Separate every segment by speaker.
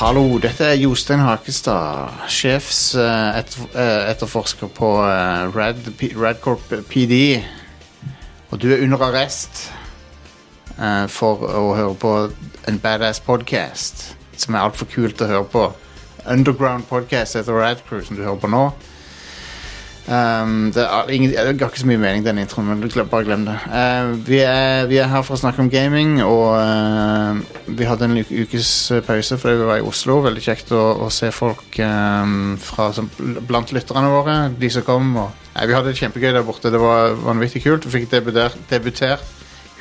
Speaker 1: Hallo, dette er Jostein Hakestad, eh, sjefsetterforsker på eh, Rad, P- Radcorp PD. Og du er under arrest eh, for å høre på en badass podcast som er altfor kult å høre på. Underground podcast heter Radcrew, som du hører på nå. Um, det, er ingen, det ga ikke så mye mening, den introen, men du glem- bare glem det. Eh, vi, er, vi er her for å snakke om gaming, og eh, vi hadde en uke- ukes eh, pause fordi vi var i Oslo. Veldig kjekt å, å se folk eh, fra, som, blant lytterne våre, de som kom. Og, Nei, vi hadde det kjempegøy der borte. Det var vanvittig kult. Vi fikk debutert, debutert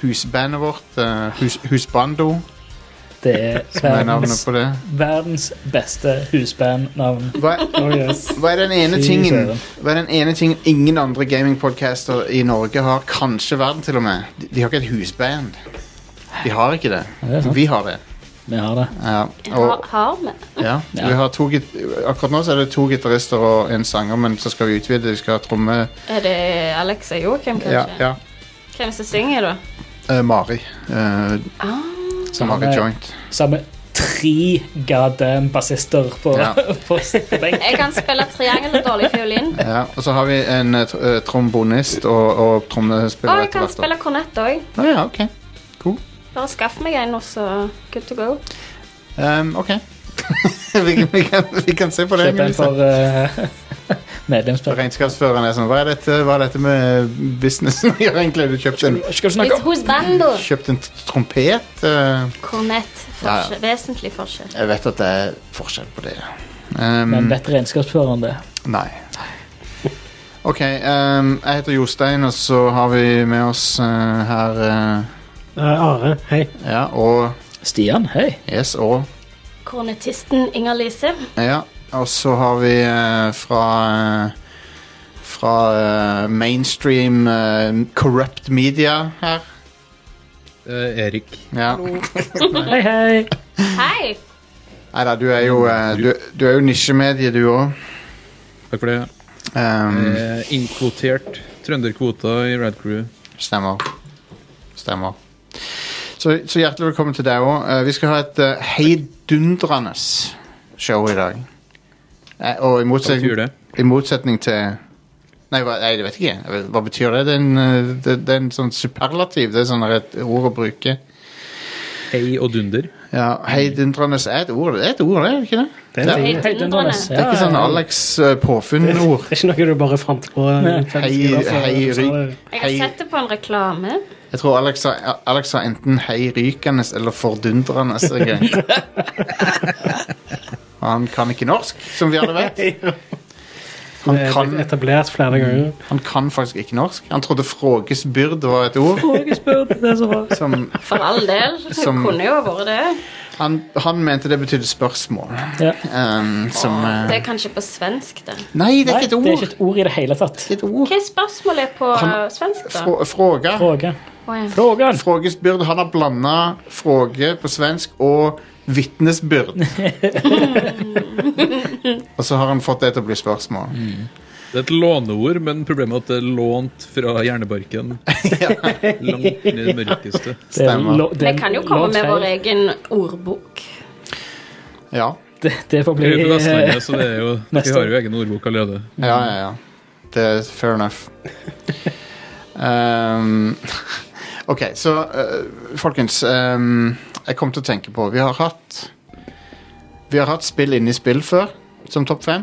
Speaker 1: husbandet vårt, eh, hus, Husbando,
Speaker 2: Det er
Speaker 1: som er navnet
Speaker 2: verdens,
Speaker 1: på det.
Speaker 2: verdens beste husbandnavn.
Speaker 1: Hva,
Speaker 2: Oh yes.
Speaker 1: hva er den ene
Speaker 2: Fy
Speaker 1: tingen
Speaker 2: søren.
Speaker 1: Hva er den ene tingen ingen andre gamingpodcaster i Norge har? Kanskje verden til og med. De, de har ikke et husband. De har ikke det.
Speaker 2: Ja, det er sant.
Speaker 1: Vi har det.
Speaker 2: Vi har det.
Speaker 1: Ja,
Speaker 3: Har,
Speaker 1: og,
Speaker 3: har vi?
Speaker 1: ja,
Speaker 2: Ja.
Speaker 1: vi har to, git- akkurat nå så er det to gitarister og en sanger, men så skal vi utvide. Vi skal ha tromme
Speaker 3: Er det Alexa Joakim,
Speaker 1: ja,
Speaker 3: kanskje?
Speaker 1: ja.
Speaker 3: Hvem som synger, da?
Speaker 1: Eh, Mari, eh, som har
Speaker 2: Mari.
Speaker 1: et joint.
Speaker 2: Så har vi tre goddamn bassister på,
Speaker 1: Ja.
Speaker 2: på, på benken.
Speaker 3: Jeg kan spille triangel og dårlig fiolin.
Speaker 1: Ja, og så har vi en eh, tr- eh, trombonist og, og
Speaker 3: Og
Speaker 1: trommespiller
Speaker 3: jeg kan spille kornett òg.
Speaker 1: Ah, ja, ok. Cool.
Speaker 3: Bare skaff meg en, og så good to go.
Speaker 1: Ehm, ok. vi, kan- vi, kan, vi kan se på det.
Speaker 2: Kjøp en
Speaker 1: Melissa.
Speaker 2: for uh, medlemsplass.
Speaker 1: Regnskapsføreren er sånn Hva er dette, hva er dette med businessen å gjøre egentlig? Du kjøpte en,
Speaker 2: Skal du snakke om
Speaker 3: It's who's bando.
Speaker 1: kjøpt en trompet? eh,
Speaker 3: Kornett.
Speaker 1: Ja,
Speaker 3: Forskjell. Vesentlig forskjell.
Speaker 1: jeg vet at det er forskjell på det. Um,
Speaker 2: Men vet regnskapsfører om det?
Speaker 1: nei. Ok, um, jeg heter Jostein, og så har vi med oss eh, her eh,
Speaker 4: Eh, Are, hei.
Speaker 1: Ja, og
Speaker 2: Stian, hei.
Speaker 1: Yes, og
Speaker 3: Kornettisten Inger-Lise.
Speaker 1: Ja, og så har vi eh, fra eh, Fra eh, mainstream eh, corrupt media her.
Speaker 5: Eh, Erik.
Speaker 1: Ja.
Speaker 2: Hei, hei.
Speaker 3: Hei!
Speaker 1: Nei da, du er jo, eh, du, du er jo nisjemedie, du òg.
Speaker 5: Takk for det.
Speaker 1: Um,
Speaker 5: Eh, innkvotert trønderkvota i Rad Crew.
Speaker 1: stemmer. Stemmer. Så, så hjertelig velkommen til deg òg. vi skal ha et eh, heidundrende show i dag. Eh, og i
Speaker 5: Hva betyr
Speaker 1: motsetning,
Speaker 5: det?
Speaker 1: i motsetning til Nei, hva, nei, jeg vet ikke. Jeg vet- Hva betyr det? Det er en, eh, det, det er en sånn superlativ. Det er sånn et ord å bruke.
Speaker 5: Hei og dunder.
Speaker 1: Ja, Heidundrende er et ord, det er et ord, det er ikke det?
Speaker 4: Det er, en ting.
Speaker 3: Heidundrende.
Speaker 1: Det er ikke sånn Alex eh, påfunn-ord.
Speaker 4: det er ikke noe du bare fant på. eh,
Speaker 2: Nei.
Speaker 1: Hei, hei, ry-
Speaker 3: Jeg har
Speaker 1: hei,
Speaker 3: sett det på en reklame.
Speaker 1: Jeg tror Alex sa, Alex sa enten hei rykende eller fordundrende en gang. Og Han kan ikke norsk, som vi alle vet. Han
Speaker 4: Han
Speaker 1: kan, Mm.
Speaker 4: Etablert flere ganger.
Speaker 1: han kan faktisk ikke norsk. Han trodde frågesbyrd var et ord. Som,
Speaker 3: For all del. Det
Speaker 1: Som-
Speaker 3: kunne jo vært det.
Speaker 1: han, han mente det betydde spørsmål.
Speaker 2: Ja.
Speaker 1: Um, som eh,
Speaker 3: Det er kanskje på svensk, det.
Speaker 1: Nei, det er ikke
Speaker 2: Nei,
Speaker 1: et
Speaker 2: det er
Speaker 1: ord!
Speaker 2: ikke et ord i det hele tatt.
Speaker 1: Det er et ord.
Speaker 3: Hva er spørsmålet på
Speaker 1: Han-
Speaker 3: eh, svensk, da?
Speaker 1: Frå- Fråga.
Speaker 2: Fråga.
Speaker 3: Å, ja.
Speaker 2: Frågan.
Speaker 1: Frågesbyrd. Han har blanda fråge på svensk og vitnesbyrd. og så har han fått det til å bli spørsmål.
Speaker 5: Det er et låneord, men problemet er at det er lånt fra hjernebarken. Langt ned i det mørkeste.
Speaker 2: Det er
Speaker 1: Stemmer.
Speaker 2: lo- det er
Speaker 3: Vi kan jo komme
Speaker 2: lov
Speaker 3: med
Speaker 2: feil.
Speaker 3: vår egen ordbok.
Speaker 1: Ja,
Speaker 2: Det, det får bli eh,
Speaker 5: Vi er
Speaker 1: Eh,
Speaker 5: på Vestlandet, så det er jo, vi
Speaker 2: Neste.
Speaker 5: har jo egen ordbok allerede.
Speaker 1: ja, ja. ja. Det er fair enough. Um, ok, så eh, folkens ehm, Jeg kom til å tenke på Vi har hatt Vi har hatt spill inni spill før, som topp fem.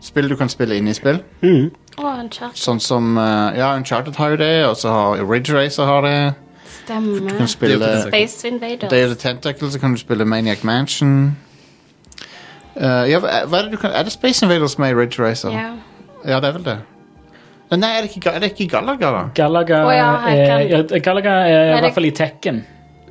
Speaker 1: Spill du kan spille inni spill.
Speaker 3: Å, en kjæreste.
Speaker 1: Sånn som eh, Ja, Uncharted har jo det, og så har Ridge Racer har det. Du
Speaker 3: Stemmer.
Speaker 1: kan spille
Speaker 5: Day of the
Speaker 3: Space Invaders.
Speaker 1: Day of the Tentacle, så kan du spille Maniac Mansion. Eh, ja, hva hva er, det du kan, er det Space Invaders med i Ridge Racer?
Speaker 3: Ja.
Speaker 1: Ja, det er vel det. Men nei, er det ikke, Ga- er det ikke Galaga, da?
Speaker 2: Galaga,
Speaker 3: Å ja, her
Speaker 2: er,
Speaker 3: kan-
Speaker 2: ja, Galaga er
Speaker 3: det-
Speaker 2: i hvert fall i Tekken.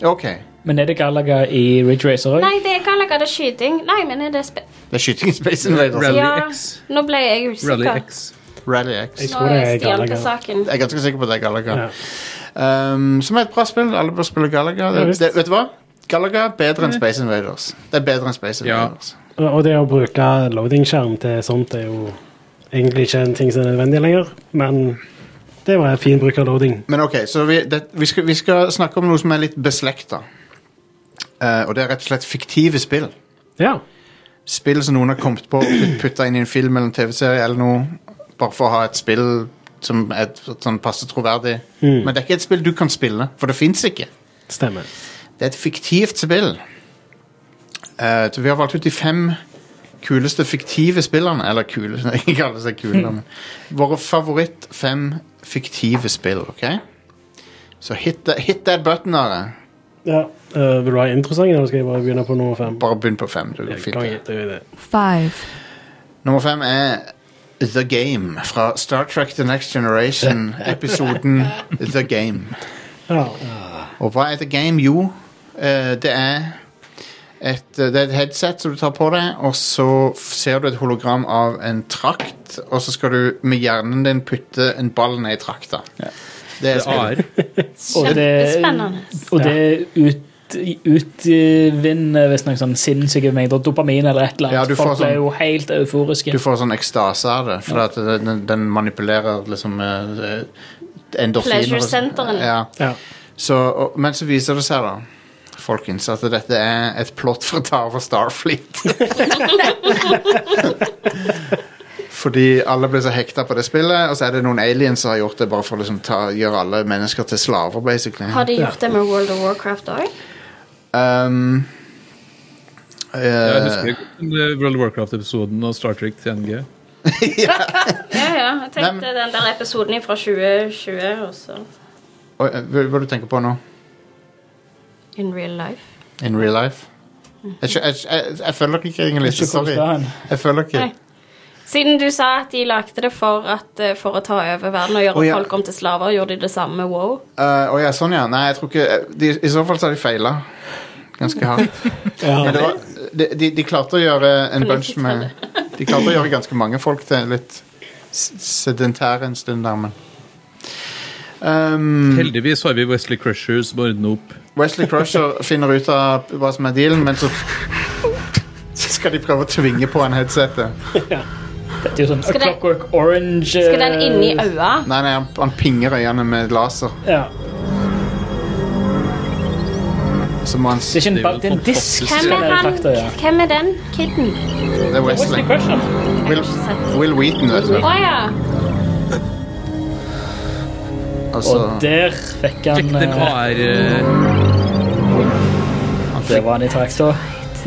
Speaker 1: Ok.
Speaker 2: Men er det Galaga i Ridge Racer òg?
Speaker 3: Nei, det er Galaga, det er skyting. Nei, men er det spe...
Speaker 1: Det er skyting i Space Invaders.
Speaker 5: Rally
Speaker 3: Ja.
Speaker 5: X.
Speaker 3: Nå ble jeg usikker.
Speaker 5: Rally X.
Speaker 1: Rally X.
Speaker 4: Jeg
Speaker 1: Jeg
Speaker 4: tror
Speaker 3: Nå er
Speaker 4: det er
Speaker 3: Stian på
Speaker 4: Galaga.
Speaker 3: saken.
Speaker 1: er ganske sikker på at det er Galaga.
Speaker 4: Ja.
Speaker 1: Um, som er et bra spill. Alle bør spille Galaga.
Speaker 4: Ja,
Speaker 1: Det,
Speaker 4: visst.
Speaker 1: det, vet du hva? Galaga er bedre enn Space Invaders. Det er bedre enn Space
Speaker 5: Ja.
Speaker 1: Invaders.
Speaker 4: Og og det å bruke loading-skjerm til sånt er jo egentlig ikke en ting som er nødvendig lenger, men det var en fin bruk av loading.
Speaker 1: Men ok, så vi, det, vi, skal, vi skal snakke om noe som er litt beslekta. Eh, og det er rett og slett fiktive spill.
Speaker 4: Ja.
Speaker 1: Spill som noen har kommet på og putta inn i en film eller en TV-serie eller noe, bare for å ha et spill som er et- sånn passe troverdig. Men det er ikke et spill du kan spille, for det fins ikke.
Speaker 4: Stemmer.
Speaker 1: Det er et fiktivt spill. Eh, så vi har valgt ut de fem kuleste fiktive spillene. Eller kule, ikke alle som er kule. men Våre favoritt fem fiktive spill, OK? Så hit, the- hit that button, Are.
Speaker 4: Ja. eh, vil du ha introsang, eller skal jeg bare begynne på nummer fem?
Speaker 1: Bare begynn på fem. Det går fint.
Speaker 4: Konge, det er jo det.
Speaker 6: five,
Speaker 1: Nummer fem er The Game fra Star Trek The Next Generation, episoden The Game.
Speaker 4: Ja.
Speaker 1: Og hva er The Game? Jo, eh, det er et, eh, det er et headset som du tar på deg, og så f- ser du et hologram av en trakt, og så skal du med hjernen din putte en ball ned i trakta. Det er spillet.
Speaker 5: AR.
Speaker 2: Og det,
Speaker 3: Kjempespennende.
Speaker 2: og det ut, utvinner visstnok sånn sinnssyke mengder dopamin eller et eller annet.
Speaker 1: Ja, du får
Speaker 2: Folk
Speaker 1: sånn-
Speaker 2: ble jo helt euforiske.
Speaker 1: Du får sånn ekstase av det, for at den, den manipulerer liksom eh, endorfiner. og- sånn.
Speaker 3: Pleasure-centeren.
Speaker 1: Ja.
Speaker 4: ja.
Speaker 1: Så, og, men så viser det seg da Folkens, at dette er et plott for å ta over Starfleet. Fordi alle ble så hekta på det spillet, og så er det noen aliens som har gjort det bare for å liksom ta, gjøre alle mennesker til slaver, basically.
Speaker 3: Har de gjort det med World of Warcraft òg?
Speaker 1: Um, eh,
Speaker 5: Jeg husker ikke den World of Warcraft-episoden og Star Trek 3NG.
Speaker 3: Ja, ja. Jeg
Speaker 1: Nei, men-
Speaker 3: tenkte den der episoden fra 2020 også.
Speaker 1: oi, eh, hva, hva du tenker på nå?
Speaker 3: In real life.
Speaker 1: In real life? Jeg, skjø- jeg, jeg, jeg følger ikke, Inger Lise.
Speaker 2: Ikke hvor
Speaker 1: Sorry.
Speaker 2: skal han.
Speaker 1: Jeg følger ikke.
Speaker 3: Nei. Siden du sa at de lagde det for, at, eh, for å ta over verden og gjøre
Speaker 1: Å, ja.
Speaker 3: folk om til slaver, gjorde de det samme med WoW?
Speaker 1: Eh, å ja, sånn ja. Nei, jeg tror ikke de, I så fall så har de feila ganske hardt. Men det var, de, de, de klarte å gjøre en bunch med De klarte å gjøre ganske mange folk til litt s- sedentære en stund der, men um,
Speaker 5: Heldigvis har vi Wesley Crusher som ordner opp.
Speaker 1: Wesley Crusher finner ut av hva som er dealen, men så så skal de prøve å tvinge på han headsetet.
Speaker 2: Det er jo sånn A
Speaker 3: Skal den-
Speaker 2: Clockwork Orange eh,
Speaker 3: Skal den inn i øya?
Speaker 1: Eh, Nei, nei, han, han pinger øynene med laser.
Speaker 2: Ja.
Speaker 1: Så må han s-
Speaker 2: Det er ikke en,
Speaker 5: Det er jo
Speaker 2: ba- det er en
Speaker 5: fantastisk.
Speaker 2: disk.
Speaker 3: Hvem er, han,
Speaker 2: Traktor, ja.
Speaker 3: hvem er den kiden?
Speaker 1: Det er Wesley.
Speaker 2: Wesley Crusher.
Speaker 1: Will, Will Wheaton, vet
Speaker 3: Å
Speaker 1: du.
Speaker 3: ja.
Speaker 1: Altså,
Speaker 2: Og der fikk han
Speaker 5: Sjekk den
Speaker 2: eh,
Speaker 5: AR. eh,
Speaker 2: Det var han i trakta.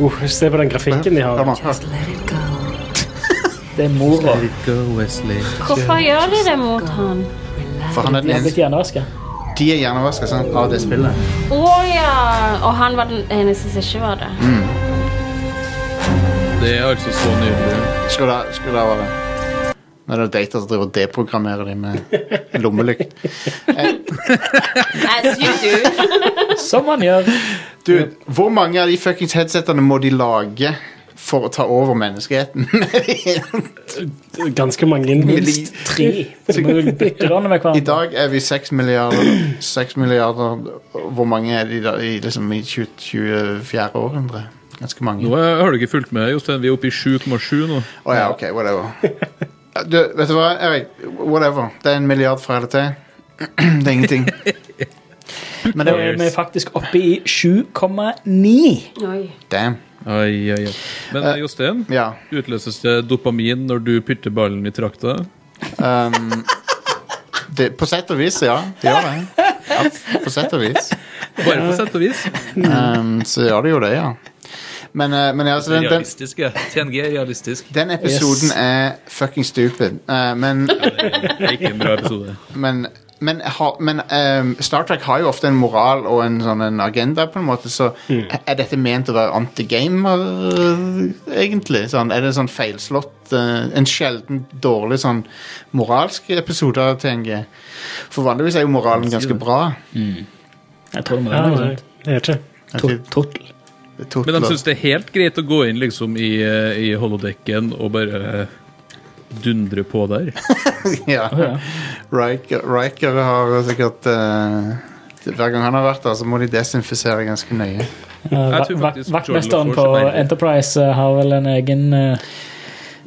Speaker 4: Uh, se på den grafikken de
Speaker 1: hør
Speaker 4: har.
Speaker 1: nå. hør.
Speaker 6: let it go,
Speaker 2: Det er mora.
Speaker 5: Let it go, Wesley.
Speaker 3: Hvorfor gjør de det mot han?
Speaker 1: For han er
Speaker 2: De
Speaker 1: den
Speaker 2: har blitt
Speaker 1: eneste
Speaker 2: hjernevaska.
Speaker 1: De er hjernevaska, sant? Av det spillet.
Speaker 3: Å ja. Og han var den eneste som ikke var det.
Speaker 5: Det er altså så nydelig.
Speaker 1: Skal det, skal det være Nå er det data som driver og deprogrammerer dem med lommelykt.
Speaker 3: As you do.
Speaker 2: Som han gjør.
Speaker 1: Dude, hvor mange av de fuckings headsetene må de lage for å ta over menneskeheten?
Speaker 4: Ganske mange. Minst
Speaker 1: Minst
Speaker 4: tre.
Speaker 2: Så må du bytte rørene med
Speaker 1: I
Speaker 2: hverandre.
Speaker 1: dag er vi 6 milliarder. 6 milliarder Hvor mange er de da i, liksom, i 20, 24 århundre? Ganske mange.
Speaker 5: Nå eh, har du ikke fulgt med, Jostein. Vi er oppe i 7,7 nå.
Speaker 1: Å ja, OK, whatever. Du, vet du hva, Erik? Whatever. Det er en milliard fra eller til. Det er ingenting. Men
Speaker 2: Nå
Speaker 1: det
Speaker 2: er
Speaker 1: var
Speaker 2: vi faktisk oppe i 7,9.
Speaker 3: Oi.
Speaker 1: Damn.
Speaker 5: Ai, ai, ai. Men eh, Jostein,
Speaker 1: Ja.
Speaker 5: utløses det dopamin når du putter ballen i trakta?
Speaker 1: Um, det, på sett og vis, ja. Det gjør det. Ja, på sett og vis.
Speaker 5: Bare på sett og vis.
Speaker 1: Um, så gjør det jo det, ja. Men, uh, men ja, altså, den, den,
Speaker 5: Realistisk, ja. TNG er realistisk.
Speaker 1: den episoden
Speaker 2: Yes.
Speaker 1: er fucking stupid. Uh, men
Speaker 5: Det er ikke en bra episode.
Speaker 1: men, men, ha, men um, Star Trek har jo ofte en moral og en sånn en agenda, på en måte, så
Speaker 2: Mm.
Speaker 1: er dette ment å være anti-gamer, uh, egentlig? Sånn, er det en sånn feilslått uh, En sjelden dårlig sånn moralsk episode av TNG? For vanligvis er jo moralen ganske bra.
Speaker 2: Jeg tror det må
Speaker 4: Ja,
Speaker 2: være noe
Speaker 4: nei,
Speaker 2: sånt.
Speaker 4: jeg vet ikke.
Speaker 2: Tot- Total.
Speaker 5: Men de syns det er helt greit å gå inn liksom i, eh, i holodekken og bare eh, dundre på der.
Speaker 1: ja. Riker, Riker har sikkert eh, Hver gang han har vært der, så må de desinfisere ganske nøye.
Speaker 2: Va-
Speaker 5: tror
Speaker 2: va-
Speaker 5: faktisk
Speaker 2: Vaktmesteren
Speaker 5: Jordan får
Speaker 2: på
Speaker 5: seg mer.
Speaker 2: Enterprise eh, har vel en egen eh,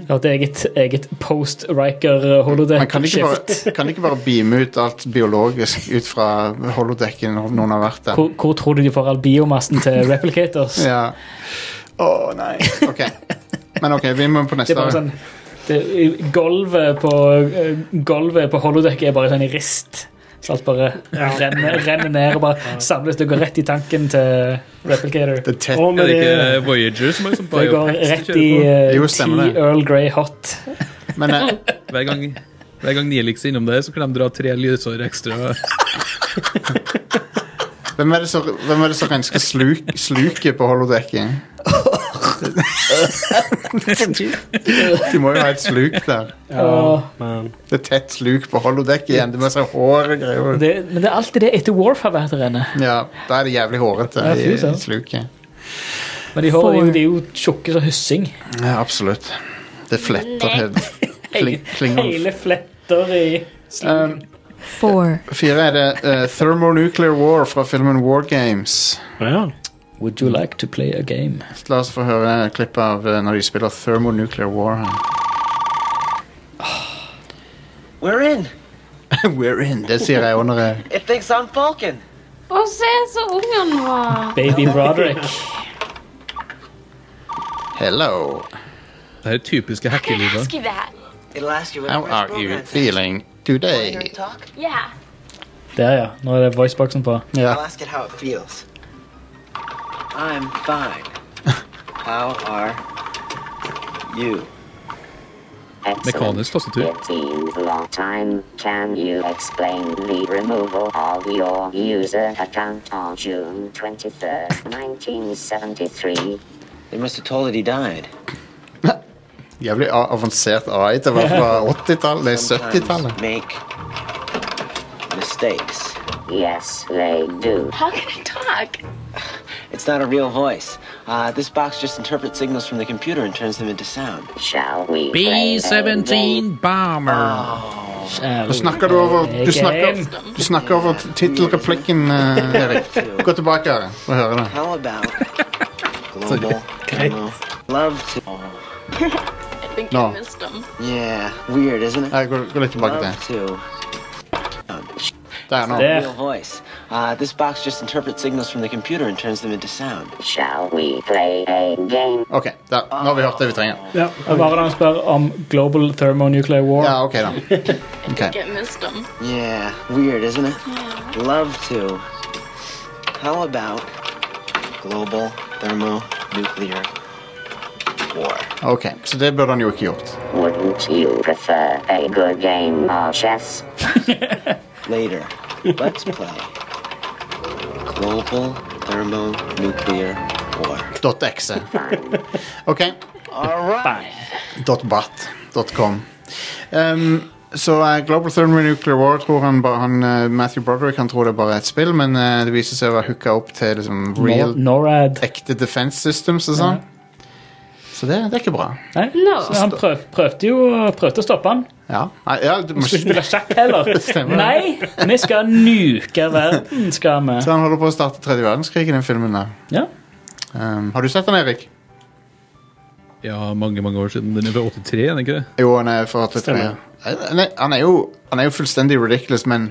Speaker 2: har et eget, eget post Riker
Speaker 1: Men kan de ikke
Speaker 2: holodeck-skift.
Speaker 1: bare, kan de ikke bare beame ut alt biologisk ut fra holodekken når noen har vært der?
Speaker 2: Hvor, hvor tror du de får all biomassen til replicators?
Speaker 1: Ja. Å nei. Ok. Men ok, vi må på
Speaker 2: Det
Speaker 1: neste.
Speaker 2: er bare sånn det, Gulvet på eh, Gulvet på holodekket er bare sånn i rist. Så alt bare renner, renner ned og bare samles. Det går rett i tanken til Replicator.
Speaker 1: Det er tett.
Speaker 4: Og med
Speaker 5: Er det
Speaker 4: det,
Speaker 5: ikke Voyager som er sånn
Speaker 2: Det går
Speaker 5: biopax
Speaker 2: rett
Speaker 5: de
Speaker 2: i
Speaker 5: kjører på?
Speaker 2: eh,
Speaker 1: Jo,
Speaker 2: ti
Speaker 1: stemmer det.
Speaker 2: Earl Grey Hot.
Speaker 1: Men eh,
Speaker 5: Hver gang, hver gang Nielix er innom der, så kan de dra tre lysår ekstra.
Speaker 1: hvem er det som- hvem er det som rensker sluk, sluket på holodekket? De må jo ha et sluk der.
Speaker 2: Og
Speaker 4: men
Speaker 1: Det er tett sluk på holodekket igjen. Det må se hår og greier.
Speaker 2: det, men det er alltid det etter Warf har vært der inne.
Speaker 1: Ja, da er det jævlig hårete
Speaker 2: Ja,
Speaker 1: i,
Speaker 2: fy søren.
Speaker 1: i sluket.
Speaker 2: Men de, har, de, er jo- de er jo tjukke som hussing.
Speaker 1: Ja, absolutt. Det fletter helt. Kling, Eh, klingon.
Speaker 2: Hele fletter i
Speaker 1: Um,
Speaker 6: Four.
Speaker 1: Fire er det eh, Thermonuclear War fra filmen War Games.
Speaker 4: ja.
Speaker 2: Would you like to play a game?
Speaker 1: La oss få høre et klipp av eh, når de spiller Thermonuclear War. her.
Speaker 7: We're in.
Speaker 1: We're in. Det sier jeg under eh,
Speaker 7: It thinks I'm Vulcan.
Speaker 3: Å, se så ung han var.
Speaker 2: Baby Broderick.
Speaker 1: Hello,
Speaker 5: Det her er typiske hackelivet.
Speaker 3: you that.
Speaker 7: It'll ask you what
Speaker 1: how
Speaker 7: the
Speaker 1: are
Speaker 7: rest
Speaker 1: you
Speaker 7: program thinks.
Speaker 1: feeling
Speaker 7: Wanna hear
Speaker 1: today?
Speaker 7: it talk?
Speaker 3: Yeah.
Speaker 2: Der, ja. Nå er det voiceboxen på.
Speaker 1: Ja,
Speaker 7: I'll ask it how it feels. I'm fine. how are you?
Speaker 5: Mekanisk tastatur.
Speaker 8: It seems a long time. Can you explain the removal of your user account on June 23rd, 1973?
Speaker 7: They must have told it he died.
Speaker 1: Jævlig a- avansert AI. Det var fra 80-tallet. Nei, 70-tallet.
Speaker 7: make mistakes.
Speaker 8: Yes, they do.
Speaker 3: How can I talk?
Speaker 7: It's not a real voice. Uh, this box just interprets signals from the computer and turns them into sound.
Speaker 8: Shall we? play a game?
Speaker 5: Bomber.
Speaker 1: Ah. Du snakker du over Du snakker, du snakker over t- tittelreplikken, eh, Erik. Gå tilbake her og hør det.
Speaker 7: How about global demo? Love to.
Speaker 1: Nå.
Speaker 7: Yeah, weird, isn't it?
Speaker 1: Nei, Gå, gå litt tilbake
Speaker 7: Love
Speaker 1: til
Speaker 7: to.
Speaker 1: Der nå.
Speaker 2: Det.
Speaker 7: Real voice. Uh, this box just interprets signals from the computer and turns them into sound.
Speaker 8: Shall we play a game?
Speaker 1: Ok, der. Nå har vi hørt det vi trenger.
Speaker 4: ja.
Speaker 2: Og bare når han spør om Global Thermonuclear War
Speaker 1: Ja, ok, da. Ok.
Speaker 7: Yeah, weird, isn't it? Love to. How about global thermonuclear war?
Speaker 1: Ok, Så det burde han jo ikke gjort.
Speaker 8: Wouldn't you prefer a good game of chess?
Speaker 7: Later, let's play global thermonuclear war.
Speaker 1: Dot .exe. Ok.
Speaker 7: All right.
Speaker 1: Dot .bat. Dot .com. Um, så eh, Global Thermonuclear War tror han, bare, han eh, Matthew Broderick han tror det er bare et spill, men eh, det viser seg å være hooka opp til liksom, real,
Speaker 2: Nor- NORAD.
Speaker 1: ekte defense systems og sånn. Så det, det er ikke bra.
Speaker 2: Nei?
Speaker 3: No.
Speaker 2: Så Han prøv, prøvde jo prøvde å stoppe han.
Speaker 1: Ja, Nei, ja du må
Speaker 2: Skulle ikke
Speaker 1: ikke
Speaker 2: spille sjakk heller.
Speaker 1: Stemmer.
Speaker 2: Nei, vi skal nuke verden, skal vi.
Speaker 1: så han holder på å starte tredje verdenskrig i den filmen der.
Speaker 2: Ja.
Speaker 1: Um, har du sett den, Erik?
Speaker 5: Ja, mange, mange år siden. Den er fra 83, er den ikke det?
Speaker 1: Jo, han er fra 83.
Speaker 4: Stemmer.
Speaker 1: Han er- Han er, jo, han er jo fullstendig ridiculous, men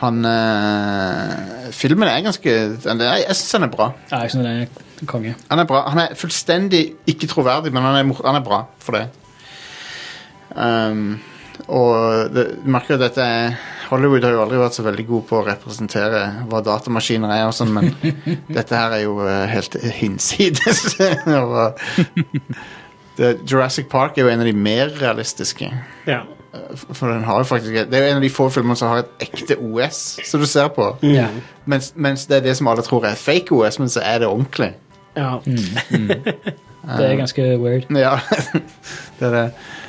Speaker 1: han eh, Filmen er ganske den er- Jeg syns han er bra.
Speaker 2: Nei, jeg synes det er konge.
Speaker 1: Han er bra. Han er fullstendig ikke troverdig, men han er, mor- han er bra for det. Um, og det, du merker jo dette er Hollywood har jo aldri vært så veldig god på å representere hva datamaskiner er, og sånn, men dette her er jo eh, helt hinsides. Og, eh, det, Jurassic Park er jo en av de mer realistiske. Eh,
Speaker 4: ja.
Speaker 1: For den har jo faktisk Det er jo en av de få filmene som har et ekte OS som du ser på.
Speaker 4: Ja.
Speaker 1: Mens, mens det er det som alle tror er fake OS, men så er det ordentlig.
Speaker 4: ja.
Speaker 2: Det er ganske weird.
Speaker 1: Ja, det er det.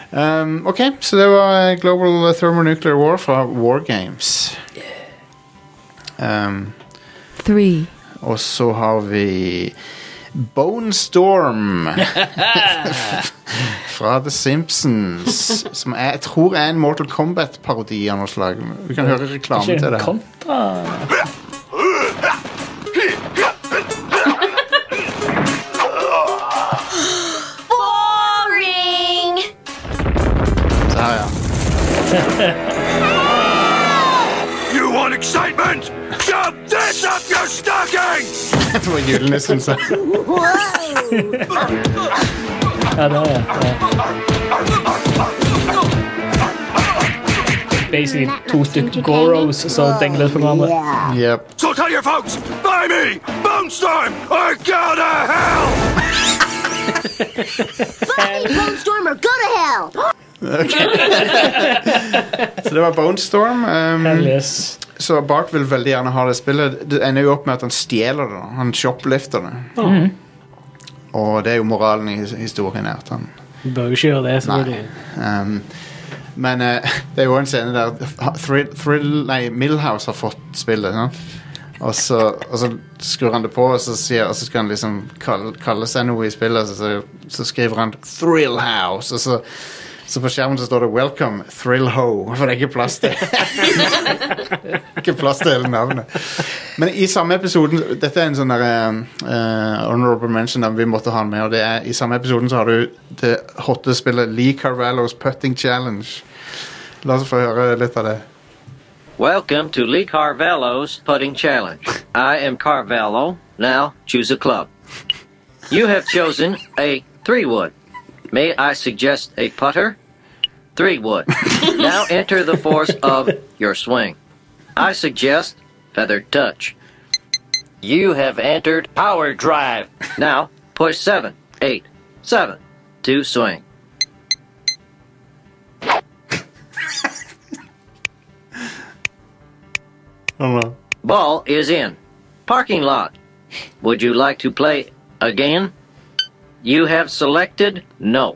Speaker 1: Um, ok, så det var eh, Global Thermonuclear War fra War Games. Um,
Speaker 6: Three.
Speaker 1: og så har vi Bone Storm fra The Simpsons. Som er, jeg tror er en Mortal Kombat-parodi av noe slag. Vi kan høre reklame
Speaker 2: Ikke
Speaker 1: til det.
Speaker 2: kontra
Speaker 3: Boring!
Speaker 1: Så her, ja.
Speaker 9: You want excitement? Shove this up your stocking!
Speaker 1: Det var julenissen som
Speaker 2: Ja, det er det. Basically to stykker Goros som dengler på hverandre.
Speaker 1: Yep.
Speaker 9: So tell your folks, buy me, Bones Time, or go to hell!
Speaker 10: Stormer, go to hell!
Speaker 1: Så det var Bonestorm.
Speaker 2: Hell
Speaker 1: Um,
Speaker 2: yes.
Speaker 1: så Bart vil veldig gjerne ha det spillet. Det ender jo opp med at han stjeler det. da. Han shoplifter det. Og det er jo moralen i his- historien her. at han
Speaker 4: Bør jo ikke gjøre det. selvfølgelig.
Speaker 1: Um, men eh, det er jo en scene der thrill, thrill, nei, Millhouse har fått spillet. Sant? Og, så, og så skrur han det på, og så, sier, og så skal han liksom kalle, kalle seg noe i spillet. Så, så, så skriver han 'Thrill House', og så, så på skjermen så står det 'Welcome Thrill Ho'. For det er ikke plass til Ikke plass til hele navnet. Men i samme episoden Dette er en sånn der, eh, honorable mention der vi måtte ha den med. Og det er, I samme episoden så har du det hotte spillet Lee Carvallos Putting Challenge. La oss få høre litt av det.
Speaker 7: Welcome to Lee Carvello's Putting Challenge. I am Carvello. Now choose a club. You have chosen a three wood. May I suggest a putter? Three wood. now enter the force of your swing. I suggest feather touch. You have entered power drive. Now push seven, eight, seven to swing. Ball is in. Parking lot. Would you like to play again? You have selected no.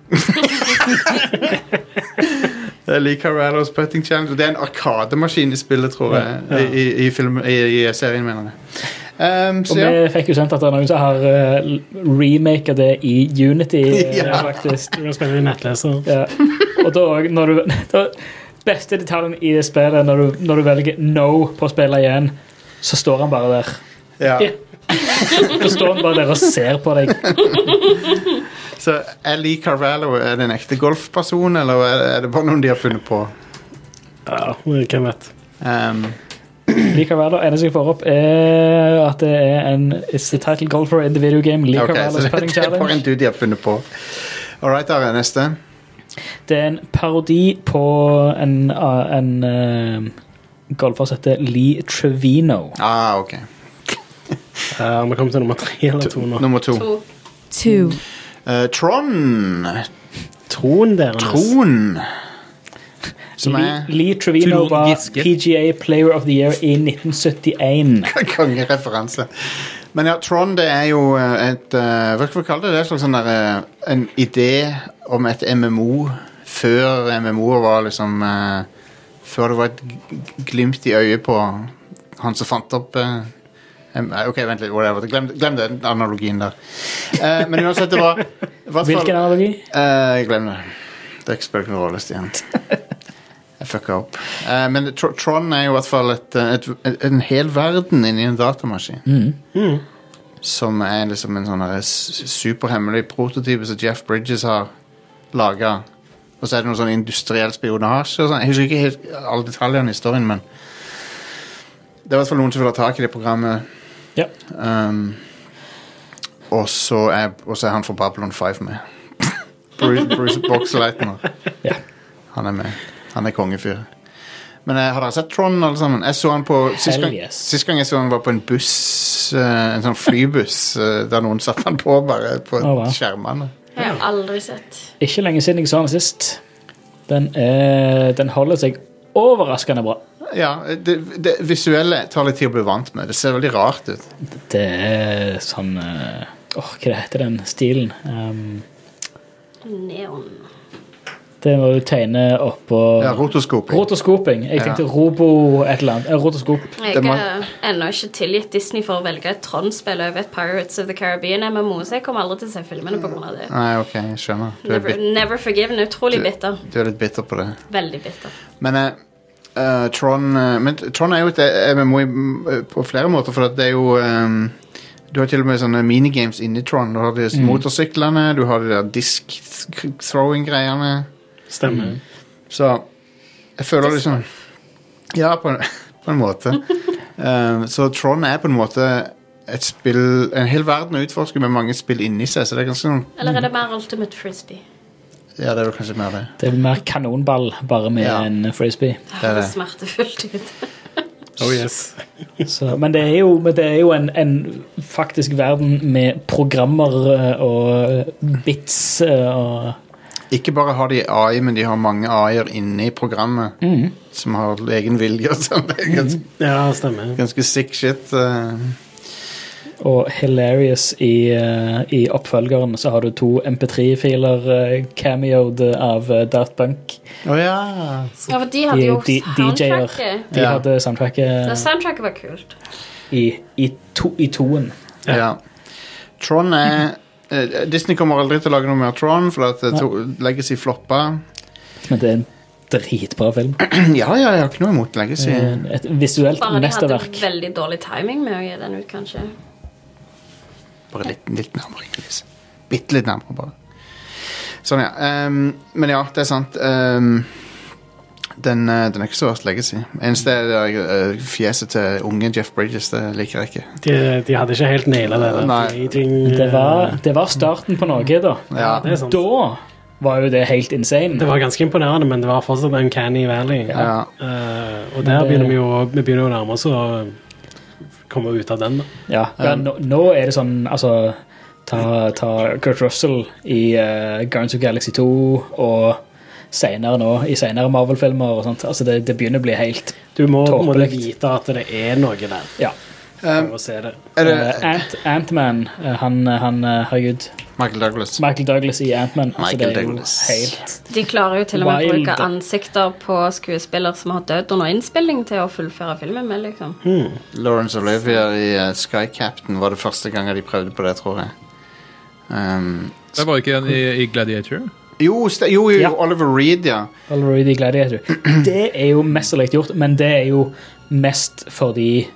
Speaker 1: Det er Lee Carvallos Putting Challenge. Det er en arkademaskin i spillet, tror jeg. I, i, i, filmen- i, i serien, mener jeg. Um, så
Speaker 2: Og
Speaker 1: ja.
Speaker 2: vi fikk jo sendt at det er noen som har uh, remaka det i Unity, eh,
Speaker 1: Ja.
Speaker 2: faktisk.
Speaker 4: Du kan spille med nettleser.
Speaker 2: Ja. Og da òg, når du da, Beste detaljen i det spillet er når du, når du velger no på å spille igjen, så står han bare der.
Speaker 1: ja.
Speaker 2: Så står han bare der og ser på deg.
Speaker 1: Så er Lee Carvallo er det en ekte golfperson, eller er er det bare noen de har funnet på?
Speaker 4: Ja, hvem vet.
Speaker 1: Um,
Speaker 2: Lee Carvalho, eneste jeg får opp, er at det er en It's the title goal for the video game. Lee
Speaker 1: ok, så
Speaker 2: Carvalho's
Speaker 1: det,
Speaker 2: Putting
Speaker 1: det er bare en
Speaker 2: Challenge.
Speaker 1: dude de har funnet på. All right, Are. Neste.
Speaker 2: Det er en parodi på en, uh, en uh, golfer som heter Lee Trevino.
Speaker 1: Ah, ok.
Speaker 4: Eh, vi kommer til nummer tre eller to nå.
Speaker 1: Nummer to.
Speaker 3: To.
Speaker 6: two,
Speaker 8: Hmm.
Speaker 1: Eh, Tron.
Speaker 4: Troen deres.
Speaker 1: Tron. Som
Speaker 2: Lee,
Speaker 1: er
Speaker 2: Lee Trevino
Speaker 5: Trond
Speaker 2: var
Speaker 5: Giske.
Speaker 2: PGA Player of the Year i 1971.
Speaker 1: kongereferanse. Men ja, Tron det er jo eh, et eh, Hva skal vi kalle det? Det er en slags sånn der, eh, en idé om et MMO før MMO-et var liksom eh, Før det var et g- glimt i øyet på han som fant opp eh, em- eh, OK, vent litt. Whatever. Glem, glem den analogien der. Eh, men uansett, det var i hvert fall-
Speaker 2: Hvilken analogi?
Speaker 1: Eh, Jeg glemmer det. Det er ikke spiller noen rolle, Stian. Jeg fucka opp. Eh, men Tr Tron er jo i hvert fall et, eh, et, et, en hel verden inni en datamaskin. Mm. Som er liksom en sånn her s- superhemmelig prototype som Jeff Bridges har laga. Og så er det noe sånn industriell spionasje og sånn. Jeg husker ikke helt alle detaljene i historien, men det er i hvert fall noen som vil ha tak i det programmet.
Speaker 2: Ja.
Speaker 1: Um, og så er, og så er han fra Babylon 5 med. Bruce, Bruce Boxleitner.
Speaker 2: Ja.
Speaker 1: Han er med. Han er kongefyr. Men eh, har dere sett Trond, alle sammen? Jeg så han på, sist,
Speaker 2: Hell
Speaker 1: gang,
Speaker 2: yes.
Speaker 1: sist gang jeg så han var på en buss, eh, en sånn flybuss, eh, der noen satte han på bare på
Speaker 2: Å, wow.
Speaker 1: skjermene.
Speaker 3: Jeg har aldri sett.
Speaker 2: Ikke lenge siden jeg så den sist. Den, er, den holder seg overraskende bra.
Speaker 1: Ja, det, det visuelle tar litt tid å bli vant med. Det ser veldig rart ut.
Speaker 2: Det er sånn eh, Åh, hva heter den stilen? Ehm,
Speaker 3: Neon.
Speaker 2: det er eh, når du tegner oppå
Speaker 1: Ja, rotoskoping.
Speaker 2: Rotoskoping. Jeg tenkte
Speaker 1: Ja.
Speaker 2: robo et eller annet. Eh, Rotoskop.
Speaker 3: Jeg
Speaker 1: Det må-
Speaker 3: har ennå ikke tilgitt Disney for å velge et Trond-spill over et Pirates of the Caribbean MMO, så jeg kommer aldri til å se filmene pga. det.
Speaker 1: Nei, ok, jeg skjønner. Du er,
Speaker 3: Never,
Speaker 1: bit,
Speaker 3: never forgiven. Utrolig
Speaker 1: Du-
Speaker 3: bitter.
Speaker 1: du er litt bitter på det.
Speaker 3: Veldig bitter.
Speaker 1: Men eh, eh, Tron eh, Men Tron er jo et MMO i- m- eh, på flere måter, for at det er jo ehm, Du har til og med sånne minigames inni Tron. Du har de motorsyklene, du har de der disk-throwing-greiene.
Speaker 4: Stemmer.
Speaker 1: Så jeg føler liksom Ja, på en, på en måte. Eh, så Tron er på en måte et spill En hel verden å utforske med mange spill inni seg, så det er ganske sånn
Speaker 3: Eller er det mer Ultimate Frisbee?
Speaker 1: Ja, det er vel kanskje mer det.
Speaker 2: Det er mer kanonball, bare med
Speaker 1: Ja.
Speaker 2: en frisbee.
Speaker 1: Det er det.
Speaker 3: Smertefullt ut.
Speaker 4: Oh yes.
Speaker 2: Så, men det er jo, men det er jo en, en faktisk verden med programmer eh, og bits eh, og
Speaker 1: Ikke bare har de AI, men de har mange AI-er inni programmet som har egen vilje og sånn. Det er ganske,
Speaker 4: Ja, stemmer.
Speaker 1: ganske sick shit. eh.
Speaker 2: Og hilarious i, eh, i oppfølgeren så har du to MP3-filer eh, cameoed av eh, Daft Punk.
Speaker 1: Å ja.
Speaker 3: Ja, for de hadde
Speaker 2: De,
Speaker 3: jo
Speaker 2: de, DJ-er.
Speaker 3: soundtracket.
Speaker 2: De
Speaker 1: Ja.
Speaker 2: hadde
Speaker 3: Ja,
Speaker 2: soundtracket
Speaker 3: soundtracket var kult.
Speaker 2: i, i, to, i toen.
Speaker 1: Ja. Tron er eh, Disney kommer aldri til å lage noe mer Tron, for at eh, to, Legacy floppa.
Speaker 2: Men det er en dritbra film.
Speaker 1: ja, ja, jeg har ikke noe imot Legacy.
Speaker 2: Et visuelt
Speaker 3: Bare de hadde
Speaker 2: mesterverk.
Speaker 3: veldig dårlig timing med å gi den ut, kanskje.
Speaker 1: Bare litt, litt nærmere, Chris. Bitte litt nærmere, bare. Sånn, ja. Ehm, men ja, det er sant. Ehm, den, eh, den er ikke så verst legacy. Eneste er det der, eh, fjeset til unge Jeff Bridges. Det liker jeg ikke.
Speaker 4: De, de hadde ikke helt naila det. der
Speaker 1: Nei.
Speaker 4: plating,
Speaker 2: Det var,
Speaker 4: eh,
Speaker 2: det var starten på noe, da.
Speaker 1: Ja,
Speaker 4: det er sant.
Speaker 2: Da var jo det helt insane.
Speaker 4: Det var ganske imponerende, men det var fortsatt Uncanny Valley.
Speaker 1: ja.
Speaker 4: Eh, og der
Speaker 2: det-
Speaker 4: begynner vi jo vi begynner jo å nærme oss å eh, komme ut av den. da.
Speaker 2: Ja, ja nå, nå er det sånn, altså Ta, ta Kurt Russell i eh, Guardians of Galaxy 2 og senere nå, i senere Marvel-filmer og sånt. Altså, det, det begynner å bli helt
Speaker 4: Du må på en måte
Speaker 2: Tåpelig.
Speaker 4: vite at det er noe der.
Speaker 2: Ja.
Speaker 4: For å se det.
Speaker 1: Er
Speaker 2: Eh,
Speaker 1: det
Speaker 2: Ant, Ant-Man, eh, han, han eh, Herregud.
Speaker 1: Michael Douglas?
Speaker 2: Michael Douglas i Ant-Man. Altså, det
Speaker 1: Michael
Speaker 2: er jo
Speaker 1: Douglas.
Speaker 2: helt
Speaker 3: De klarer jo til og med å
Speaker 2: Wild.
Speaker 3: bruke ansikter på skuespillere som har dødd under innspilling, til å fullføre filmen med, liksom.
Speaker 1: Lawrence Olivier i eh, Sky Captain var det første gangen de prøvde på det, tror jeg. Ehm,
Speaker 5: Det var ikke en i, i Gladiator?
Speaker 1: jo, st jo, jo,
Speaker 2: Ja.
Speaker 1: Oliver Reed, ja.
Speaker 2: Already the Gladiator. Det er jo mesterlig gjort, men det er jo mest fordi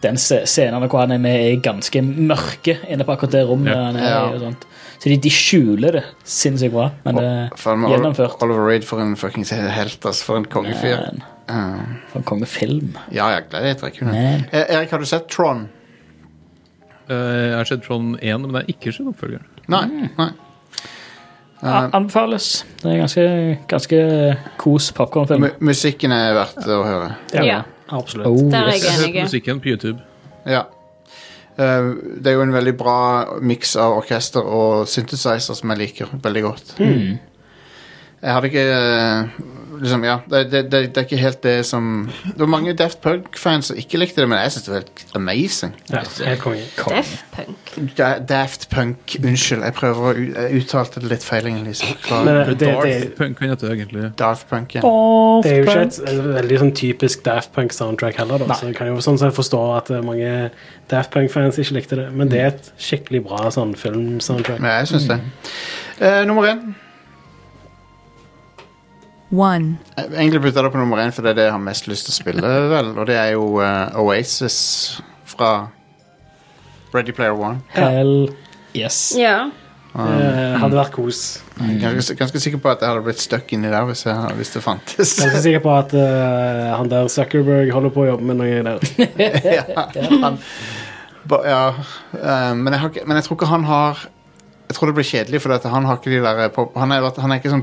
Speaker 2: den se- scenen hvor han er med, er ganske mørke inne på akkurat det rommet.
Speaker 5: Ja.
Speaker 2: Han er, i
Speaker 1: Ja.
Speaker 2: og sånt. Så de, de skjuler det sinnssykt bra, men det
Speaker 1: Faen,
Speaker 2: er
Speaker 1: Ol-
Speaker 2: gjennomført.
Speaker 1: Oliver Reed for en fuckings helt, altså. For en kongefyr.
Speaker 2: Men,
Speaker 1: Ehm,
Speaker 2: For en kongefilm.
Speaker 1: ja, ja, Gladiator er kul.
Speaker 2: Man.
Speaker 1: Eh, Erik, har du sett Tron?
Speaker 5: Eh, jeg har sett Tron 1, men jeg har ikke sett oppfølgeren.
Speaker 1: Nei.
Speaker 4: Mm.
Speaker 1: nei.
Speaker 2: A- Anbefales. Det er ganske, ganske kos popkornfilm.
Speaker 1: Mu- musikken er verdt å høre.
Speaker 3: Ja,
Speaker 4: Absolutt.
Speaker 2: Oh,
Speaker 3: der er
Speaker 2: yes.
Speaker 5: Jeg har
Speaker 3: jeg
Speaker 5: sett
Speaker 3: enig.
Speaker 5: musikken på YouTube.
Speaker 1: Ja. Eh, det er jo en veldig bra miks av orkester og synthesizer som jeg liker veldig godt.
Speaker 4: Mm.
Speaker 1: Mm. Jeg hadde ikke eh, liksom, ja, det, det, det, det er ikke helt det som Det var mange Daft Punk-fans som ikke likte det, men jeg syns det var helt amazing.
Speaker 4: Ja, helt konge.
Speaker 3: Def Punk.
Speaker 1: Da, Daft Punk, unnskyld, jeg prøver å u- jeg uttalte det litt feil, Inger-Lise.
Speaker 4: Men
Speaker 1: Beklager.
Speaker 4: det, det, det,
Speaker 5: Darth Punk kan hete egentlig.
Speaker 1: Daft Punk, ja.
Speaker 4: det er jo ikke
Speaker 2: Daft
Speaker 4: et eh, veldig sånn typisk Daft Punk-soundtrack heller, da. så jeg kan jo sånn sett forstå at eh, mange Daft Punk-fans ikke likte det. Men det er et skikkelig bra sånn film-soundtrack.
Speaker 1: Men jeg syns det. Eh, nummer én.
Speaker 6: one,
Speaker 1: Jeg vil egentlig putte det på nummer én, for det er det jeg har mest lyst til å spille, vel. Og det er jo eh, Oasis fra Ready Player One.
Speaker 2: Hell yes.
Speaker 3: Ja.
Speaker 4: Det eh, hadde vært kos.
Speaker 1: Jeg er ganske, ganske sikker på at jeg hadde blitt stuck inni der hvis, jeg, hvis det fantes.
Speaker 4: Jeg er ganske sikker på at eh, han der Zuckerberg holder på å jobbe med noe der.
Speaker 1: ja, han, ba, ja, eh, men, jeg har ikke, men jeg tror ikke han har Jeg tror det blir kjedelig, for dette. han har ikke de der eh, pop, han, er, han er ikke sånn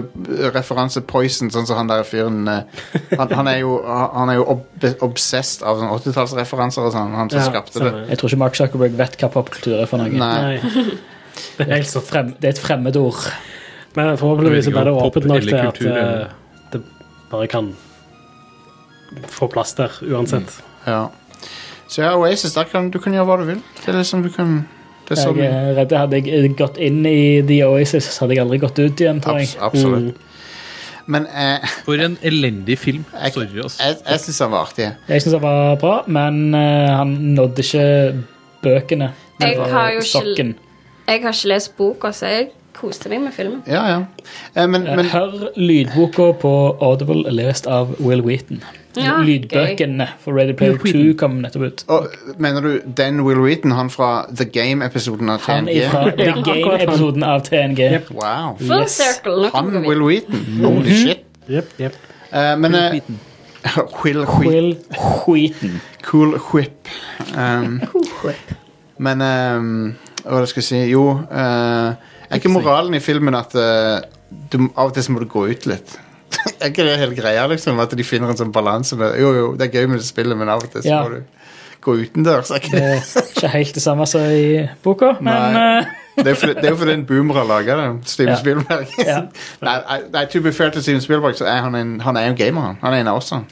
Speaker 1: popkulturreferanse poison, sånn som han der fyren eh, Han, han er jo, han er jo ob obsessed av sånn 80-tallsreferanser og sånn, han som skapte det.
Speaker 4: stemmer.
Speaker 2: Jeg tror ikke Mark Zuckerberg vet hva popkultur er for noe.
Speaker 1: Nei.
Speaker 4: Nei. Det er helt
Speaker 2: Så frem, det er et fremmedord.
Speaker 4: Men forhåpentligvis er det
Speaker 5: Pop
Speaker 4: åpent nok til
Speaker 5: eller
Speaker 4: at
Speaker 5: kultur, eller?
Speaker 4: eh, det bare kan få plass der, uansett.
Speaker 1: Ja. Så ja, Oasis, der kan, du kan gjøre hva du vil. Det er liksom du kan Det er
Speaker 2: Jeg eh,
Speaker 1: sånn
Speaker 2: er redd hadde jeg gått inn i The Oasis, så hadde jeg aldri gått ut igjen. tror
Speaker 1: abs
Speaker 2: jeg. Mm.
Speaker 1: Absolutt. Men eh,
Speaker 5: For en elendig film.
Speaker 1: Jeg-
Speaker 5: Sorry, altså.
Speaker 1: jeg, jeg syns han var artig.
Speaker 2: Jeg syns han var bra, men eh, han nådde ikke bøkene. Det
Speaker 3: Jeg
Speaker 2: var
Speaker 3: har jo ikke-
Speaker 2: stokken.
Speaker 3: Jeg har ikke lest boka, så jeg koste meg med filmen.
Speaker 1: Ja, ja. Eh, men,
Speaker 2: Eh,
Speaker 1: men
Speaker 2: Hør lydboka på Audible lest av Will Wheaton.
Speaker 3: Ja,
Speaker 2: Lydbøkene for Ready Player
Speaker 5: Will Wheaton.
Speaker 2: 2 kom nettopp ut.
Speaker 1: og, Mener du Dan Will Wheaton, han fra The Game-episoden av
Speaker 2: Han
Speaker 1: TNG?
Speaker 2: er fra The Game-episoden av TNG.
Speaker 1: Wow.
Speaker 3: Full
Speaker 2: Yes.
Speaker 3: circle. Nå
Speaker 1: Han
Speaker 3: kommer vi
Speaker 1: Will Wheaton. Holy shit.
Speaker 4: Jep, jep.
Speaker 1: Eh, men eh, Will Wheat.
Speaker 2: Will Wheaton.
Speaker 1: Cool Whip. Um, men ehm, Hva var det jeg skulle si? Jo eh, Er ikke moralen i filmen at eh, du, av og til så må du gå ut litt? er ikke det hele greia, liksom? At de finner en sånn balanse? med- Jo, jo, det er gøy med det spillet, men av og til så
Speaker 2: Ja.
Speaker 1: må du gå utendørs. Er ikke
Speaker 2: Det
Speaker 1: det?
Speaker 2: er ikke helt det samme som i boka, men
Speaker 1: Nei.
Speaker 2: eh,
Speaker 1: Det er jo fordi- det er jo fordi en boomer har laga det. Steven
Speaker 2: Ja.
Speaker 1: Spielberg.
Speaker 2: ja,
Speaker 1: nei, nei, nei, to be fair til Steven Spielberg, så er han en, han er en gamer, han. Han er en av oss, han.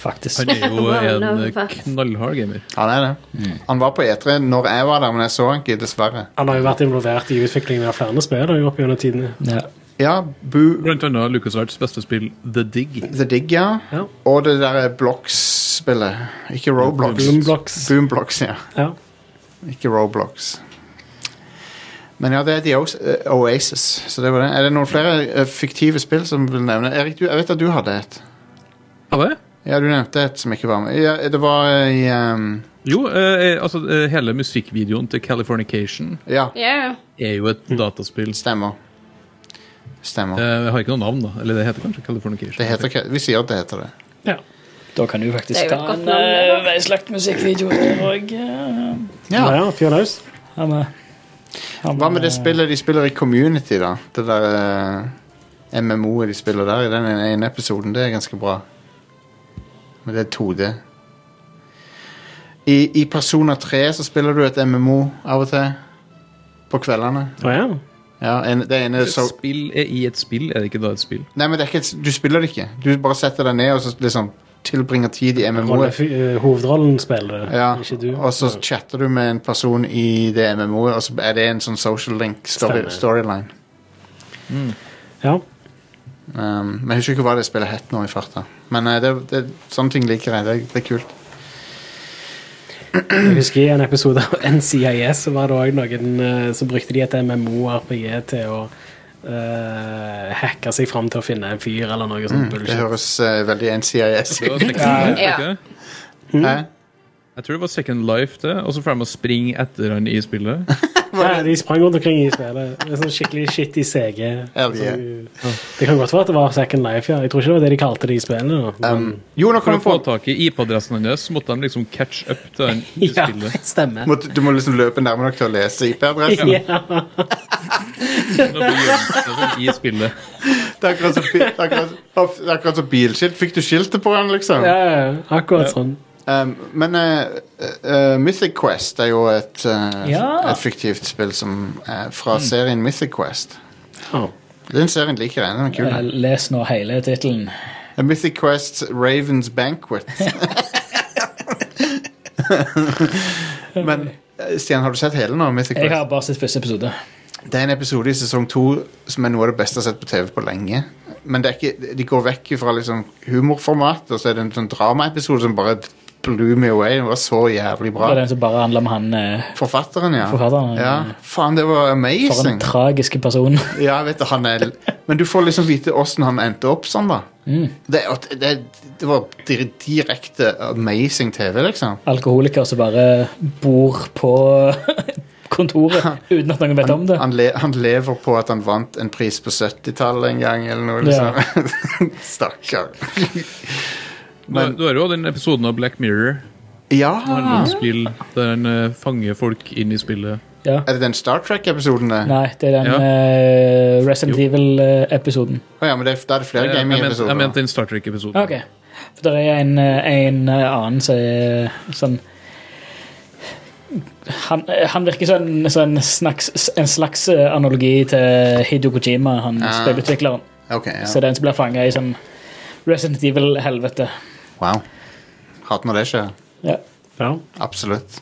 Speaker 2: faktisk.
Speaker 5: Han er jo
Speaker 3: Wow, no,
Speaker 5: en eh,
Speaker 3: facts.
Speaker 5: knallhard gamer.
Speaker 1: Han er det. Han var på E3 når jeg var der, men jeg så han ikke, dessverre.
Speaker 4: Han har jo vært involvert i utviklingen av flere spill da, opp gjennom tidene.
Speaker 2: Ja.
Speaker 1: Ja, Boo
Speaker 5: Blant annet Lucas Arts beste spill, The Dig.
Speaker 1: The Dig, ja.
Speaker 4: Ja.
Speaker 1: Og det derre Blocks-spillet. Ikke Roblox.
Speaker 4: Boomblocks.
Speaker 1: Boomblocks, ja.
Speaker 4: Ja.
Speaker 1: Ikke Roblox. Men ja, det er The Oas- eh, Oasis, så det var det. Er det noen flere eh, fiktive spill som vil nevne? Erik, du, jeg vet at du hadde et.
Speaker 5: Har jeg?
Speaker 1: Ja, du nevnte et som ikke var med. Ja, det var eh, i ehm,
Speaker 5: Jo, eh, eh, altså eh, hele musikkvideoen til Californication
Speaker 1: Ja,
Speaker 3: Ja, ja.
Speaker 5: er jo
Speaker 1: Mm.
Speaker 5: et dataspill.
Speaker 1: stemmer. Stemmer.
Speaker 5: Eh, Jeg har ikke noe navn, da. Eller det heter kanskje Californication.
Speaker 1: Det heter ikke Vi sier at det heter det.
Speaker 2: Da kan du faktisk
Speaker 3: Det er jo et
Speaker 2: ta
Speaker 3: godt
Speaker 2: en
Speaker 3: navn, det,
Speaker 2: eh, veislagt musikkvideo der eh, òg.
Speaker 1: Ja.
Speaker 4: Ja, ja, fyr løs.
Speaker 1: Hva med
Speaker 4: Eh.
Speaker 1: det spillet de spiller i Community, da? Det der eh, MMO-et de spiller der i den ene episoden. Det er ganske bra. Men det er 2D. I, I Persona 3 så spiller du et MMO av og til. På kveldene.
Speaker 4: Å ja.
Speaker 1: Ja, en, det ene
Speaker 5: Et
Speaker 1: så
Speaker 5: spill er i et spill, er det ikke da et spill?
Speaker 1: Nei, men det er ikke, et- du spiller det ikke. Du bare setter deg ned og så liksom tilbringer tid i
Speaker 4: Rolle,
Speaker 1: MMO-et.
Speaker 4: eh, hovedrollen spiller det,
Speaker 1: Ja,
Speaker 4: ikke du.
Speaker 1: og så chatter du med en person i det MMO-et, og så er det en sånn social link story,
Speaker 4: Stemmer.
Speaker 1: storyline.
Speaker 4: Ja.
Speaker 1: Um, men jeg husker ikke hva det spillet het nå i farta. Men eh, det, det, sånne ting liker jeg. Det, det er kult.
Speaker 4: Jeg husker i en episode av NCIS så var det også noen eh, som brukte de et MMO-RPG til å eh, hacke seg fram til å finne en fyr eller noe sånt
Speaker 1: Det
Speaker 4: bullshit.
Speaker 1: høres eh, veldig NCIS
Speaker 5: Det
Speaker 1: ut.
Speaker 5: var Second Life,
Speaker 3: Ja.
Speaker 5: ikke?
Speaker 1: Hæ?
Speaker 5: Jeg tror det var Second Life, det. Og så får de å springe etter han i spillet.
Speaker 4: Ja, de sprang rundt omkring i spillet. Det er sånn skikkelig shitty CG.
Speaker 1: Hell yeah.
Speaker 4: Så, Altså, ja. Det kan godt være at det var Second Life, ja. Jeg tror ikke det var det de kalte det i spillene. da.
Speaker 1: Um, jo, nå
Speaker 5: For
Speaker 1: kan
Speaker 5: å
Speaker 1: du
Speaker 5: få
Speaker 1: få
Speaker 5: tak i IP-adressen hans måtte de liksom catch up til han i
Speaker 4: Ja,
Speaker 5: spillet.
Speaker 4: stemmer.
Speaker 1: må, Du må liksom løpe nærme nok til å lese IP-adressen.
Speaker 4: Ja.
Speaker 5: Og da blir han sånn I spillet.
Speaker 1: Det er akkurat som bi- det er akkurat- Uff, det er akkurat som bilskilt. Fikk du skiltet på den, liksom?
Speaker 4: Ja, ja, ja. akkurat sånn.
Speaker 1: Um, men eh, eh, Mythic Quest er jo et, eh,
Speaker 2: Ja.
Speaker 1: et fiktivt spill som er fra
Speaker 4: Mm.
Speaker 1: serien Mythic Quest.
Speaker 4: Ja.
Speaker 1: Den serien liker jeg. Den er kul.
Speaker 2: Eh, Les nå hele tittelen.
Speaker 1: A Mythic Quest Ravens Banquet. Men eh, Stian, har du sett hele nå? Mythic
Speaker 2: Jeg
Speaker 1: Quest?
Speaker 2: har bare sett første episode.
Speaker 1: Det er en episode i sesong to som er noe av det beste jeg har sett på TV på lenge. Men det er ikke, de går vekk fra liksom humorformat, og så er det en sånn dramaepisode som bare blew me away. Den var så jævlig
Speaker 2: Det
Speaker 1: bra.
Speaker 2: er den som bare handler om han eh,
Speaker 1: Forfatteren, ja.
Speaker 2: Forfatteren,
Speaker 1: ja.
Speaker 2: ja.
Speaker 1: Faen, det var
Speaker 2: for en
Speaker 1: amazing.
Speaker 2: tragisk person.
Speaker 1: Ja, jeg vet det, han er Men du får liksom vite åssen han endte opp sånn, da. Det, og det, det var dir- direkte amazing TV, liksom.
Speaker 2: Alkoholiker som bare bor på kontoret uten at noen vet om det.
Speaker 1: Han, le, han lever på at han vant en pris på 70-tallet en gang, eller noe. Liksom. Stakkar.
Speaker 5: Du du har jo den episoden av Black Mirror. Det handler
Speaker 1: Ja!
Speaker 5: om spill der han eh, fanger folk inn i spillet.
Speaker 2: Ja.
Speaker 1: Er det den Star Trek-episoden? det?
Speaker 2: Nei, det er den
Speaker 5: Ja.
Speaker 2: eh, Resident Evil-episoden.
Speaker 1: Å ja, men det, er- da er det flere
Speaker 5: Eh, Jeg jeg mente jeg
Speaker 1: gaming-episoder.
Speaker 5: mente den Star Trek-episoden.
Speaker 2: Ok. For det er en, eh, en eh, annen som er sånn han, eh, han virker som en, som en, slags- en slags eh, analogi til Hido Kojima, han
Speaker 1: Ah.
Speaker 2: spillutvikleren.
Speaker 1: Ok, ja.
Speaker 2: Så det er en som blir fanga i sånn Resident Evil-helvete.
Speaker 1: Wow. Hater når det skjer.
Speaker 2: Ja.
Speaker 4: Ja.
Speaker 1: Absolutt.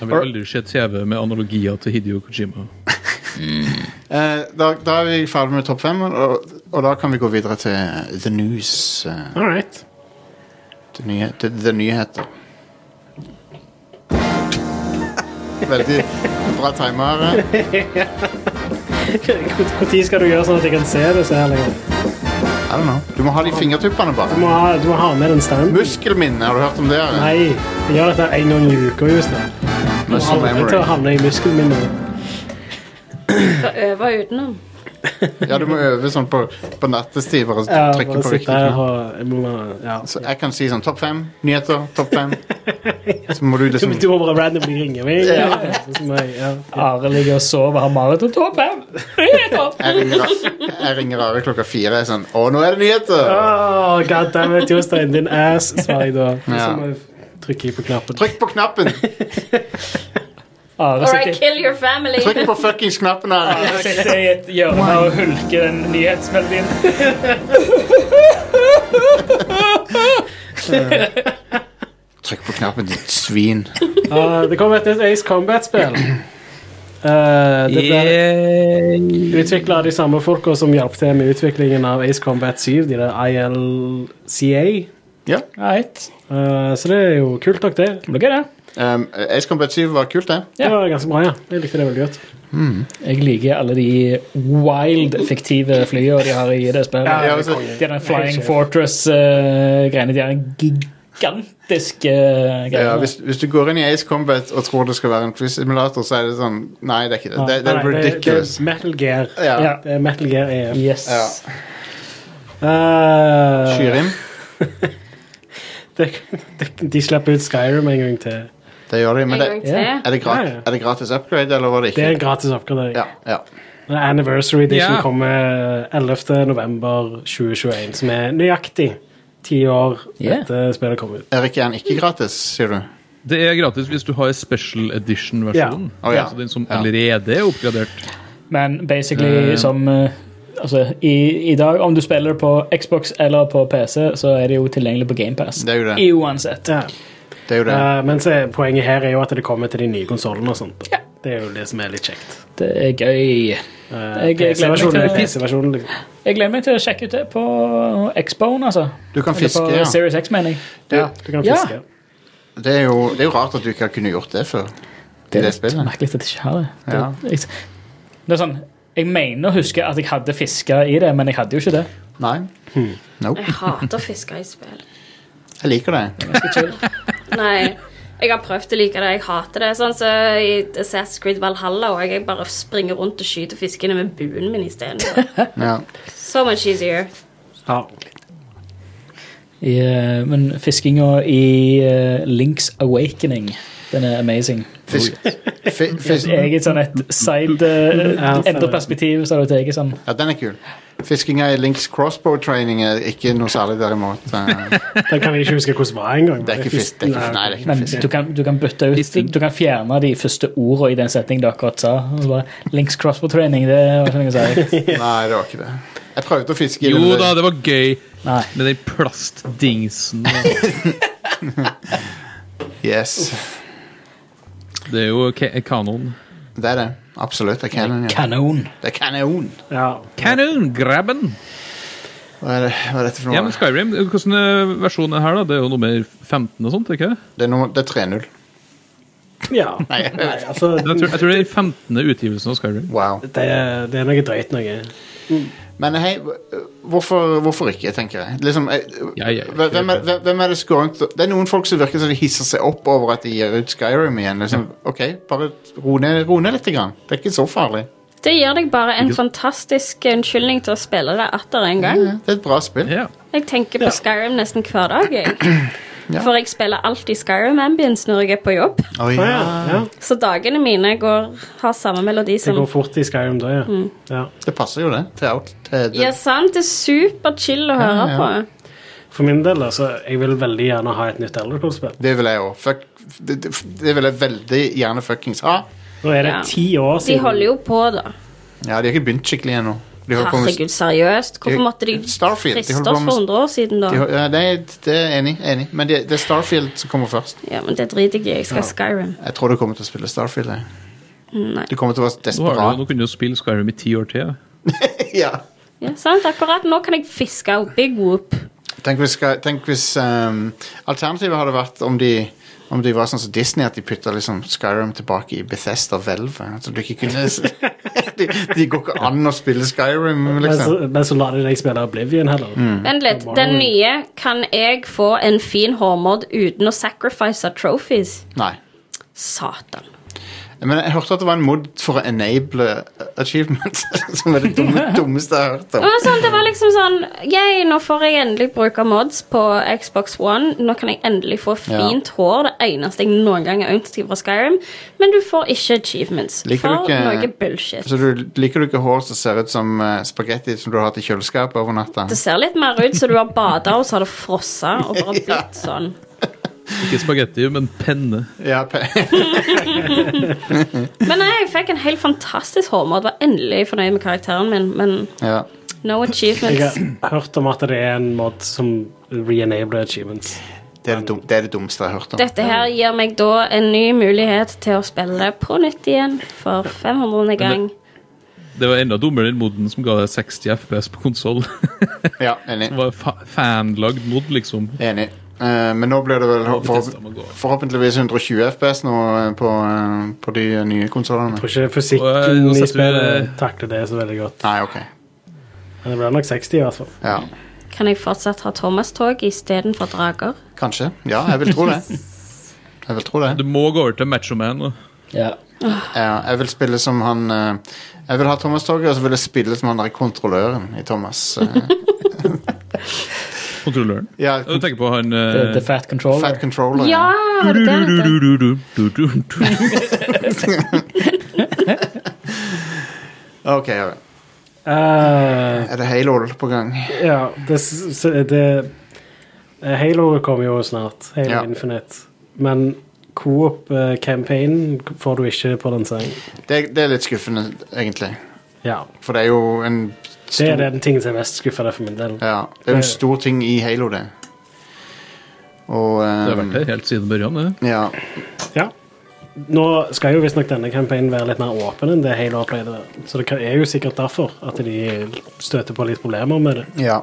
Speaker 5: Jeg vil aldri se TV med analogier til Hidio Kojima.
Speaker 1: Eh, da, da er vi ferdig med topp fem, og, og da kan vi gå videre til the news. eh,
Speaker 4: All right.
Speaker 1: til, nyhe, til the nyheter. Veldig bra timer. eh.
Speaker 4: Når skal du gjøre sånn at jeg kan se det? Så her, liksom?
Speaker 1: I don't know. Du må ha de fingertuppene
Speaker 4: du,
Speaker 1: bare.
Speaker 4: må ha, du må ha med den standen.
Speaker 1: Muskelminne, har du hørt om det? eller?
Speaker 4: Nei, jeg gjør dette en gang i uka. just det. Du må
Speaker 1: Muscle
Speaker 4: aldri til å
Speaker 1: memory.
Speaker 4: havne i muskelen min. nå.
Speaker 3: Skal øve utenom.
Speaker 1: Ja, du må øve sånn på, på nattestid for å
Speaker 4: Ja,
Speaker 1: trykke
Speaker 4: bare
Speaker 1: på
Speaker 4: sitte
Speaker 1: riktig
Speaker 4: her
Speaker 1: knapp.
Speaker 4: og jeg må, ja.
Speaker 1: Så jeg kan si sånn topp fem nyheter, topp fem. Så må du
Speaker 4: Du,
Speaker 1: liksom
Speaker 4: du må bare randomly ringe meg. Ja. Så må jeg- ja.
Speaker 2: Are ligger og sover, har maraton topp fem.
Speaker 1: Jeg ringer, jeg ringer Are klokka fire sånn Å, nå er det nyheter!
Speaker 4: Oh, God damn it, Jostein, din ass, svarer jeg da.
Speaker 1: Ja.
Speaker 4: Så må jeg trykke jeg på knappen.
Speaker 1: Trykk på knappen!
Speaker 2: Are
Speaker 3: All
Speaker 2: sitter,
Speaker 3: right, kill your family.
Speaker 1: Trykk på fuckings knappen! Are.
Speaker 2: Are sitter i et hjørne og hulker den nyhetsmeldingen.
Speaker 1: Trykk på knappen, ditt svin.
Speaker 4: Ah, det kommer et nytt Ace Combat-spill. Eh, det ble utvikla av de samme folka som hjalp til med utviklingen av Ace Combat 7, de der ILCA.
Speaker 1: Ja.
Speaker 2: Right.
Speaker 4: Eh, så det er jo kult nok, det.
Speaker 2: Det blir gøy, det.
Speaker 1: Um, Ace Combat 7 var kult, det.
Speaker 4: Det var ganske bra, ja. Jeg likte det veldig godt.
Speaker 2: Jeg liker alle de wild, fiktive flyene de har i det spillet.
Speaker 1: Ja, altså,
Speaker 2: De er den Flying Fortress-greiene. de er den gigantiske uh,
Speaker 1: ja,
Speaker 2: greiene.
Speaker 1: hvis, hvis du går inn i Ace Combat og tror det skal være en flysimulator, så er det sånn Nei, det er ikke det. Det, det
Speaker 4: Nei,
Speaker 1: er ridiculous.
Speaker 4: Det, er Metal Gear.
Speaker 1: Ja.
Speaker 2: Ja.
Speaker 4: Det er Metal Gear E EF.
Speaker 2: Yes.
Speaker 1: Ja.
Speaker 4: Eh,
Speaker 1: Skyrim.
Speaker 4: det, det, de slipper ut Skyrim en gang til.
Speaker 1: Det gjør de.
Speaker 3: En
Speaker 1: Men det,
Speaker 3: gang til.
Speaker 1: er, det
Speaker 4: Ja, ja.
Speaker 1: gratis, er det gratis upgrade, eller var det
Speaker 4: Det
Speaker 1: ikke?
Speaker 4: er en gratis oppgradering.
Speaker 1: Ja, ja.
Speaker 4: Men Anniversary Edition
Speaker 5: Ja.
Speaker 4: kommer 11. november 2021, som er nøyaktig ti år
Speaker 2: Yeah.
Speaker 4: etter spillet kom ut.
Speaker 1: Erik, er han ikke gratis, sier du?
Speaker 5: Det er gratis hvis du har special edition-versjonen.
Speaker 1: Ja. Å, ja.
Speaker 5: Altså den som
Speaker 1: Ja.
Speaker 5: allerede er oppgradert.
Speaker 2: Men basically
Speaker 5: Eh.
Speaker 2: som eh, Altså, i, i dag, om du spiller på Xbox eller på PC, så er det jo tilgjengelig på GamePass.
Speaker 1: Det er jo det.
Speaker 2: Uansett.
Speaker 4: Ja.
Speaker 1: Det er jo det.
Speaker 4: Eh, men så, poenget her er jo at det kommer til de nye konsollene og sånt. Det er jo det som er litt kjekt.
Speaker 2: Det er gøy.
Speaker 4: Eh,
Speaker 2: Jeg- jeg gleder meg
Speaker 4: PC-versjonen er
Speaker 2: til-
Speaker 4: PC-versjonen. liksom.
Speaker 2: Jeg gleder meg til å sjekke ut det på Xbone, altså.
Speaker 1: Du kan fiske,
Speaker 2: eller på
Speaker 1: ja.
Speaker 2: Series X, mener jeg.
Speaker 1: Det,
Speaker 4: Du kan
Speaker 2: Ja.
Speaker 4: fiske.
Speaker 1: det, er jo, det er jo rart at du ikke har kunnet gjort det før. Det er det
Speaker 2: litt
Speaker 1: spillet.
Speaker 2: merkelig at jeg ikke har det. Det,
Speaker 1: Ja.
Speaker 2: jeg, det er sånn, jeg mener å huske at jeg hadde fiska i det, men jeg hadde jo ikke det.
Speaker 1: Nei.
Speaker 3: Jeg hater fisker i spill.
Speaker 1: Jeg liker det.
Speaker 3: Nei. Jeg har prøvd å like det. Jeg hater det. Sånn så I Assassin's Creed Valhalla og jeg bare springer rundt og skyter fiskene med buen min istedenfor.
Speaker 1: Ja.
Speaker 3: So much easier.
Speaker 4: Ja.
Speaker 2: I, eh, men fiskinga i eh, Link's Awakening, den er amazing.
Speaker 1: Fisk, fi,
Speaker 2: Et
Speaker 1: fisk,
Speaker 2: eget sånn et side uh,
Speaker 4: Ja,
Speaker 2: Endre perspektiv, så er det et eget sånn.
Speaker 1: ja, den er kul. Fiskinga i Links crossbow training er ikke noe særlig, derimot. Eh,
Speaker 4: Den kan jeg ikke huske hvordan var engang.
Speaker 1: Det er ikke fisk. Det er ikke, nei, det er ikke
Speaker 2: Men
Speaker 1: fisk.
Speaker 2: du kan, du kan bytte ut
Speaker 5: Fisking.
Speaker 2: Du kan fjerne de første ordene i den setningen du akkurat sa. Og så bare, Links crossbow training, det var ikke noe særlig.
Speaker 1: Nei, det var ikke det. Jeg prøvde å fiske i
Speaker 5: Jo
Speaker 1: den.
Speaker 5: da, det var gøy
Speaker 2: Nei.
Speaker 5: med den plastdingsen.
Speaker 1: Yes.
Speaker 5: Det er jo ka kanon.
Speaker 1: Det er det. Absolutt. Det er canon. Ja.
Speaker 2: Kanon.
Speaker 1: Det er kanon.
Speaker 4: Ja.
Speaker 5: Kanon! Grabben!
Speaker 1: Hva er, det, hva er dette for
Speaker 5: Ja,
Speaker 1: noe?
Speaker 5: men Skyrim, hvordan eh, versjon er her, da? Det er jo nummer 15 og sånt, er ikke det?
Speaker 1: Det er, noe- det er 3-0.
Speaker 4: ja. Nei, altså,
Speaker 5: Jeg tror, jeg tror det er den 15. utgivelsen av Skyrim.
Speaker 1: Wow.
Speaker 4: det, er- det er noe drøyt noe.
Speaker 1: Men hei, hvorfor, hvorfor ikke, tenker jeg. Liksom, jeg
Speaker 5: Ja, ja, ja.
Speaker 1: hvem, er, hvem- hvem er det som går rundt Det er noen folk som virker som de hisser seg opp over at de gir ut Skyrim igjen. Liksom, ok, bare ro ned, ro ned litt. Grann. Det er ikke så farlig.
Speaker 3: Det gir deg bare en fantastisk unnskyldning til å spille det atter en gang.
Speaker 1: Det er et bra spill.
Speaker 5: Ja.
Speaker 3: Jeg tenker på Skyrim nesten hver dag. Jeg.
Speaker 1: Ja.
Speaker 3: For jeg spiller alltid Skyrim Ambience når jeg er på jobb.
Speaker 1: Oi,
Speaker 4: Å ja, ja.
Speaker 3: Så dagene mine går, har samme melodi
Speaker 4: Det
Speaker 3: som
Speaker 4: går fort i Skyrim da, ja.
Speaker 3: Mm.
Speaker 4: ja.
Speaker 1: Det passer jo, det. Til out, til, til.
Speaker 3: Ja, sant? Det er superchill å høre
Speaker 1: ja.
Speaker 3: på.
Speaker 4: For min del, altså, jeg vil veldig gjerne ha et nytt Elder Scrolls-spill.
Speaker 1: Det vil jeg òg. Det, det, det vil jeg veldig gjerne fuckings ha.
Speaker 4: Nå er det
Speaker 3: Ja.
Speaker 4: ti år
Speaker 3: De
Speaker 4: siden
Speaker 3: holder jo på, da.
Speaker 1: Ja, De har ikke begynt skikkelig ennå. De holder på med-
Speaker 3: Herregud, seriøst?
Speaker 1: De-
Speaker 3: Hvorfor måtte de
Speaker 1: Starfield, de
Speaker 3: friste
Speaker 1: holder på
Speaker 3: oss
Speaker 1: med-
Speaker 3: for 100 år siden, da?
Speaker 1: de har- ja, det, er- det er enig. enig. Men det, det er Starfield som kommer først.
Speaker 3: Ja, men det driter jeg i. Jeg skal ha Skyrim.
Speaker 1: Jeg tror du kommer til å spille Starfield. jeg.
Speaker 3: Nei.
Speaker 1: Du kommer til å være
Speaker 5: Nå, har du,
Speaker 1: desperat.
Speaker 5: nå kunne du jo spille Skyrim i ti år til.
Speaker 1: ja.
Speaker 3: Ja, sant? Akkurat nå kan jeg fiske og big whoop.
Speaker 1: Tenk hvis, Sky- tenk hvis ehm, Alternativet hadde vært om de, om de var sånn som Disney, at de putta liksom Skyrim tilbake i Bethesda-hvelvet. Så du ikke kunne s- de, de går ikke an å spille Skyrim,
Speaker 4: Men så,
Speaker 5: Altså-
Speaker 1: liksom.
Speaker 4: men så lar de deg spille Oblivion heller.
Speaker 5: Mm.
Speaker 3: Vent litt. Den nye kan jeg få en fin hårmod uten å sacrifice trophies.
Speaker 1: Nei.
Speaker 3: Satan.
Speaker 1: Men jeg hørte at det var en mod for å enable achievement, som er det dumme, dummeste jeg har hørt
Speaker 3: Det
Speaker 1: om.
Speaker 3: var, sånn, det var liksom sånn Yay, nå får jeg endelig bruke mods på Xbox One. Nå kan jeg endelig få fint hår. Det eneste jeg noen gang har ønsket meg fra Skyrim. Men du får ikke achievements.
Speaker 1: Liker du
Speaker 3: for noe
Speaker 1: ikke,
Speaker 3: bullshit.
Speaker 1: så du, liker du ikke hår som ser ut som eh, spagetti som du har hatt i kjøleskapet over natta?
Speaker 3: Det ser litt mer ut som du har bada, og så har det frossa og bare blitt sånn.
Speaker 5: Ikke spagetti, men penne.
Speaker 1: Ja,
Speaker 3: Men nei, jeg fikk en helt fantastisk hårmod. Var endelig fornøyd med karakteren min, men
Speaker 1: ja.
Speaker 3: no
Speaker 4: Jeg
Speaker 3: achievements.
Speaker 4: har hørt om at det er en mod som re-enabler achievements.
Speaker 1: Det er det, dum, det er det dummeste jeg har hørt om.
Speaker 3: Dette her gir meg da en ny mulighet til å spille på nytt igjen for 500. gang.
Speaker 5: Det var enda dummere den moden som ga deg 60 FPS på konsoll.
Speaker 1: Ja, enig.
Speaker 5: Det var fa fanlagd mod, liksom.
Speaker 1: Enig. Eh, men nå blir det vel ho- forhåp
Speaker 5: Bethesda må gå.
Speaker 1: forhåpentligvis 120 FPS nå eh, på, eh, på de eh, nye konsollene.
Speaker 4: Jeg tror ikke
Speaker 5: Og, eh,
Speaker 4: fysikken
Speaker 5: nå
Speaker 4: i
Speaker 5: setter vi-
Speaker 4: spillet takler det så veldig godt.
Speaker 1: Nei, ok.
Speaker 4: Men det blir nok 60 i hvert fall.
Speaker 1: Ja,
Speaker 3: Kan jeg fortsatt ha Thomas-tog istedenfor drager?
Speaker 1: kanskje. Ja, jeg vil tro det. Jeg vil tro det.
Speaker 5: Du må gå over til Machoman nå.
Speaker 2: Ja.
Speaker 1: Ja, jeg vil spille som han eh, Jeg vil ha Thomas Torgeir, og så vil jeg spille som han der kontrolløren i Thomas. eh,
Speaker 5: Kontrolløren.
Speaker 1: ja,
Speaker 5: Du tenker på han
Speaker 2: The,
Speaker 5: eh,
Speaker 2: the Fat Controller.
Speaker 1: Fat Controller.
Speaker 3: Ja! var det det han het?
Speaker 5: du-du-du-du-du-du-du-du.
Speaker 1: Ok, ja. vel.
Speaker 4: Eh,
Speaker 1: er det Halo på gang?
Speaker 4: ja, det, s- s- det eh, Halo kommer jo snart. Halo
Speaker 1: Ja.
Speaker 4: Infinite. Men Coop-campaignen får du ikke på den sangen.
Speaker 1: Det, det er litt skuffende, egentlig.
Speaker 4: Ja.
Speaker 1: For det er jo en
Speaker 4: Det
Speaker 1: stor,
Speaker 4: er den tingen som er mest skuffende for min del.
Speaker 1: Ja, det er jo en stor ting i Halo, det. Og eh,
Speaker 5: Det har vært her helt siden børjan, det.
Speaker 1: Ja.
Speaker 4: Ja. Nå skal jo visstnok denne campaignen være litt mer åpen enn det Halo har pleid å være. Så det kan- er jo sikkert derfor at de støter på litt problemer med det.
Speaker 1: ja.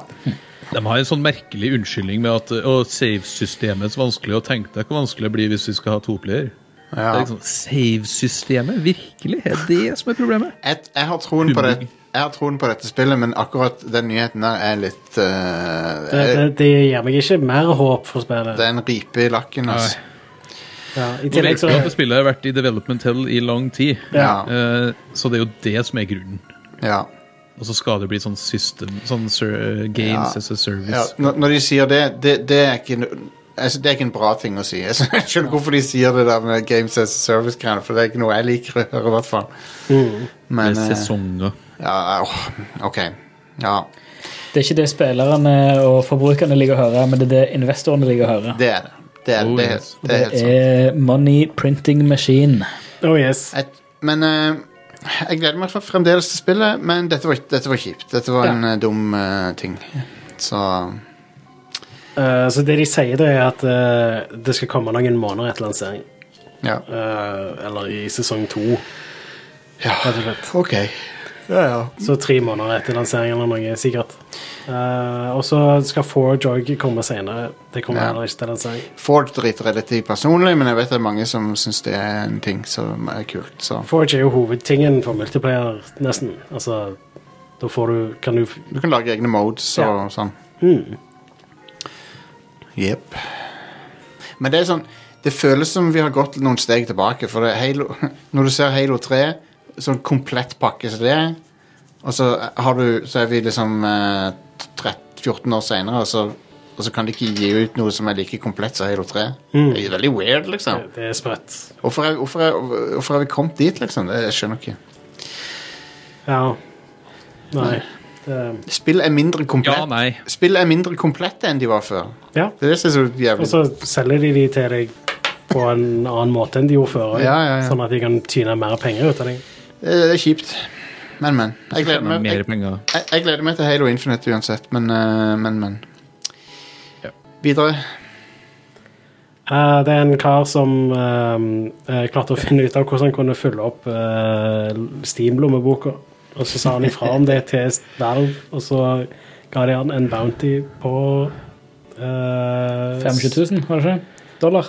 Speaker 5: De har en sånn merkelig unnskyldning med at å, save-systemet er så vanskelig. Og tenk deg hvor vanskelig det blir hvis vi skal ha toplayer.
Speaker 1: ja.
Speaker 5: Det er liksom, Save-systemet? Virkelig? Er det som er problemet?
Speaker 1: Jeg, jeg har troen på det. Jeg har troen på dette spillet, men akkurat den nyheten der er litt eh,
Speaker 4: Det, det, det gir meg ikke mer håp for spillet.
Speaker 1: Det er en ripe i lakken, altså.
Speaker 4: Ja, I
Speaker 5: Nå
Speaker 4: tillegg
Speaker 5: vet
Speaker 4: så
Speaker 5: vi at det spillet har vært i development hell i lang tid,
Speaker 1: Ja.
Speaker 5: Eh, så det er jo det som er grunnen.
Speaker 1: Ja.
Speaker 5: Og så skal det bli sånn system, sånn ser, games
Speaker 1: Ja.
Speaker 5: as a service.
Speaker 1: Ja, når, når de sier det, det, det, er ikke, no- altså, det er ikke en bra ting å si. Jeg skjønner hvorfor de sier det der med Games as a Service-greiene, for det er ikke noe jeg liker å høre, i hvert fall. Men
Speaker 4: Mm.
Speaker 5: Med
Speaker 1: eh,
Speaker 5: sesonger.
Speaker 1: ja, åh, OK. Ja,
Speaker 2: Det er ikke det spillerne og forbrukerne liker å høre, men det er det investorene liker å høre.
Speaker 1: det er det. Det er,
Speaker 5: Oh,
Speaker 1: det,
Speaker 5: yes.
Speaker 1: det er helt
Speaker 2: Det
Speaker 1: sant.
Speaker 2: er money printing machine.
Speaker 4: Oh yes.
Speaker 1: Et, men eh, jeg gleder meg fremdeles til spillet, men dette var, dette var kjipt. Dette var
Speaker 4: Ja.
Speaker 1: en eh, dum eh, ting. Så
Speaker 4: Eh, så det de sier, det er at eh, det skal komme noen måneder etter lansering.
Speaker 1: ja.
Speaker 4: Eh, eller i sesong to,
Speaker 1: ja.
Speaker 4: rett og slett.
Speaker 1: OK. Ja, ja.
Speaker 4: Så tre måneder etter lansering eller noe, sikkert. Eh, og så skal Forge òg komme senere. Det kommer
Speaker 1: Ja.
Speaker 4: heller ikke til lansering.
Speaker 1: Ford driter jeg litt i personlig, men jeg vet det er mange som syns det er en ting som er kult. Så.
Speaker 4: Forge er jo hovedtingen for multiplayer, nesten. Altså, da får du Kan du f-
Speaker 1: Du kan lage egne modes og
Speaker 4: Ja.
Speaker 1: sånn.
Speaker 4: Mm.
Speaker 1: Jepp. Men det er sånn Det føles som vi har gått noen steg tilbake. For det er Halo, når du ser Halo 3, sånn komplett pakke som det er, og så, har du, så er vi liksom eh, 13, 14 år seinere, og, så- og så kan de ikke gi ut noe som er like komplett som Halo 3.
Speaker 5: Mm.
Speaker 1: Det er veldig weird, liksom.
Speaker 4: Det er sprøtt.
Speaker 1: Hvorfor er, hvorfor, er, hvorfor er vi kommet dit, liksom? Det, jeg skjønner ikke.
Speaker 4: Ja. Nei. Det,
Speaker 1: Spill er mindre komplett.
Speaker 5: Ja, nei.
Speaker 1: Spill er mindre komplette enn de var før.
Speaker 4: ja.
Speaker 1: Det er det som er så
Speaker 4: Og
Speaker 1: jævlig
Speaker 5: Altså,
Speaker 4: så selger de de til deg på en annen måte enn de gjorde før. også.
Speaker 1: Ja, ja, ja.
Speaker 4: Sånn at de kan tyne mer penger ut av deg.
Speaker 1: Eh, Det er kjipt. Men, men. Jeg gleder meg,
Speaker 5: Mer
Speaker 1: jeg,
Speaker 5: penger.
Speaker 1: jeg, jeg gleder meg til Halo Infinite uansett, men, eh, men, men.
Speaker 5: Ja.
Speaker 1: Videre.
Speaker 4: Eh, det er en kar som eh, eh, klarte å finne ut av hvordan han kunne fylle opp eh, Steam-lommeboka. Og så sa han ifra om det til Valve, og så ga de han en bounty på eh,
Speaker 2: 25 000, var det ikke? Dollar.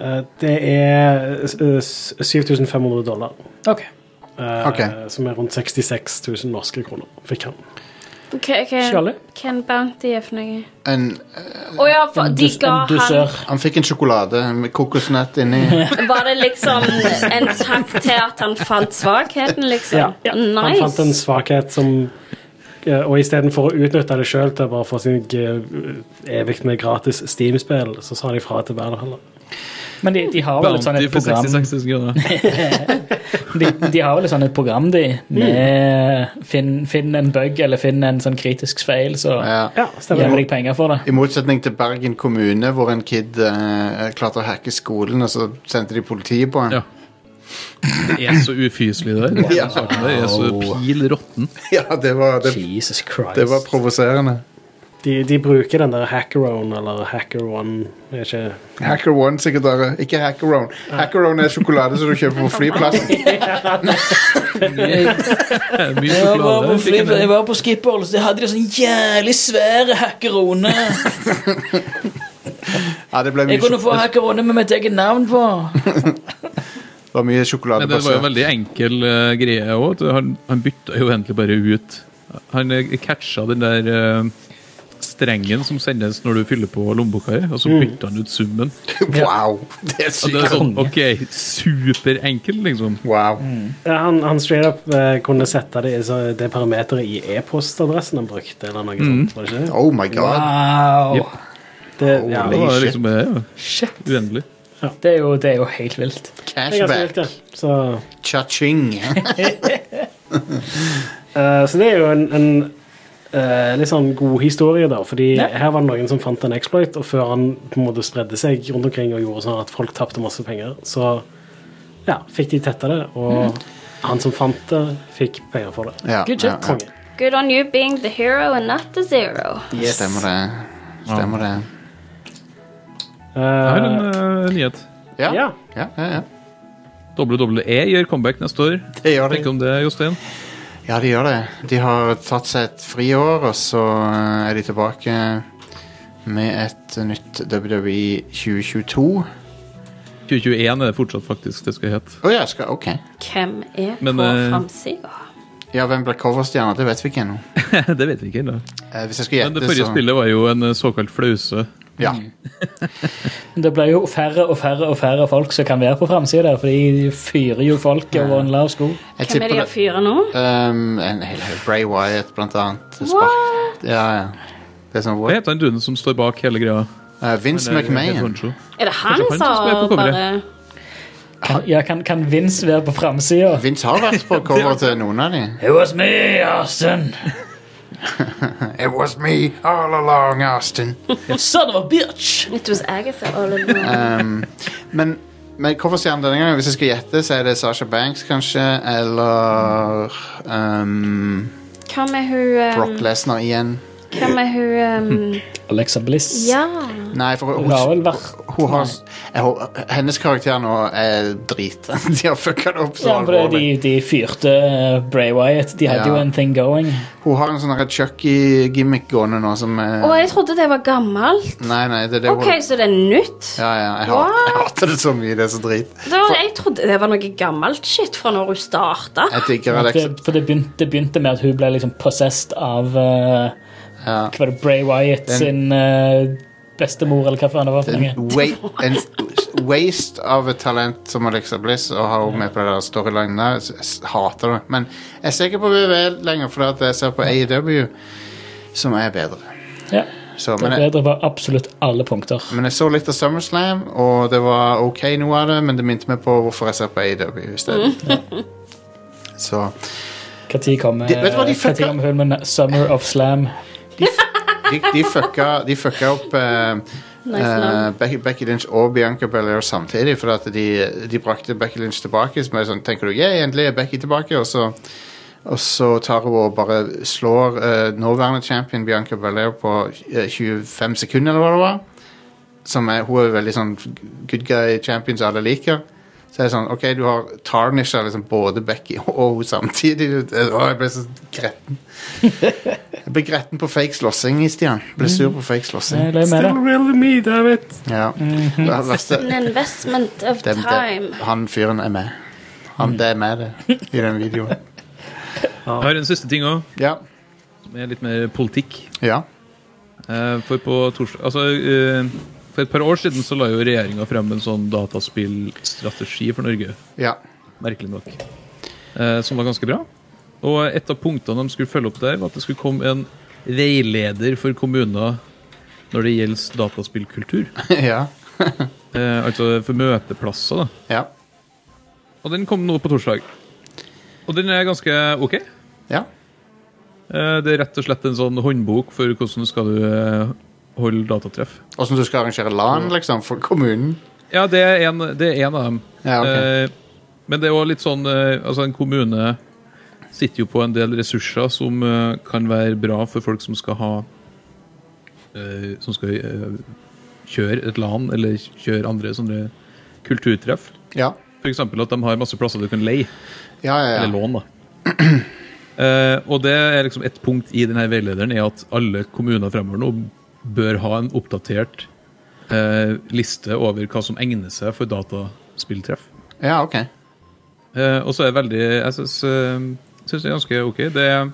Speaker 4: eh, det er eh, s- 7500 dollar.
Speaker 2: Ok.
Speaker 4: eh,
Speaker 1: Ok.
Speaker 4: Som er rundt 66 000 norske kroner, fikk han.
Speaker 3: Hva- hva-
Speaker 2: Charlie?
Speaker 3: Hva en bounty er for noe?
Speaker 1: En,
Speaker 3: Å ja, for de ga han
Speaker 1: han fikk en sjokolade med kokosnøtt inni.
Speaker 3: Var det liksom en takk til at han fant svakheten,
Speaker 4: Ja.
Speaker 3: liksom?
Speaker 4: Han fant en
Speaker 3: Nice.
Speaker 4: svakhet som eh, Og istedenfor å utnytte det sjøl til å bare få seg evig med gratis Steam-spill, så sa de fra til verden heller.
Speaker 2: Men de, de har vel et sånn
Speaker 5: Bounty
Speaker 2: et
Speaker 5: for
Speaker 2: program
Speaker 5: 66 000 kroner.
Speaker 2: de, de har vel et sånn et program, de, med finn, finn en bug eller finn en sånn kritisk feil, så
Speaker 1: Ja.
Speaker 4: Ja,
Speaker 2: gir
Speaker 4: stemmer.
Speaker 2: deg penger for det.
Speaker 1: I motsetning til Bergen kommune, hvor en kid eh, klarte å hacke skolen, og så sendte de politiet på han.
Speaker 5: Ja. Det er så ufyselig, det der.
Speaker 1: Ja.
Speaker 5: Den saken der er så pil råtten.
Speaker 1: Ja, det var, det,
Speaker 2: Jesus Christ.
Speaker 1: det var provoserende.
Speaker 4: De, de bruker den der Hackerone eller HackerOne jeg er ikke-
Speaker 1: Hacker One, sikkert. Are. Ikke Hacker One. Hacker One er sjokolade som du kjøper på flyplassen.
Speaker 5: Mye
Speaker 2: Jeg var, på
Speaker 5: sjokolade.
Speaker 2: fly,
Speaker 5: fikk en
Speaker 2: jeg var på Skippholz, det hadde de sånn jævlig svære hackerone.
Speaker 1: Ja, det ble
Speaker 2: Jeg
Speaker 1: mye,
Speaker 2: kunne
Speaker 1: sjok-
Speaker 2: få hackerone med mitt eget navn på.
Speaker 1: det var mye
Speaker 5: Nei, det var jo en
Speaker 1: sjokoladebasert.
Speaker 5: veldig enkel eh, greie òg. Han, han bytta jo egentlig bare ut. Han uh, catcha den der eh, strengen som sendes når du fyller på lommeboka, i, og så bytta han ut summen.
Speaker 1: Wow! Det er
Speaker 5: Og det er
Speaker 1: sykt.
Speaker 5: sånn, OK, superenkel, liksom.
Speaker 1: Wow.
Speaker 4: Ja, han, han straight up eh, kunne sette det, i så- det parameteret i e-postadressen han brukte, eller noe sånt. Var det ikke?
Speaker 1: Oh my god.
Speaker 2: Wow.
Speaker 5: Jep.
Speaker 4: Det, ja,
Speaker 1: Holy
Speaker 5: Det var
Speaker 1: shit.
Speaker 5: liksom det, ja.
Speaker 2: Shit.
Speaker 5: Uendelig.
Speaker 2: Det er, jo, det er jo helt vilt.
Speaker 4: det er ganske
Speaker 1: Cashback.
Speaker 4: vilt, ja. Så
Speaker 1: Cha-ching.
Speaker 4: Eh, så det er jo en, en eh, litt sånn god historie, da. Fordi
Speaker 2: Ja.
Speaker 4: her var det noen som fant en exploit, og før han på en måte spredde seg rundt omkring og gjorde sånn at folk tapte masse penger, så ja, fikk de tetta det, og han som fant det, fikk penger for det.
Speaker 1: Ja,
Speaker 2: Good
Speaker 1: Mm. ja, ja.
Speaker 2: shit.
Speaker 4: Konge.
Speaker 3: Good on you being the hero and not the zero.
Speaker 1: Stemmer det. Stemmer det.
Speaker 4: Eh,
Speaker 5: Her er en eh, nyhet.
Speaker 1: Ja.
Speaker 4: ja.
Speaker 1: Ja, ja, ja.
Speaker 5: WWE gjør comeback neste år.
Speaker 1: Det gjør
Speaker 5: Tenk
Speaker 1: de.
Speaker 5: om det, Jostein.
Speaker 1: Ja, de gjør det. De har tatt seg et friår, og så eh, er de tilbake med et nytt E WWE 2022. Å
Speaker 5: 2021 er det fortsatt, faktisk, det skal hete.
Speaker 1: ja, skal, ok.
Speaker 3: Hvem er
Speaker 5: Men,
Speaker 3: på
Speaker 5: eh,
Speaker 3: framsida?
Speaker 1: Ja, hvem blir coverstjerna? Det vet vi ikke ennå.
Speaker 5: det vet vi ikke ennå.
Speaker 1: Eh, hvis jeg skal
Speaker 5: Men det
Speaker 1: gjette,
Speaker 5: forrige
Speaker 1: så
Speaker 5: spillet Mm. var jo en eh, såkalt flause.
Speaker 1: ja.
Speaker 2: Det blir jo færre og færre og færre folk som kan være på framsida der, for de fyrer jo folk over en lav sko.
Speaker 1: Jeg
Speaker 3: Hvem er
Speaker 1: tipper
Speaker 3: de
Speaker 1: det.
Speaker 3: har fyra nå?
Speaker 1: Um, en hel haug. Bray Wyatt, blant annet.
Speaker 3: What?
Speaker 1: Spark. Ja, ja. Det er sånn
Speaker 5: Hva
Speaker 1: what?
Speaker 5: heter han duden som står bak hele greia?
Speaker 1: Eh, Vince
Speaker 5: Det er jo helt
Speaker 1: McMahon.
Speaker 5: honcho.
Speaker 3: Er det han
Speaker 5: Kanskje han
Speaker 3: som
Speaker 5: som er på coveret?
Speaker 3: bare
Speaker 2: Kan, ja, kan, kan Vince være på framsida?
Speaker 1: Vince har vært på cover til noen av de.
Speaker 2: It was me, Austin!
Speaker 1: It was me all along, Austin.
Speaker 2: Son of a bitch!
Speaker 3: It was Agatha all along.
Speaker 1: Um, men men coverstjernen denne gangen, hvis jeg skal gjette, så er det Sasha Banks, kanskje, eller um,
Speaker 3: Hva med hun
Speaker 1: Brock Hmm.
Speaker 3: um,
Speaker 1: Lesnar igjen.
Speaker 3: Hva med hun um,
Speaker 2: Alexa Bliss.
Speaker 3: Ja.
Speaker 1: Nei, for hun,
Speaker 2: Hun har vel vært
Speaker 1: hun har jeg, hå- Hennes karakter nå er drit. De har fucka det opp så
Speaker 2: Ja, for
Speaker 1: alvorlig.
Speaker 2: de, de fyrte eh, Bray Wyatt. De hadde
Speaker 1: Ja.
Speaker 2: jo en thing going.
Speaker 1: Hun har en sånn her Chucky-gimmick gående nå som er
Speaker 3: Å, jeg trodde det var gammelt.
Speaker 1: Nei, nei, det er det
Speaker 3: OK,
Speaker 1: hun
Speaker 3: så det er nytt?
Speaker 1: Ja, ja, jeg hater, jeg
Speaker 3: What?
Speaker 1: hater det så mye. Det er så drit.
Speaker 3: Det var, jeg trodde det var noe gammelt shit fra når hun starta.
Speaker 1: Jeg digger
Speaker 2: At
Speaker 1: Alexa.
Speaker 2: det, for det begynte, det begynte med at hun ble liksom possessed av eh,
Speaker 1: Ja.
Speaker 2: hva var det, Bray Wyatt
Speaker 1: Den-
Speaker 2: sin eh, bestemor, eller hva faen det var. for noe.
Speaker 1: En, wa en waste av et talent som Alexa Bliss å ha henne med på det der storylinen der. Jeg s- hater det. Men jeg ser ikke på WWL lenger, fordi at jeg ser på AEW, som er bedre.
Speaker 2: Ja,
Speaker 1: Så,
Speaker 2: det
Speaker 1: men,
Speaker 2: er
Speaker 1: jeg,
Speaker 2: bedre på absolutt alle punkter.
Speaker 1: men jeg så litt av SummerSlam, og det var ok noe av det, men det minte meg på hvorfor jeg ser på AEW i stedet. Så
Speaker 2: Når kommer
Speaker 1: De- vet du hva de
Speaker 2: eh, hva tid
Speaker 1: fucka-
Speaker 2: kommer filmen Summer of Slam?
Speaker 1: de, de, fucka, de fucka opp eh,
Speaker 3: Nice
Speaker 1: eh,
Speaker 3: navn.
Speaker 1: Becky, Becky Lynch og Bianca Belair samtidig, for at de, de brakte Becky Lynch tilbake. Som er sånn, tenker du, yeah, endelig er Becky tilbake, og så, og så tar hun og bare slår eh, nåværende champion Bianca Belair på eh, 25 sekunder, eller hva det var. Som er, hun er veldig sånn good guy champion som alle liker. Så er det sånn, ok, du har tarnisha liksom både Becky og hun samtidig. Å, jeg ble så gretten. Jeg ble gretten på fake slåssing i Stian. Ble sur på fake slåssing.
Speaker 2: Jeg
Speaker 5: Mm.
Speaker 2: løy med det.
Speaker 4: Still really me, damn it!
Speaker 1: Ja. Det
Speaker 5: Mm-hmm.
Speaker 1: er det verste.
Speaker 3: An investment of
Speaker 1: Dem-
Speaker 3: time.
Speaker 1: det- han fyren er med. Han, det er med det i den videoen.
Speaker 5: Jeg har en siste ting òg.
Speaker 1: Ja.
Speaker 5: med litt mer politikk.
Speaker 1: Ja.
Speaker 5: Eh, For, på torsdag, altså, eh, for et par år siden så la jo regjeringa frem en sånn dataspillstrategi for Norge.
Speaker 1: Ja.
Speaker 5: Merkelig nok. Eh, Som var ganske bra. Og et av punktene de skulle følge opp der, var at det skulle komme en veileder for kommuner når det gjelder dataspillkultur.
Speaker 1: ja.
Speaker 5: Eh, altså for møteplasser, da.
Speaker 1: Ja.
Speaker 5: Og den kom nå på torsdag. Og den er ganske OK.
Speaker 1: Ja.
Speaker 5: Eh, det er rett og slett en sånn håndbok for hvordan skal du eh, holde datatreff.
Speaker 1: Åssen du skal arrangere LAN, liksom, for kommunen.
Speaker 5: Ja, det er en, det er en av dem.
Speaker 1: Ja, ok.
Speaker 5: eh, men det er òg litt sånn eh, Altså, en kommune sitter jo på en del ressurser som eh, kan være bra for folk som skal ha eh, Som skal eh, kjøre et LAN, eller kjøre andre sånne kulturtreff.
Speaker 1: Ja.
Speaker 5: F.eks. at de har masse plasser du kan leie.
Speaker 1: Ja, ja, ja.
Speaker 5: Eller lån, da. Eh, og det er liksom et punkt i denne veilederen er at alle kommuner fremover nå bør ha en oppdatert eh, liste over hva som egner seg for dataspilltreff.
Speaker 1: Ja, OK.
Speaker 5: Eh, og så er det veldig Jeg syns det er ganske OK. Det er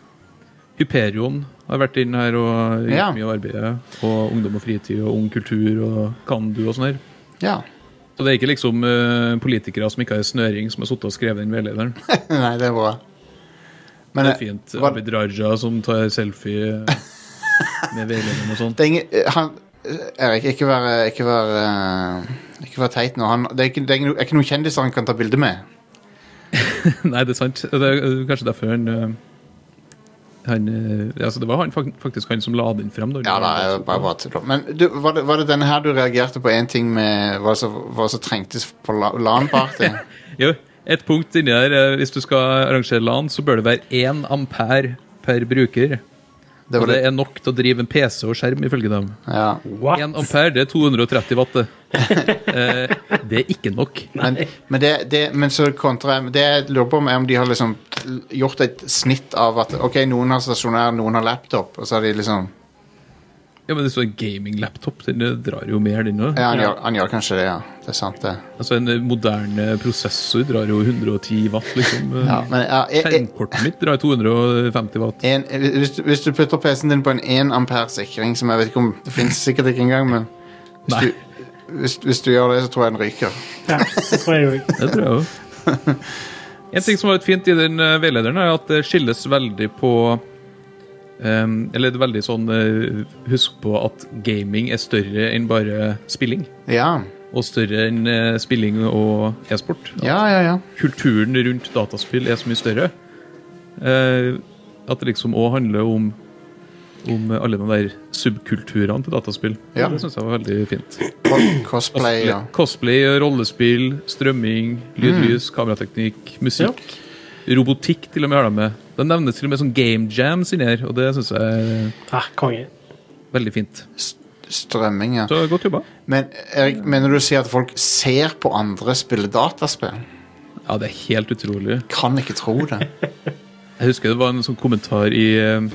Speaker 5: Hyperion har vært inn her og gjort
Speaker 1: Ja.
Speaker 5: mye av arbeidet. Og Ungdom og fritid og Ung kultur og Kan du og sånn her.
Speaker 1: Ja.
Speaker 5: Så det er ikke liksom eh, politikere som ikke har snøring, som har sittet og skrevet den veilederen.
Speaker 1: Nei, det er bra. Men
Speaker 5: det
Speaker 1: eh,
Speaker 5: er fint.
Speaker 1: hva-
Speaker 5: Abid Raja som tar selfie med veilederen og sånt.
Speaker 1: det er ingen, eh, han, Erik, ikke vær, ikke vær, eh, ikke vær teit nå. Han, det er ikke, det er ikke, no- er ikke noen kjendiser han kan ta bilde med.
Speaker 5: Nei, det er sant. Det er eh, kanskje derfor han eh, han, eh, altså det var han, fak- faktisk han som la den frem. da.
Speaker 1: Ja, da, jeg vil bare, bare tuller. Eh, Men du, var, det, var det denne her du reagerte på én ting med hva som, hva som trengtes på la- LAN-party?
Speaker 5: Jo, et punkt inni der eh, Hvis du skal arrangere LAN, så bør det være 1 ampere per bruker.
Speaker 1: Det
Speaker 5: og
Speaker 1: var
Speaker 5: det
Speaker 1: det.
Speaker 5: er nok til å drive en PC og skjerm, ifølge dem.
Speaker 1: Ja.
Speaker 5: 1 ampere, det er 230 watt, det. Eh, det er ikke nok.
Speaker 1: Men, men, det, det, men så kontra jeg Det jeg lurer på om, er om de har liksom gjort et snitt av at ok, noen har stasjonær, noen har laptop, og så har de liksom
Speaker 5: Ja, men det står en gaming-laptop. Den eh, drar jo mer, den òg.
Speaker 1: Ja, han, Gjør, han gjør kanskje det, ja. Det er sant, det.
Speaker 5: Altså, en eh, moderne prosessor drar jo 110 watt, liksom. Eh,
Speaker 1: Ja, men ja, jeg, jeg,
Speaker 5: Skjermkortet mitt drar 250 watt.
Speaker 1: en, hvis, du- hvis du putter PC-en din på en 1 ampere sikring, som jeg vet ikke om Det finnes sikkert ikke engang, men hvis
Speaker 5: Nei.
Speaker 1: du, hvis, hvis du gjør det, så tror jeg den ryker.
Speaker 4: Ja, det tror jeg òg.
Speaker 5: Det tror jeg òg. En ting som var litt fint i den eh, veilederen, er at det skilles veldig på ehm, Eller det er veldig sånn eh, Husk på at gaming er større enn bare spilling.
Speaker 1: Ja.
Speaker 5: Og større enn eh, spilling og e-sport. At
Speaker 1: Ja, ja, ja.
Speaker 5: Kulturen rundt dataspill er så mye større. Eh, at det liksom òg handler om om alle de der subkulturene til dataspill.
Speaker 1: Ja.
Speaker 5: Det syns jeg var veldig fint.
Speaker 1: Co- Cosplay
Speaker 5: Altså,
Speaker 1: og
Speaker 5: Cosplay, rollespill, strømming, lydlys, kamerateknikk, musikk. Robotikk til og med har de med. Det nevnes til og med sånn game jams inni her, og det syns jeg er
Speaker 4: Ah, konge.
Speaker 5: veldig fint.
Speaker 1: strømming, ja.
Speaker 5: Så godt jobba.
Speaker 1: Men Erik, mener du å si at folk ser på andre spille dataspill?
Speaker 5: Ja, det er helt utrolig.
Speaker 1: Kan ikke tro det.
Speaker 5: Jeg husker det var en sånn kommentar i eh,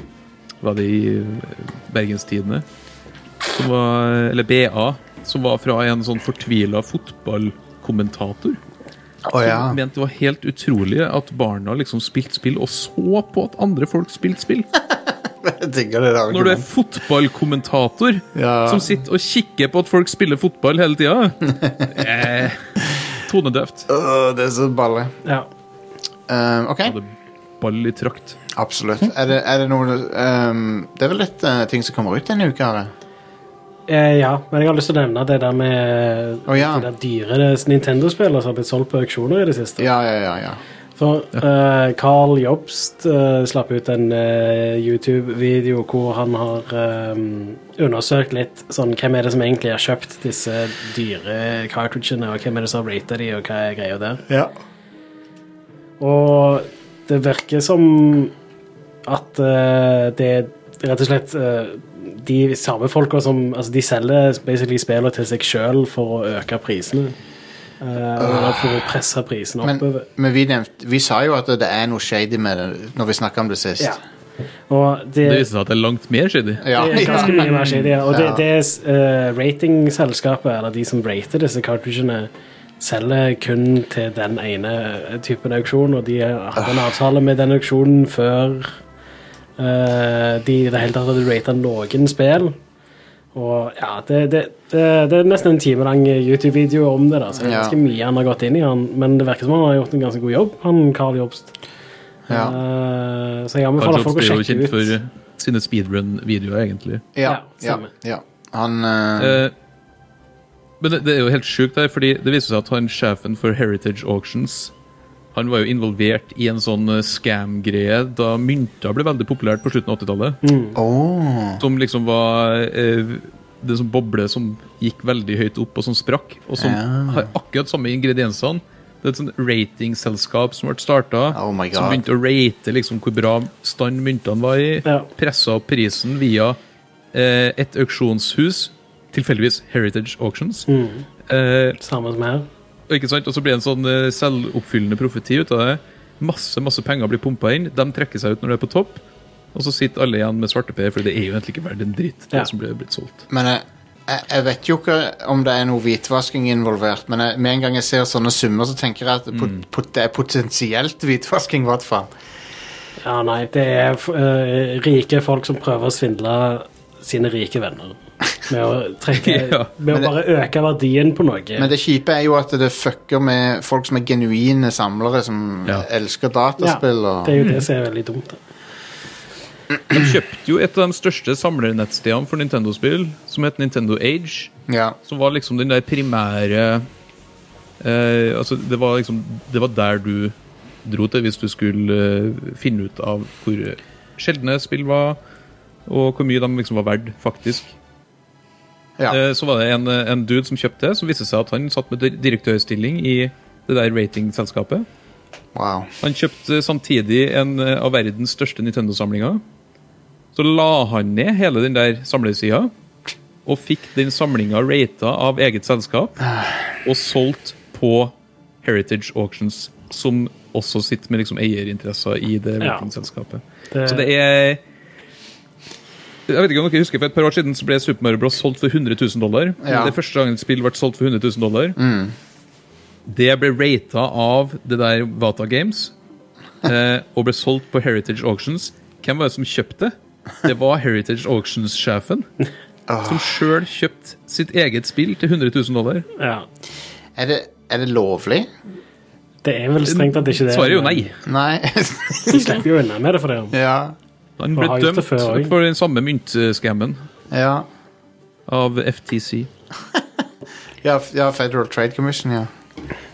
Speaker 5: Var det i eh, Bergenstidene? Som var, eller BA, som var fra en sånn fortvila fotballkommentator.
Speaker 1: Å ja.
Speaker 5: Som mente det var helt utrolig at barna liksom spilte spill og så på at andre folk spilte spill.
Speaker 1: Jeg digger det der.
Speaker 5: Når du er fotballkommentator
Speaker 1: Ja.
Speaker 5: som sitter og kikker på at folk spiller fotball hele tida eh, Tonedøvt.
Speaker 1: Øh, det er så balle.
Speaker 4: Ja.
Speaker 1: Ehm, OK.
Speaker 5: Hadde ball i trakt.
Speaker 1: Absolutt. Er det, er det noe ehm, Det er vel litt eh, ting som kommer ut denne uka? Are?
Speaker 4: Eh, ja, men jeg har lyst til å nevne det der med
Speaker 1: Å, ja.
Speaker 4: det der dyre det- Nintendo-spillet som har blitt solgt på auksjoner i det siste.
Speaker 1: Ja, ja, ja. ja.
Speaker 4: For eh, Carl Jobst eh, slapp ut en eh, YouTube-video hvor han har eh, undersøkt litt sånn, hvem er det som egentlig har kjøpt disse dyre cartridgene, og hvem er det som har ratet de, og hva er greia der. Og det virker som at eh, det er rett og slett eh, de samme folka som Altså, de selger basically spillene til seg sjøl for å øke prisene. eh, og for å presse prisene
Speaker 1: Men,
Speaker 4: oppover.
Speaker 1: men vi, nevnte, vi sa jo at det er noe shady med det når vi snakka om det sist.
Speaker 4: Ja. Og det,
Speaker 5: Det viser seg at det er langt mer shady.
Speaker 1: Ja,
Speaker 4: det er ganske mye mer shady. ja. Og det,
Speaker 1: Ja.
Speaker 4: det er eh, ratingselskapet, eller de som rater disse cartridgene, selger kun til den eh, ene typen auksjon, og de hadde en avtale med den auksjonen før eh, de i det hele tatt hadde rata noen spill. Og ja, det, det, det, det er nesten en time lang YouTube-video om det, da, så det er
Speaker 1: Ja.
Speaker 4: ganske mye han har gått inn i. Han, men det virker som han har gjort en ganske god jobb, han Carl Jobst.
Speaker 1: Ja.
Speaker 4: Eh, så jeg anbefaler
Speaker 5: Kanskje
Speaker 4: folk å
Speaker 5: blir jo
Speaker 4: sjekke
Speaker 5: kjent
Speaker 4: ut.
Speaker 5: for eh, sine speedrun-videoer, egentlig.
Speaker 1: Ja, ja,
Speaker 4: stemmer.
Speaker 1: ja. Han eh,
Speaker 5: Eh, men det, det er jo helt sjukt her, fordi det viser seg at han sjefen for Heritage Auctions han var jo involvert i en sånn eh, scam-greie da mynter ble veldig populært på slutten av 80-tallet.
Speaker 4: Mm.
Speaker 1: Åh.
Speaker 5: Som liksom var eh, det som boble som gikk veldig høyt opp, og som sprakk. Og som
Speaker 1: Ja.
Speaker 5: har akkurat samme ingrediensene. Det er et sånt ratingselskap som ble starta.
Speaker 1: Oh my
Speaker 5: som
Speaker 1: God.
Speaker 5: begynte å rate liksom, hvor bra stand myntene var i.
Speaker 4: Ja.
Speaker 5: Pressa opp prisen via eh, et auksjonshus, tilfeldigvis Heritage Auctions.
Speaker 4: Mm.
Speaker 5: Eh,
Speaker 4: Samme som her.
Speaker 5: og ikke sant? Og så blir det en sånn eh, selvoppfyllende profeti ut av det. Masse masse penger blir pumpa inn, de trekker seg ut når det er på topp. Og så sitter alle igjen med svarteper, for det er jo egentlig ikke verdt en dritt. det
Speaker 4: Ja.
Speaker 5: som ble blitt solgt.
Speaker 1: Men jeg, jeg, jeg vet jo ikke om det er noe hvitvasking involvert, men jeg, med en gang jeg ser sånne summer, så tenker jeg at pot, pot, det er potensielt hvitvasking, i hvert fall.
Speaker 4: Ja, nei, det er f- eh, rike folk som prøver å svindle sine rike venner. Med å, trekke,
Speaker 5: Ja.
Speaker 4: med å bare øke verdien på noe.
Speaker 1: Men det kjipe er jo at det fucker med folk som er genuine samlere, som
Speaker 5: Ja.
Speaker 1: elsker dataspill.
Speaker 4: Ja,
Speaker 1: Og,
Speaker 4: det er jo det som er veldig dumt. da.
Speaker 5: De kjøpte jo et av de største samlernettstedene for Nintendo-spill, som het Nintendo Age.
Speaker 1: ja.
Speaker 5: Som var liksom den der primære eh, Altså, det var liksom Det var der du dro til hvis du skulle eh, finne ut av hvor sjeldne spill var, og hvor mye de liksom var verdt, faktisk.
Speaker 1: Ja.
Speaker 5: Eh, Så var det en, eh, en dude som kjøpte det, som viste seg at han satt med dir- direktørstilling i det der ratingselskapet.
Speaker 1: Wow.
Speaker 5: Han kjøpte samtidig en eh, av verdens største Nintendo-samlinger. Så la han ned hele den der samlesida, og fikk den samlinga rata av eget selskap, og solgt på Heritage Auctions, som også sitter med liksom eierinteresser i det
Speaker 4: Ja.
Speaker 5: ratingselskapet.
Speaker 4: Det-
Speaker 5: Så det er jeg vet ikke om dere husker, for Et par år siden så ble Super Mario Bros. solgt for 100 000 dollar.
Speaker 1: Ja.
Speaker 5: Det er første gang et spill ble solgt for 100 000 dollar. Det ble rata av det der Vata Games eh, og ble solgt på Heritage Auctions. Hvem var det som kjøpte? Det var Heritage Auctions-sjefen. Som sjøl kjøpte sitt eget spill til 100 000 dollar.
Speaker 4: Ja.
Speaker 1: Er, det, er det lovlig?
Speaker 4: Det er vel strengt at det ikke det
Speaker 5: Svaret er jo nei.
Speaker 1: Nei.
Speaker 4: De slipper jo unna med det for det. om.
Speaker 1: ja.
Speaker 5: Han
Speaker 4: Og
Speaker 5: ble
Speaker 4: har gjort
Speaker 5: dømt
Speaker 4: det før også.
Speaker 5: for den samme myntskammen
Speaker 1: Ja.
Speaker 5: av FTC.
Speaker 1: Ja, f- ja, Federal Trade Commission, ja.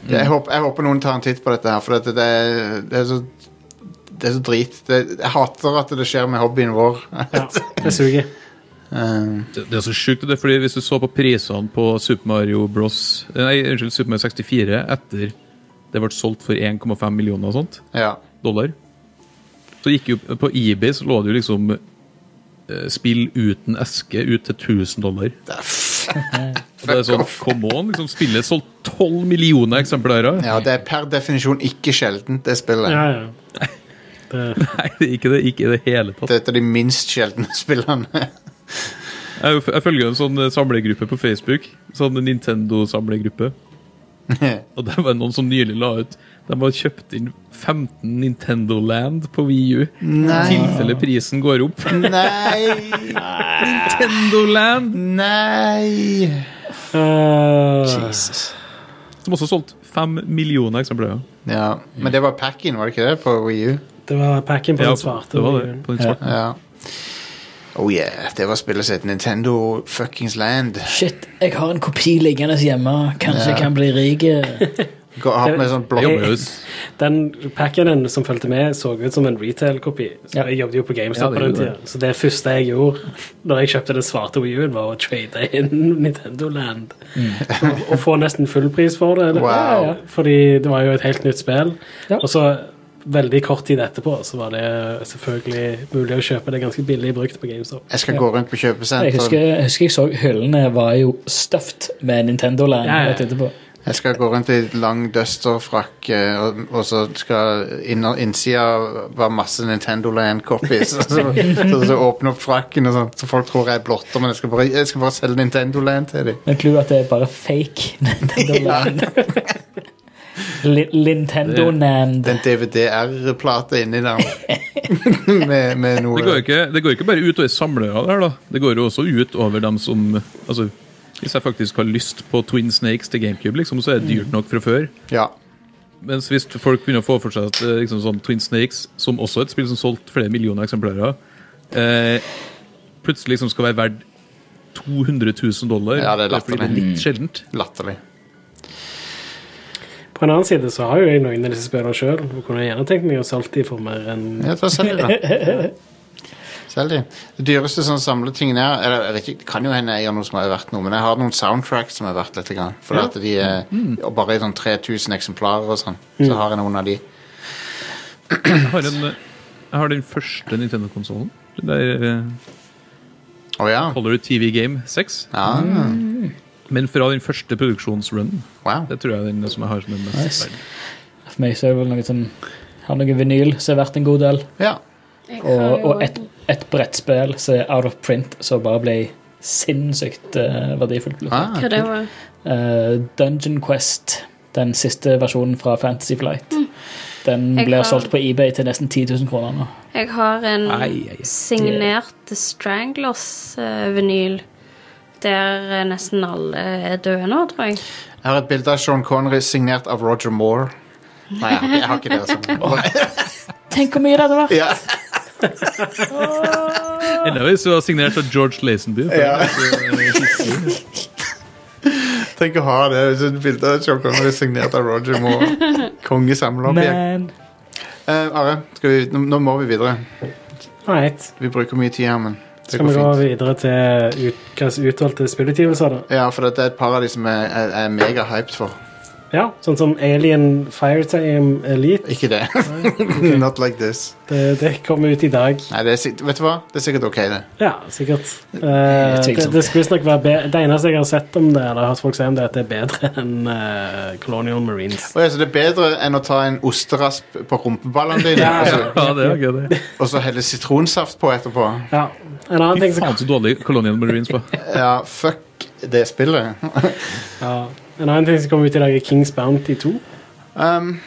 Speaker 1: Jeg, håper, jeg håper noen tar en titt på dette her, for dette, det, er- det er så det er så drit. Det, jeg hater at det skjer med hobbyen vår.
Speaker 4: Ja, det suger.
Speaker 1: Eh,
Speaker 5: Det, det er så sjukt, det, fordi hvis du så på prisene på Super Mario Bros. eh, Nei, unnskyld, Super Mario 64 etter det ble solgt for 1,5 millioner og sånt,
Speaker 1: ja.
Speaker 5: dollar. Så gikk jo på eBay så lå det jo liksom eh, spill uten eske ut til 1000 dollar. Og det er sånn, come on, liksom, spillet er solgt 12 millioner eksemplarer.
Speaker 1: ja, det er per definisjon ikke sjeldent, det spillet.
Speaker 4: Ja, ja. Det,
Speaker 5: Nei, det er ikke det, ikke i det hele tatt.
Speaker 1: Det er et av de minst sjeldne spillene.
Speaker 5: Jeg, jeg følger en sånn eh, samlegruppe på Facebook, sånn Nintendo-samlegruppe. Og der var det noen som nylig la ut De har kjøpt inn 15 Nintendo Land på Wii U.
Speaker 4: Mm.
Speaker 5: I tilfelle prisen går opp.
Speaker 1: Nei!
Speaker 5: Nintendo Land!
Speaker 1: Nei!
Speaker 4: Eh,
Speaker 5: Som også har solgt fem millioner eksemplarer.
Speaker 1: Ja, men det var pack-in, var det ikke det, på Wii U?
Speaker 4: det var packen på
Speaker 5: Ja,
Speaker 4: den svarte.
Speaker 5: det var det. På den svarte.
Speaker 1: Ja. Oh yeah, det var spillet sitt. Nintendo fuckings land.
Speaker 2: Shit, jeg har en kopi liggende hjemme. Kanskje jeg kan bli rik.
Speaker 1: Gå- Har med sånn
Speaker 5: Jeg
Speaker 1: blokk
Speaker 5: jobber jo s-
Speaker 4: Den packen som fulgte med, så ut som en retail-kopi. Så
Speaker 2: Ja.
Speaker 4: Jeg jobbet jo på GameStop
Speaker 5: Ja, det
Speaker 4: på den
Speaker 5: gjorde
Speaker 4: tida. Så det første jeg gjorde når jeg kjøpte den svarte Wii U-en, var å trade inn Nintendo Land. Og, og få nesten full pris for det. eller?
Speaker 1: Wow.
Speaker 4: Ja, ja. Fordi det var jo et helt nytt spill.
Speaker 2: Ja.
Speaker 4: Og så veldig kort tid etterpå så var det selvfølgelig mulig å kjøpe det ganske billig brukt på GameStop.
Speaker 1: Jeg skal gå rundt på
Speaker 2: Jeg husker,
Speaker 1: kjøpesenter.
Speaker 2: jeg husker jeg så hyllene var jo stuffed med Nintendo Land.
Speaker 4: Ja, ja.
Speaker 2: rett etterpå.
Speaker 1: Jeg skal gå rundt i lang dusterfrakk, eh, og, og så skal inner- innsida være masse Nintendo Land-copies. Så, så, så, så åpne opp frakken, og sånn, så folk tror jeg er blotter, men jeg skal bare, jeg skal bare selge Nintendo Land til dem.
Speaker 2: Men clouet er at det er bare fake Nintendo Land. Li- Nintendo Land.
Speaker 1: Den DVD-R-plata inni der. med, med noe
Speaker 5: Det går, jo ikke, det går jo ikke bare utover samlere der, da. Det går jo også ut over dem som Altså, hvis jeg faktisk har lyst på Twin Snakes til GameCube, liksom, så er det dyrt nok fra før.
Speaker 1: Ja.
Speaker 5: Mens hvis folk begynner å få for seg at eh, liksom, sånn Twin Snakes, som også er et spill som solgte flere millioner eksemplarer, eh, plutselig liksom skal være verdt 200 000 dollar
Speaker 1: Ja, det er
Speaker 5: bare fordi det er
Speaker 1: latterlig.
Speaker 5: litt sjeldent.
Speaker 1: Latterlig.
Speaker 4: På en annen side så har jo jeg noen av disse spillene sjøl. Jeg kunne gjerne tenkt meg å solgt de for mer enn
Speaker 1: Ja, ta selv de, da. Selv de. Det dyreste sånn samletingen er eller, jeg vet ikke, Det kan jo hende jeg gjør noe som er verdt noe, men jeg har noen soundtracks som er verdt litt. Grann, for
Speaker 4: Ja.
Speaker 1: at de er
Speaker 2: Mm.
Speaker 1: og bare i sånn 3000 eksemplarer og sånn. Så har jeg noen av de.
Speaker 5: Jeg har, en, eh, jeg har den første Nintendo-konsollen. Den der eh,
Speaker 1: Å ja.
Speaker 5: Color TV Game 6.
Speaker 1: ja.
Speaker 5: Men fra den første produksjonsrunnen.
Speaker 1: Wow.
Speaker 5: Det tror jeg er den som jeg har som den mest
Speaker 2: Nice.
Speaker 5: verdt.
Speaker 2: For meg så er det vel noe sånn Har noe vinyl som er verdt en god del,
Speaker 1: Ja.
Speaker 3: Jeg har
Speaker 2: og,
Speaker 3: jo-
Speaker 2: og et, et brettspill som er out of print, som bare ble sinnssykt eh, verdifullt.
Speaker 1: Ah,
Speaker 3: Hva det var
Speaker 2: Eh, Dungeon Quest, den siste versjonen fra Fantasy Flight, den
Speaker 3: Mm. Jeg
Speaker 2: blir
Speaker 3: har-
Speaker 2: solgt på eBay til nesten 10 000 kroner nå.
Speaker 3: Jeg har en
Speaker 5: Ai, ai, ai.
Speaker 3: signert The Stranglers-vinyl. eh, Der eh, nesten alle er døde nå, tror jeg.
Speaker 1: Jeg har et bilde av Sean Connery signert av Roger Moore. Nei, jeg har ikke, jeg har ikke det. altså.
Speaker 2: Tenk hvor mye det hadde vært!
Speaker 1: Ja.
Speaker 5: Enda hvis du var signert av George Lazenby. for
Speaker 1: Ja.
Speaker 5: det er så, eh, hissig.
Speaker 1: Tenk å ha det. hvis Et bilde av Sean Connery signert av Roger Moore. Kongesamlerobjekt.
Speaker 2: Men
Speaker 1: Eh, Are, skal vi, nå, nå må vi videre.
Speaker 4: Right.
Speaker 1: Vi bruker mye tid her, men det
Speaker 4: Skal
Speaker 1: går
Speaker 4: vi gå
Speaker 1: fint.
Speaker 4: videre til ut, hva som utvalgte spillutgivelser, da?
Speaker 1: Ja, for dette er et par av de som jeg jeg- jeg er megahyped for.
Speaker 4: Ja, sånn som Alien Firetime Elite.
Speaker 1: Ikke det. Not like this.
Speaker 4: Det, det kom ut i dag.
Speaker 1: Nei, det er, sik- vet du hva? Det er sikkert ok, det.
Speaker 4: Ja, sikkert. Eh, det,
Speaker 2: tvilsomt.
Speaker 4: det skulle visstnok være bedre Det eneste jeg har sett om det, eller hørt folk si om det, er at det er bedre enn eh, Colonial Marines.
Speaker 1: Og, ja, så det er bedre enn å ta en osterasp på rumpeballene dine
Speaker 4: Ja,
Speaker 1: og
Speaker 4: ja.
Speaker 1: så-
Speaker 5: Ja, det er gøy, det.
Speaker 1: og så helle sitronsaft på etterpå.
Speaker 4: Ja. En annen ting
Speaker 5: Fy
Speaker 4: som
Speaker 5: faen så dårlig Colonial Marines var.
Speaker 1: Ja, fuck det spillet.
Speaker 4: Ja. En annen ting som kom ut i dag, er Kings Bounty 2.
Speaker 1: Um,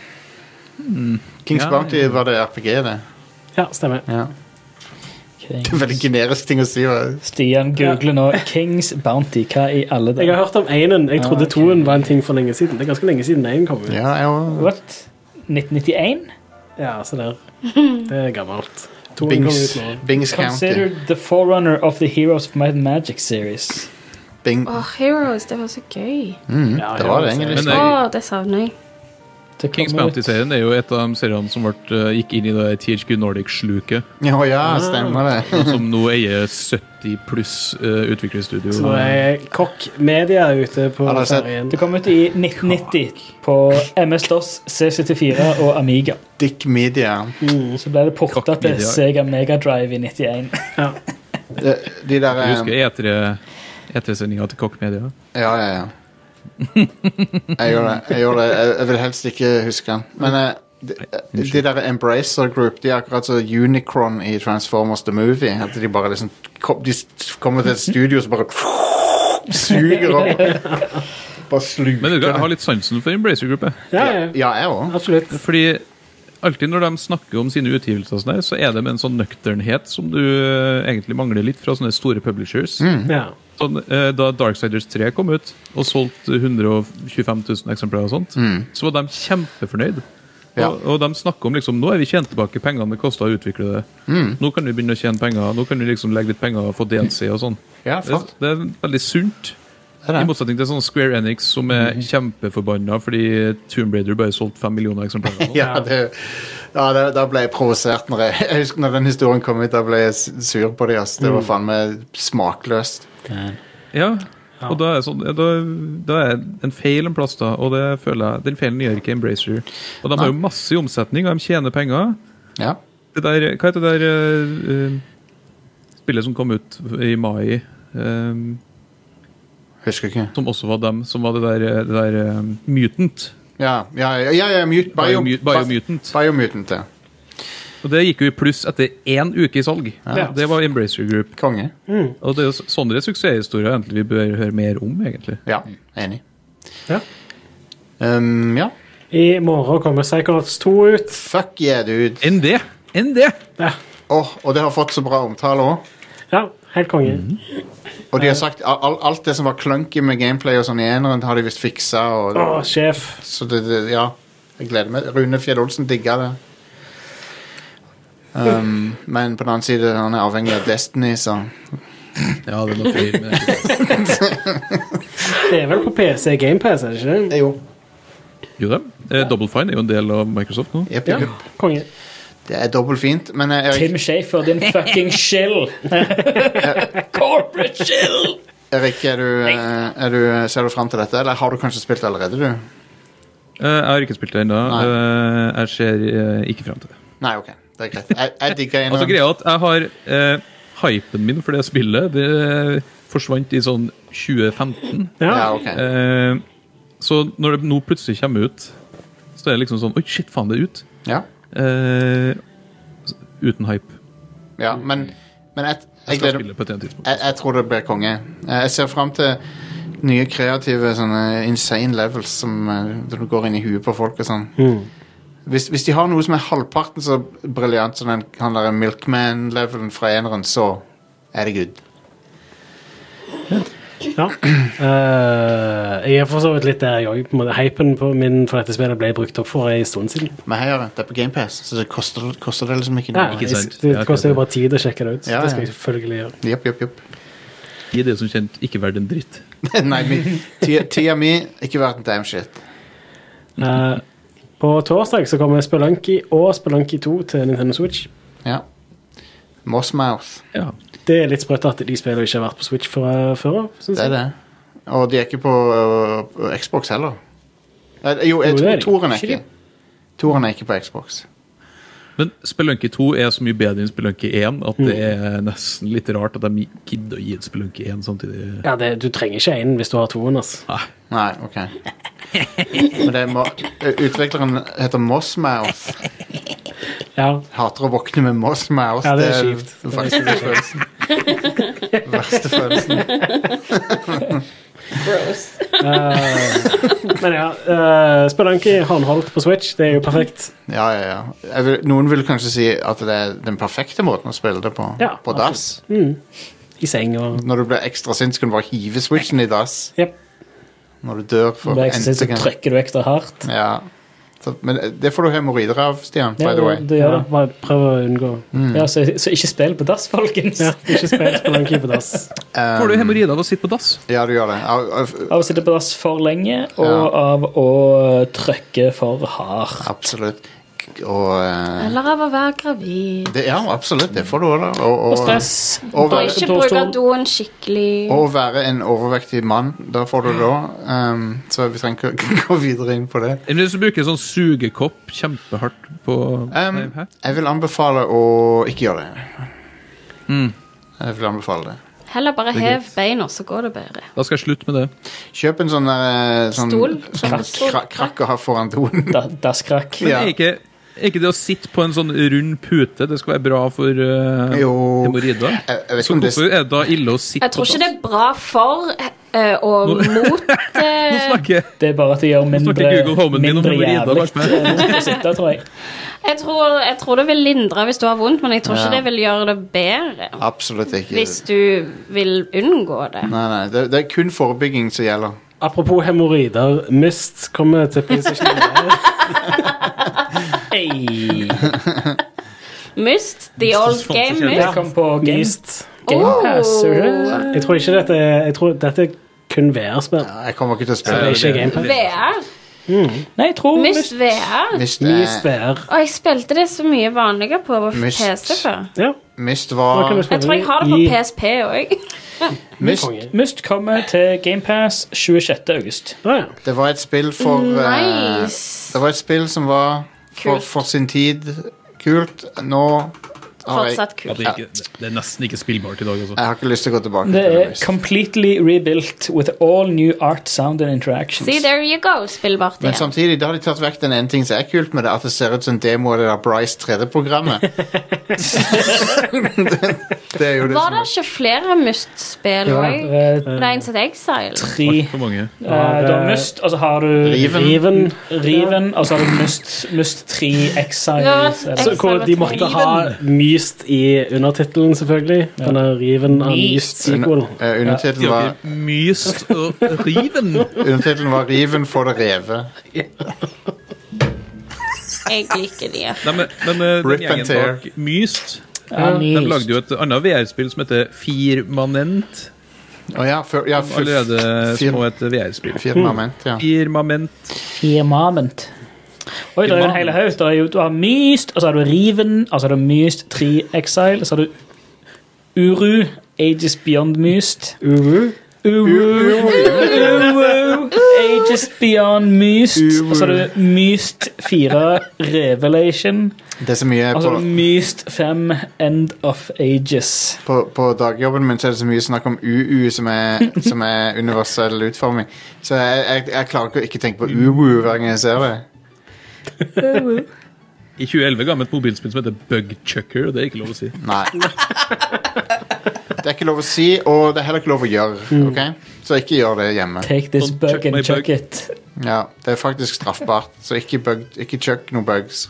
Speaker 1: hmm, Kings
Speaker 5: Ja,
Speaker 1: Bounty var det RPG, det.
Speaker 4: Ja, stemmer.
Speaker 1: Ja.
Speaker 2: Kings-
Speaker 1: Det er veldig generisk ting å si. hva-
Speaker 2: Stian googler nå Kings Bounty. Hva i alle
Speaker 4: Jeg har
Speaker 2: dager?
Speaker 4: hørt om énen. Jeg trodde
Speaker 2: Ah, ok.
Speaker 4: toen var en ting for lenge siden. Det er ganske lenge siden én kom ut. Ja.
Speaker 1: Ja, jeg var
Speaker 2: What? 1991?
Speaker 4: så der. Det er gammelt. Toen kom
Speaker 1: Bings,
Speaker 4: ut nå.
Speaker 1: Bings County.
Speaker 2: Considered the forerunner of the Heroes of Might and Magic series.
Speaker 1: Bing.
Speaker 3: Åh, Heroes, det var så gøy.
Speaker 1: Mm,
Speaker 4: Ja,
Speaker 1: det var det,
Speaker 4: ja,
Speaker 1: egentlig.
Speaker 5: Men
Speaker 3: Åh,
Speaker 5: jeg,
Speaker 3: det savner jeg.
Speaker 2: Det
Speaker 5: Kings
Speaker 2: kommer ut-
Speaker 5: Bounty-serien er jo et av de seriene som ble, eh, gikk inn i det THQ Nordic-sluket,
Speaker 1: Ja, ja, stemmer det.
Speaker 5: som nå eier 70 pluss eh, utviklerstudio.
Speaker 4: Så nå er Kokk Media ute på
Speaker 1: Har dere sett-
Speaker 4: ferien.
Speaker 2: Det kom ut i 1990 på MS-DOS, C74 og Amiga.
Speaker 1: Dick Media.
Speaker 2: Så ble det porta
Speaker 5: Cock
Speaker 2: til
Speaker 5: Media.
Speaker 2: Sega Mega Drive i 91.
Speaker 1: De, de der
Speaker 5: Jeg
Speaker 1: eh,
Speaker 5: husker E E3 E3-sendinga til Kokk Media.
Speaker 1: Ja, ja, ja. Jeg gjør det. Jeg, gjør det. jeg, jeg vil helst ikke huske den. Men eh, de, de der Embracer Group De er akkurat som Unicron i Transformers The Movie. At de bare liksom kom, De s- kommer til et studio som bare suger opp. Bare
Speaker 5: Men vet
Speaker 1: sluker
Speaker 5: du hva, jeg har
Speaker 1: det.
Speaker 5: litt sansen for Embracer-gruppe.
Speaker 4: Ja, ja,
Speaker 1: Ja, jeg òg.
Speaker 4: absolutt.
Speaker 5: Fordi alltid når de snakker om sine utgivelser, og sånn her, så er det med en sånn nøkternhet som du eh, egentlig mangler litt fra sånne store publishers.
Speaker 4: Ja.
Speaker 5: Sånn, eh, da Darksiders 3 kom ut og solgte 125 000 eksemplarer, og sånt, så var de kjempefornøyd.
Speaker 1: Mm. Ja.
Speaker 5: Og, og de snakker om liksom, nå er vi tjent tilbake pengene det kosta å utvikle det.
Speaker 1: Mm.
Speaker 5: Nå kan vi begynne å tjene penger, nå kan vi liksom legge litt penger og få DLC og sånn.
Speaker 1: Ja,
Speaker 5: Det,
Speaker 1: flott.
Speaker 5: det er veldig sunt.
Speaker 1: er det. Mm.
Speaker 5: I motsetning til sånn Square Enix, som er kjempeforbanna fordi Tomb Raider bare solgte fem millioner eksemplarer.
Speaker 1: Ja, det, ja da, da ble jeg provosert. Når jeg, jeg husker når den historien kom ut, da ble jeg s- sur på dem. Det var faen meg smakløst.
Speaker 5: Ja, og da er, sånn, da, da er en feil en plass, da, og det føler jeg, den feilen gjør ikke Embracer. Og de har jo masse i omsetning, og de tjener penger.
Speaker 1: Ja.
Speaker 5: Det der, hva heter det der eh, eh, spillet som kom ut i mai, eh,
Speaker 1: Husker ikke.
Speaker 5: som også var dem, som var det der, eh, det der eh, Mutant?
Speaker 1: Ja, ja, ja, ja, ja mute, bio,
Speaker 5: Biomu- Biomutant.
Speaker 1: Biomutant, ja.
Speaker 5: Og det gikk jo i pluss etter én uke i salg.
Speaker 4: Ja.
Speaker 5: Det var Embracer Group.
Speaker 1: Konge.
Speaker 5: Og det er jo s- sånne suksesshistorier egentlig vi bør høre mer om, egentlig.
Speaker 1: Ja, enig.
Speaker 4: Ja.
Speaker 1: Um, ja.
Speaker 4: I morgen kommer Psychonauts 2 ut.
Speaker 1: Fuck yeah, dude.
Speaker 5: Enn det! enn det!
Speaker 1: Åh, og det har fått så bra omtale òg.
Speaker 4: Ja, helt konge.
Speaker 5: Mm.
Speaker 1: Og de har sagt al- al- alt det som var clunky med gameplay og sånn i eneren, har de visst fiksa. Og,
Speaker 4: Å, sjef.
Speaker 1: Så det, det, ja, jeg gleder meg. Rune Fjell Olsen digga det. Um, men på den annen side, han er avhengig av Destiny, så
Speaker 5: Ja, det er noe feil med det.
Speaker 4: Det er vel på PC, GamePass, er det ikke det?
Speaker 1: Jo.
Speaker 5: Jo da. Eh, Double Fine er jo en del av Microsoft nå.
Speaker 1: Jepp,
Speaker 4: Ja,
Speaker 1: jepp, jepp.
Speaker 4: konge.
Speaker 1: Det er dobbelt fint, men eh, Erik,
Speaker 2: Tim Shafer, din fucking shill. Corporate shill!
Speaker 1: Erik er du, eh, er du, eh, ser du fram til dette, eller har du kanskje spilt allerede, du?
Speaker 5: Eh, Jeg har ikke spilt det ennå.
Speaker 1: Nei.
Speaker 5: Eh, Jeg ser eh, ikke fram til det.
Speaker 1: Nei, OK. Det er greit. Jeg, jeg digger
Speaker 5: Altså,
Speaker 1: eneren.
Speaker 5: greia er at jeg har eh, Hypen min for det spillet det forsvant i sånn 2015.
Speaker 1: Ja,
Speaker 4: Ja.
Speaker 1: ok.
Speaker 5: Eh, så når det nå plutselig kommer ut, så er det liksom sånn Oi, shit, faen, det er ut.
Speaker 1: Ja,
Speaker 5: Eh, s- uten hype.
Speaker 1: ja, men, men jeg,
Speaker 5: Jeg
Speaker 1: jeg
Speaker 5: skal
Speaker 1: gleder
Speaker 5: spille på et eller annet tidspunkt.
Speaker 1: jeg, jeg tror det blir konge. Eh, Jeg ser fram til nye kreative sånne insane levels som eh, der du går inn i huet på folk og sånn.
Speaker 5: Mm.
Speaker 1: Hvis, hvis de har noe som er halvparten så briljant som den han der Milkman-levelen fra eneren, så er det good.
Speaker 4: Ja. Eh, jeg er for så vidt litt der, jeg òg. på en måte. Hypen på min for dette spillet ble brukt opp for en stund siden.
Speaker 1: Men hei, Are, det er på GamePass, så det koster, koster det liksom ikke
Speaker 4: Ja,
Speaker 1: noe.
Speaker 5: ikke
Speaker 4: jeg-
Speaker 5: sant. Ja,
Speaker 4: Det
Speaker 5: akkurat
Speaker 4: koster jo
Speaker 5: det.
Speaker 4: bare tid å sjekke det ut.
Speaker 1: Ja,
Speaker 4: Det skal
Speaker 1: ja.
Speaker 4: jeg selvfølgelig gjøre.
Speaker 1: Jepp, jepp, jepp.
Speaker 5: I det som kjent ikke verdt en dritt.
Speaker 1: Nei, mi- tida tida mi ikke verdt en damn shit.
Speaker 4: Eh, på torsdag så kommer Spelunky og Spelunky 2 til Nintendo Switch.
Speaker 1: Ja. Mossmouth,
Speaker 5: Ja.
Speaker 4: Det er litt sprøtt at de spillene ikke har vært på Switch fra før av. synes
Speaker 1: det er
Speaker 4: jeg.
Speaker 1: det. Og de er ikke på øh, Xbox heller. Eh, Jo,
Speaker 4: Jo, det er
Speaker 1: jeg
Speaker 4: de.
Speaker 1: tror toren er
Speaker 4: Ikke de.
Speaker 1: ikke. Toren er ikke på Xbox.
Speaker 5: Men Spelunky 2 er så mye bedre enn Spelunky 1 at det
Speaker 4: Mm.
Speaker 5: er nesten litt rart at de gidder å gi ut Spelunky 1 samtidig.
Speaker 4: Ja, det, du trenger ikke én hvis du har toen. Altså.
Speaker 5: Nei.
Speaker 1: Nei, ok. Men det er mo øh, utvikleren heter Mossmouth.
Speaker 4: Ja,
Speaker 1: Hater å våkne med Mossmouth.
Speaker 4: Ja, det er kjipt.
Speaker 1: Den verste følelsen. verste følelsen.
Speaker 3: Gross.
Speaker 4: Men ja, uh, Spelunky håndholdt på Switch, det er jo perfekt.
Speaker 1: Ja, ja, ja. Jeg vil, noen vil kanskje si at det er den perfekte måten å spille det på.
Speaker 4: Ja,
Speaker 1: på dass.
Speaker 4: I seng og
Speaker 1: Når du blir ekstra sint, så kan du bare hive switchen i dass.
Speaker 4: Jep.
Speaker 1: Når du dør for
Speaker 2: Bare ekstra sint, så
Speaker 1: gang.
Speaker 2: trykker du ekstra hardt.
Speaker 1: Ja. Så, men eh, det får du hemoroider av, Stian, by
Speaker 2: Ja,
Speaker 1: the way.
Speaker 2: du gjør
Speaker 4: Ja,
Speaker 2: det.
Speaker 4: bare prøv å unngå.
Speaker 2: Ja, så, så ikke spill på dass, folkens.
Speaker 4: Ja, ikke spill Spelunky på dass.
Speaker 5: Får du hemoroider av å sitte på dass?
Speaker 1: Eh, Ja, du gjør det. Au- au-
Speaker 2: Av å sitte på dass for lenge, og
Speaker 1: Ja.
Speaker 2: av å trykke for hardt.
Speaker 1: Absolutt. Og eh,
Speaker 3: Eller av å være gravid.
Speaker 1: det, Ja, absolutt. Det får du òg, da. Og, og,
Speaker 2: Og stress.
Speaker 1: og
Speaker 3: Og
Speaker 1: være-
Speaker 3: ikke
Speaker 2: Dårstol.
Speaker 3: bruke doen skikkelig.
Speaker 1: Å være en overvektig mann, da får du det òg. Um, så vi trenger ikke å gå videre inn på det.
Speaker 5: Eller så bruker jeg sånn sugekopp kjempehardt på
Speaker 1: Um,
Speaker 5: Nei, hæ?
Speaker 1: jeg vil anbefale å ikke gjøre det.
Speaker 5: Mm.
Speaker 1: Jeg vil anbefale det.
Speaker 3: Heller bare hev beina, så går det bedre.
Speaker 5: Da skal jeg slutte med det.
Speaker 1: Kjøp en sånn, der, eh, sånn,
Speaker 3: Stol?
Speaker 1: sånn
Speaker 3: Stol?
Speaker 1: kra krakk å ha foran doen.
Speaker 2: Da- Dasskrakk.
Speaker 1: Ja.
Speaker 5: Er ikke, er ikke det å sitte på en sånn rund pute Det skal være bra for eh,
Speaker 1: Jo.
Speaker 5: hemoroider?
Speaker 1: Jeg, jeg vet
Speaker 5: Så
Speaker 1: ikke om det
Speaker 5: hvorfor er det da ille å sitte
Speaker 3: Jeg tror ikke
Speaker 5: på
Speaker 3: det
Speaker 5: dass?
Speaker 3: er bra for eh, og mot
Speaker 5: Nå
Speaker 3: eh,
Speaker 5: snakker
Speaker 2: Det er bare at det gjør mindre,
Speaker 5: snakker Google Homen min om
Speaker 2: mindre
Speaker 5: hemoroider,
Speaker 2: jævlig
Speaker 5: Lars Berg.
Speaker 2: å sitte, tror jeg.
Speaker 3: jeg, tror, jeg tror det vil lindre hvis du har vondt, men jeg tror ikke det vil gjøre det bedre.
Speaker 1: Absolutt ikke.
Speaker 3: Hvis du vil unngå det.
Speaker 1: Nei, nei, det, det er kun forebygging som gjelder.
Speaker 4: Apropos hemoroider, Myst kommer til PlayStation 4.
Speaker 2: Ei.
Speaker 3: Mist, the old
Speaker 5: fant
Speaker 3: game
Speaker 5: ikke
Speaker 2: Det
Speaker 3: mist.
Speaker 2: kom på Game,
Speaker 4: Myst.
Speaker 2: game
Speaker 3: Oh.
Speaker 2: Pass. Oh.
Speaker 4: Jeg tror ikke dette er- Jeg tror dette er kun VR-spill.
Speaker 1: Ja, Jeg kommer ikke til å
Speaker 4: Det
Speaker 1: spille
Speaker 4: er
Speaker 1: det.
Speaker 4: ikke gameplay.
Speaker 3: VR.
Speaker 2: Nei, jeg tror
Speaker 3: Mist VR.
Speaker 1: Myst,
Speaker 4: Myst
Speaker 1: eh,
Speaker 4: VR.
Speaker 3: Og jeg spilte det så mye vanligere på
Speaker 1: Myst.
Speaker 3: PC før.
Speaker 4: Ja.
Speaker 1: Myst
Speaker 4: da kan
Speaker 1: var
Speaker 4: du
Speaker 3: Jeg
Speaker 4: spille
Speaker 3: tror jeg har det på
Speaker 4: i-
Speaker 3: PSP òg.
Speaker 1: Myst,
Speaker 4: Konge.
Speaker 2: Myst kommer til GamePass 26. august.
Speaker 4: Ja, ja.
Speaker 1: Det var et spill for eh,
Speaker 3: Nice.
Speaker 1: Det var et spill som var for,
Speaker 3: Kult.
Speaker 1: for sin tid kult. Nå
Speaker 3: Fortsatt
Speaker 5: Ja,
Speaker 3: kult.
Speaker 5: det, er ikke, det- det er nesten ikke spillbart i dag, altså.
Speaker 1: Jeg har ikke lyst til å gå tilbake
Speaker 2: Det
Speaker 1: til
Speaker 2: er
Speaker 1: Rise.
Speaker 2: completely rebuilt with all new art, sound and interactions.
Speaker 3: See, there you go, spillbart
Speaker 1: Men
Speaker 3: igjen.
Speaker 1: samtidig, da har de tatt vekk den ene ting som er kult med det, at det ser ut som en demo av det der Bryce 3D-programmet. det, det er jo det
Speaker 3: Var
Speaker 1: som
Speaker 3: det ikke flere Must-spill
Speaker 2: Ja,
Speaker 3: òg?
Speaker 2: det er
Speaker 3: Det er en som heter Exile.
Speaker 2: Tre
Speaker 5: Altfor mange.
Speaker 2: Eh, Du har Must, og så har du
Speaker 1: Riven.
Speaker 2: Riven, Riven, og så har du Must, Must 3
Speaker 3: Ja,
Speaker 2: Exiles. eller-
Speaker 4: Så, hvor de måtte ha myst i undertittelen, selvfølgelig. Denne riven av myst sequel.
Speaker 1: Eh, undertittelen,
Speaker 5: De har
Speaker 1: var,
Speaker 5: ikke myst og riven.
Speaker 1: undertittelen var 'Riven for det reve'.
Speaker 3: Jeg liker de.
Speaker 5: Nei, men, men eh,
Speaker 1: Rip
Speaker 5: den
Speaker 1: and
Speaker 5: gjengen
Speaker 1: tear.
Speaker 5: bak Myst
Speaker 2: Ja,
Speaker 5: De
Speaker 2: Myst.
Speaker 5: lagde jo et annet VR-spill som heter Firmanent.
Speaker 1: Å ja, før, ja fyr,
Speaker 5: Allerede
Speaker 1: fyr-
Speaker 5: som også et VR-spill.
Speaker 1: firmament, ja.
Speaker 5: Firmament.
Speaker 2: Firmament. Oi, det er jo en hel haug. Det er jo- Du har Myst, og så har du Riven, og så har du Myst 3 Exile, og så har du Uru, Ages Beyond Myst.
Speaker 4: Uru.
Speaker 2: Uru, Uru, Ages Beyond Myst. Og så har du Myst 4 Revelation.
Speaker 1: Det er så mye
Speaker 2: Og så har
Speaker 1: på,
Speaker 2: du Myst 5 End of Ages.
Speaker 1: på, på dagjobben min så er det så mye snakk om UU, som er, som er universell utforming. Så jeg, jeg, jeg klarer ikke å ikke tenke på UU hver gang jeg ser det.
Speaker 5: I 2011 ga de et mobilspill som heter Bugchucker. Det er ikke lov å si.
Speaker 1: Nei. Det er ikke lov å si, og det er heller ikke lov å gjøre. ok? Så ikke gjør det hjemme.
Speaker 2: Take this
Speaker 5: Don't
Speaker 2: bug
Speaker 5: chuck
Speaker 2: and
Speaker 5: my
Speaker 2: chuck
Speaker 5: bug.
Speaker 2: it.
Speaker 1: Ja, Det er faktisk straffbart, så ikke, bug, ikke chuck noen bugs.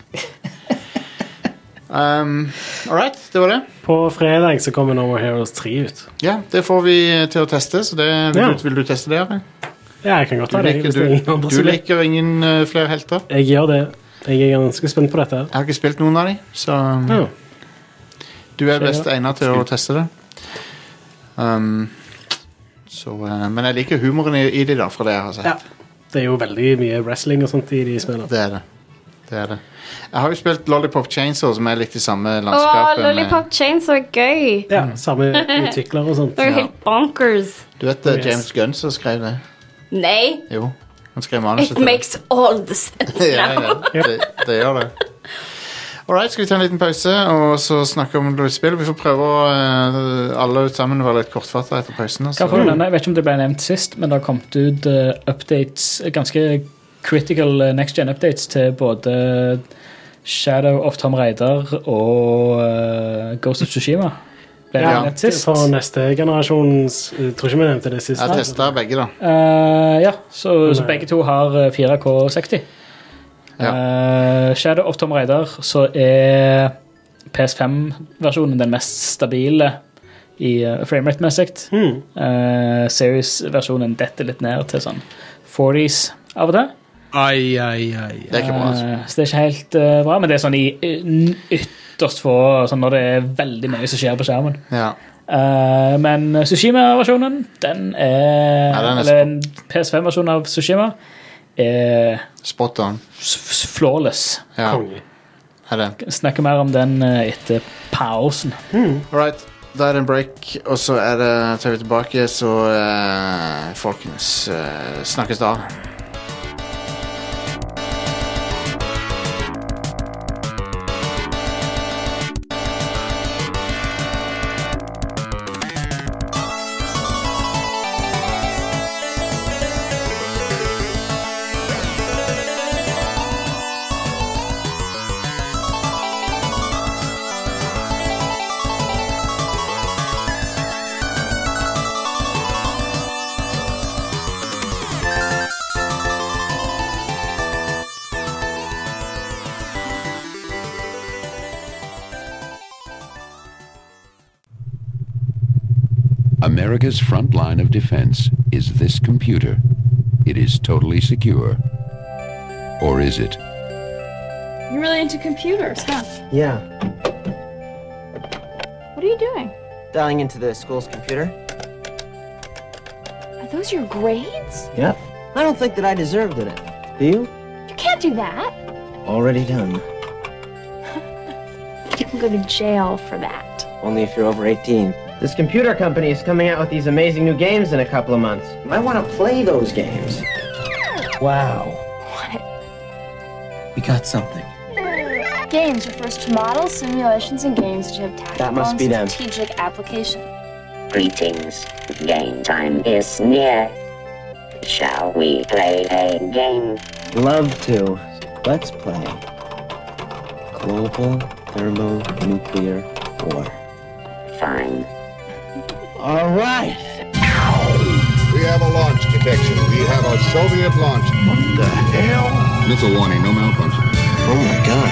Speaker 1: Um, All right, det var det.
Speaker 4: På fredag så kommer No More Heroes 3 ut.
Speaker 1: Ja, Det får vi til å teste, så det, vil,
Speaker 4: Ja.
Speaker 1: du, vil du teste det? Ari?
Speaker 4: Ja, jeg kan godt
Speaker 1: Du
Speaker 4: ta det.
Speaker 1: liker,
Speaker 4: hvis det er ingen
Speaker 1: du,
Speaker 4: andre
Speaker 1: du
Speaker 4: som vil.
Speaker 1: liker ingen eh, flere helter?
Speaker 4: Jeg gjør det. Jeg er ganske spent på dette.
Speaker 1: Jeg har ikke spilt noen av dem, så
Speaker 4: Ja.
Speaker 1: du er best egnet til å teste det. Um, så, eh, men jeg liker humoren i, i de da, fra det jeg har sett.
Speaker 4: Ja. Det er jo veldig mye wrestling og sånt i de spillene.
Speaker 1: Det er det. det er det. Jeg har jo spilt Lollipop Chainsaw, som er litt i samme eh,
Speaker 3: Å,
Speaker 1: landskapet. med-
Speaker 3: Lollipop Chains var gøy.
Speaker 4: Ja,
Speaker 1: Mm.
Speaker 4: samme utvikler og sånt.
Speaker 3: Det var jo helt bonkers.
Speaker 1: Du vet det er
Speaker 4: Yes.
Speaker 1: James Gunn som skrev det?
Speaker 3: Nei,
Speaker 1: Jo. Han skrev manuset til
Speaker 3: it
Speaker 1: det.
Speaker 3: makes all the sense
Speaker 1: ja,
Speaker 3: now.
Speaker 1: ja. Det, det gjør det. All right, skal vi ta en liten pause og så snakke om litt spill? Vi får prøve å eh, alle sammen være litt kortfatta etter pausen. altså. og
Speaker 2: Kan
Speaker 1: så-
Speaker 2: jeg få nevne, jeg vet ikke om det ble nevnt sist, men det har kommet ut eh, updates, eh, ganske critical eh, next gen updates til både Shadow of Tom Reidar og eh, Ghost of Tsushima. Ble det
Speaker 1: Ja.
Speaker 2: nevnt sist?
Speaker 4: For neste generasjons Jeg tror ikke vi nevnte det sist.
Speaker 1: Jeg testa begge, da.
Speaker 2: Eh, ja, så, så
Speaker 4: Nei.
Speaker 2: begge to har eh, 4K60. Eh, Shadow of Tom Reidar, så er PS5-versjonen den mest stabile i uh, framerate-messig.
Speaker 4: Hmm.
Speaker 2: Eh, Series-versjonen detter litt ned til sånn 40s av og til.
Speaker 5: Ai, ai, ai.
Speaker 1: Det er ikke bra. altså.
Speaker 2: Eh, så det er ikke helt eh, bra, men det er sånn i eh, n- ytterst få sånn når det er veldig mye som skjer på skjermen.
Speaker 1: Ja.
Speaker 2: Eh, men Sushima-versjonen, den er,
Speaker 1: Ja, den er
Speaker 2: Eller en PS5-versjon av Sushima er
Speaker 1: Spot on.
Speaker 2: s- s- flawless.
Speaker 1: Ja,
Speaker 4: Konge.
Speaker 1: er det.
Speaker 2: Snakker mer om den eh, etter pausen.
Speaker 1: Alright, da er det en break, og så er det, tar vi tilbake, så eh, folkens eh, snakkes da.
Speaker 11: America's front line of defense is this computer. It is totally secure. Or is it?
Speaker 12: You're really into computers, huh?
Speaker 13: Yeah,
Speaker 12: What are you doing?
Speaker 13: dialing into the school's computer.
Speaker 12: Are those your grades?
Speaker 13: Yep. I don't think that I deserved it. Do you?
Speaker 12: You can't do that.
Speaker 13: Already done.
Speaker 12: You can go to jail for that.
Speaker 13: Only if you're over 18. This computer company is coming out with these amazing new games in a couple of months. I want to play those games. Wow.
Speaker 12: What?
Speaker 13: We got something.
Speaker 12: Computer games refers to models, simulations, and games which have tactical
Speaker 13: That must
Speaker 12: and
Speaker 13: be them.
Speaker 12: strategic application.
Speaker 8: Greetings. Game time is near. Shall we play a game?
Speaker 13: Love to. Let's play Global Thermonuclear War.
Speaker 8: Fine.
Speaker 13: All right.
Speaker 14: We have a launch detection. We have a Soviet launch. What the hell? Missile warning, no malfunction. Oh my god.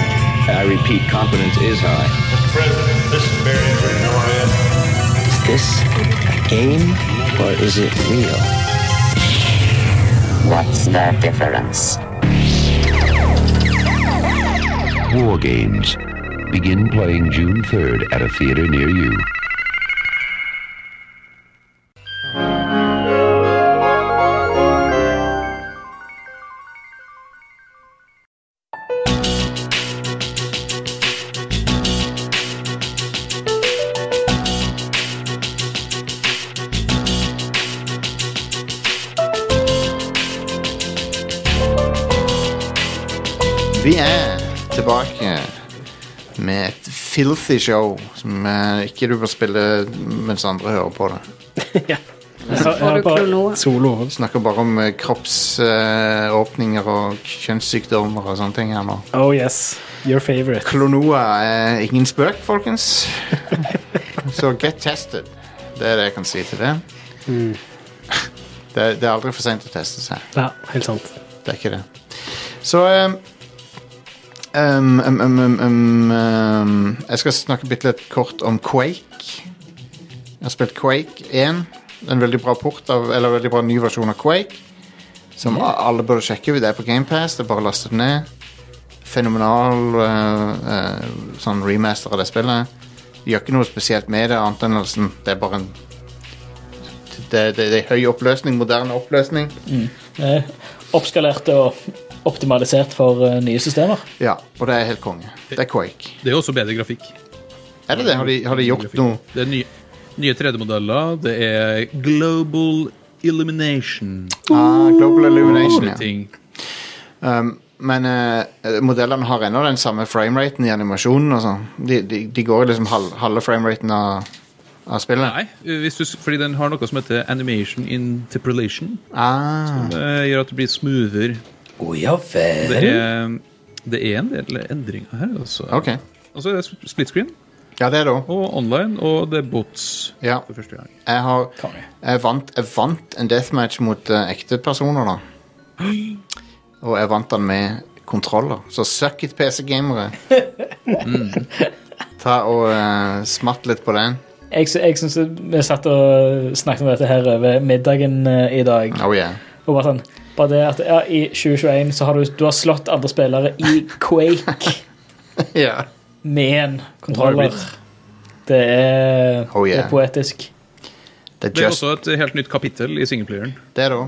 Speaker 14: I repeat, confidence is high.
Speaker 9: Mr. President, this is Barry Everett. How are
Speaker 13: Is
Speaker 9: you?
Speaker 13: this a game or is it real?
Speaker 8: What's the difference?
Speaker 11: War Games. Begin playing June 3rd at a theater near you.
Speaker 1: Vi er tilbake med et filthy show som eh, ikke du bør spille mens andre hører på det.
Speaker 4: Jeg hører på solo.
Speaker 1: Snakker bare om eh, kroppsåpninger og kjønnssykdommer og sånne ting her nå.
Speaker 4: Oh yes, your favorite.
Speaker 1: Klonoa er ingen spøk, folkens. Så get tested. Det er det jeg kan si til det.
Speaker 4: Mm.
Speaker 1: Det, det er aldri for seint å teste seg.
Speaker 4: Ja, helt sant.
Speaker 1: Det er ikke det. Så um, um, um, um, um, um, um, Jeg skal snakke bitte litt kort om Quake. Jeg har spilt Quake 1. En veldig bra port av, eller veldig bra ny versjon av Quake. Som a- alle burde sjekke ut. Det er på GamePass. Det er bare å laste det ned. Fenomenal eh, eh, sånn remaster av det spillet. De gjør ikke noe spesielt med det, annet enn liksom, det er bare en det, det, det er høy oppløsning, moderne oppløsning.
Speaker 2: Mm. Eh, Oppskalert og optimalisert for eh, nye systemer.
Speaker 1: Ja, og det er helt konge. Det er Quake.
Speaker 5: Det er også bedre grafikk.
Speaker 1: Er det det? Har de, har de gjort
Speaker 5: Grafikk.
Speaker 1: noe?
Speaker 5: Det er nye, nye 3D-modeller. Det er Global Illumination.
Speaker 1: Ah, Global Illumination,
Speaker 5: Sånne
Speaker 1: ja.
Speaker 5: ting.
Speaker 1: Um, men eh, modellene har ennå den samme frameraten i animasjonen. Og sånn. de, de, de går i liksom halv, halve frameraten av, av spillet.
Speaker 5: Nei, hvis du, s- fordi den har noe som heter animation interpolation.
Speaker 1: Ah.
Speaker 5: Som eh, gjør at det blir smoothere.
Speaker 1: Å, ja vel.
Speaker 5: Det er, det er en del endringer her, altså.
Speaker 1: Ok.
Speaker 5: Og så er det sp- split screen.
Speaker 1: Ja, det er det
Speaker 5: Og online, og det er bots
Speaker 1: Ja.
Speaker 5: for første gang.
Speaker 1: Jeg, har, jeg, vant, jeg vant en deathmatch mot eh, ekte personer, da. Og jeg vant den med kontroller. Så suck it, PC-gamere. Mm. Ta og eh, smatt litt på den.
Speaker 2: Jeg, sy- jeg syns vi satt og snakket om dette her over middagen eh, i dag.
Speaker 1: Oh yeah.
Speaker 2: Og bare sånn bare det at ja, I 2021 så har du, du har slått andre spillere i Quake
Speaker 1: Ja.
Speaker 2: med en
Speaker 5: Og har
Speaker 2: kontroller.
Speaker 5: blitt.
Speaker 2: Det er,
Speaker 1: Oh, yeah.
Speaker 2: det er poetisk.
Speaker 1: Det
Speaker 5: Det er også et helt nytt kapittel i singleplayeren.
Speaker 1: Det er det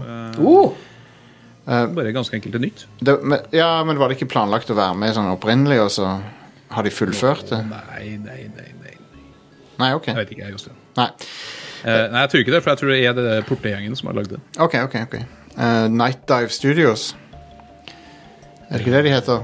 Speaker 2: Uh,
Speaker 5: bare ganske enkelt et nytt.
Speaker 1: Det, men, ja, men var det ikke planlagt å være med sånn opprinnelig, og så har de fullført det?
Speaker 5: Nei, nei, nei. nei.
Speaker 1: Nei, ok.
Speaker 5: Jeg vet ikke, jeg, Jostein.
Speaker 1: Nei.
Speaker 5: Eh, nei, jeg tror ikke det, for jeg tror det er det der portegjengen som har lagd det.
Speaker 1: Ok, ok, ok. Eh, Night Dive Studios. Er det ikke det de heter?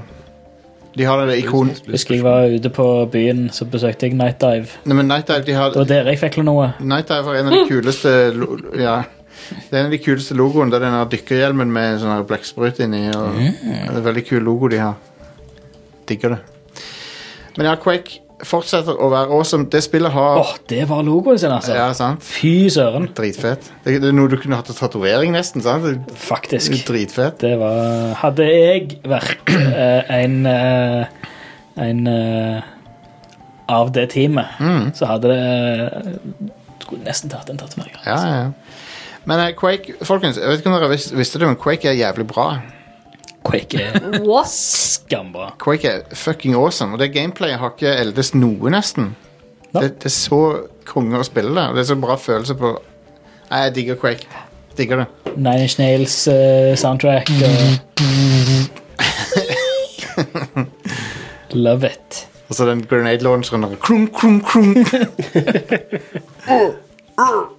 Speaker 1: De har det sånn ikon...
Speaker 2: Jeg husker jeg var ute på byen, så besøkte jeg Night Dive.
Speaker 1: Nei, men Night Dive, de har...
Speaker 2: Det var der jeg fikk noe.
Speaker 1: Night Dive er en av de kuleste... lo- Ja. Det er en av de kuleste logoene. Det er den her dykkerhjelmen med sånn her blekksprut inni. Og det er en veldig kul logo de har. Digger det. Men ja, Quake fortsetter å være awesome. Det spillet har...
Speaker 2: Åh, det var logoen sin, altså.
Speaker 1: Ja, sant?
Speaker 2: Fy søren.
Speaker 1: Dritfett. Det, det er noe du kunne hatt til tatovering, nesten. sant? Det-
Speaker 2: Faktisk.
Speaker 1: det er Dritfett.
Speaker 2: Det var Hadde jeg vært eh, en eh, En eh, av det teamet,
Speaker 1: Mm.
Speaker 2: så hadde det eh, Skulle nesten tatt en tatovering.
Speaker 1: Ja, ja, ja. Men eh, Quake, folkens, jeg vet ikke om dere vis- visste det, men Quake er jævlig bra.
Speaker 2: Quake er skambra.
Speaker 1: Quake er fucking awesome, og det gameplayet har ikke eldes noe, nesten. Det, det er så konge å spille det, og det er så bra følelse på Nei, jeg digger Quake. Digger det.
Speaker 2: Nine Inch Nails eh, soundtrack. Og... Love it.
Speaker 1: Og så den grenade launcheren der, krum, krum, krum.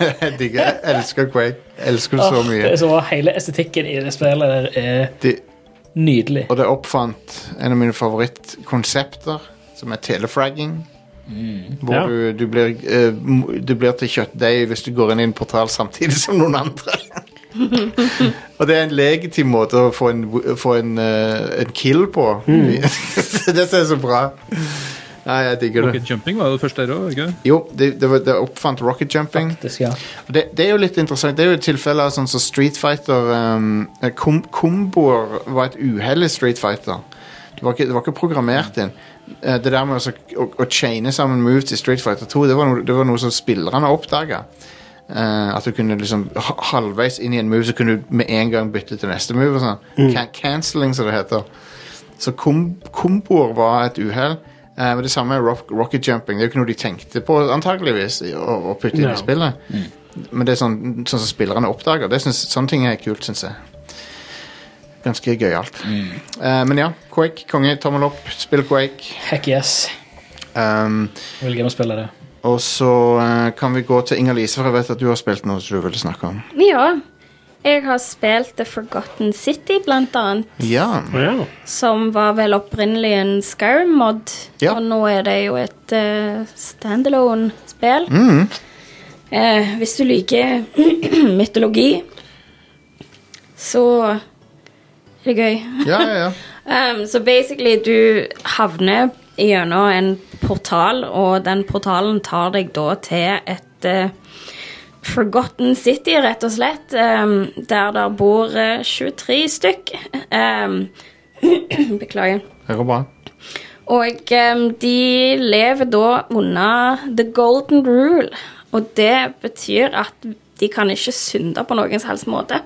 Speaker 1: jeg digger Jeg elsker Quake. Jeg elsker det så
Speaker 2: Åh, det
Speaker 1: mye.
Speaker 2: er så bra. Hele estetikken i det spillet der er
Speaker 1: De,
Speaker 2: Nydelig.
Speaker 1: Og det oppfant en av mine favorittkonsepter, som er telefragging. Hvor
Speaker 2: Ja.
Speaker 1: du, du, blir, eh, mo- du blir til kjøttdeig hvis du går inn i en portal samtidig som noen andre. Og det er en legitim måte å få en, få en, eh, en kill på.
Speaker 5: Mm.
Speaker 1: det som er så bra. Nei, jeg digger det.
Speaker 5: Rocket jumping var jo det første der òg, ikke sant?
Speaker 1: Jo, det, det, var, det oppfant rocket jumping. Og Det, det er jo litt interessant. Det er jo et tilfelle av sånn som Street Fighter um, kom, Komboer var et uhell i Street Fighter. Det var ikke, det var ikke programmert inn. Eh, Det der med å, så- å, å chaine sammen moves i Street Fighter 2, det var noe, det var noe som spillerne oppdaga. at du kunne liksom ha- halvveis inn i en move, så kunne du med en gang bytte til neste move. og sånn.
Speaker 15: Mm.
Speaker 1: Can canceling, som det heter. Så kom komboer var et uhell. Eh, men det samme er rock, rocket jumping. Det er jo ikke noe de tenkte på, antageligvis, i- å, å putte inn
Speaker 15: No.
Speaker 1: i spillet. Men det er sånn, sånn som spillerne oppdager. Det synes, sånne ting er kult, syns jeg. Ganske gøyalt. Eh, men ja, Quake. Konge, tommel opp. Spill Quake.
Speaker 2: Heck yes.
Speaker 1: Um,
Speaker 2: Vil gjerne spille det.
Speaker 1: og så eh, kan vi gå til Inger-Lise, for jeg vet at du har spilt noe som du ville snakke om.
Speaker 3: Ja. Jeg har spilt The Forgotten City, blant annet.
Speaker 1: Ja.
Speaker 3: Som var vel opprinnelig en Skyrim-mod.
Speaker 1: Ja.
Speaker 3: Og nå er det jo et eh, standalone-spill.
Speaker 1: Mm.
Speaker 3: Eh, hvis du liker mytologi, så er det gøy.
Speaker 1: Ja, ja, ja.
Speaker 3: Um, så basically, du havner gjennom en portal, og den portalen tar deg da til et eh, Forgotten City, rett og slett, um, der der bor eh, 23 stykk. Um, beklager.
Speaker 1: Det går bra.
Speaker 3: Og em, de lever da under the golden rule. Og det betyr at de kan ikke synde på noen som helst måte.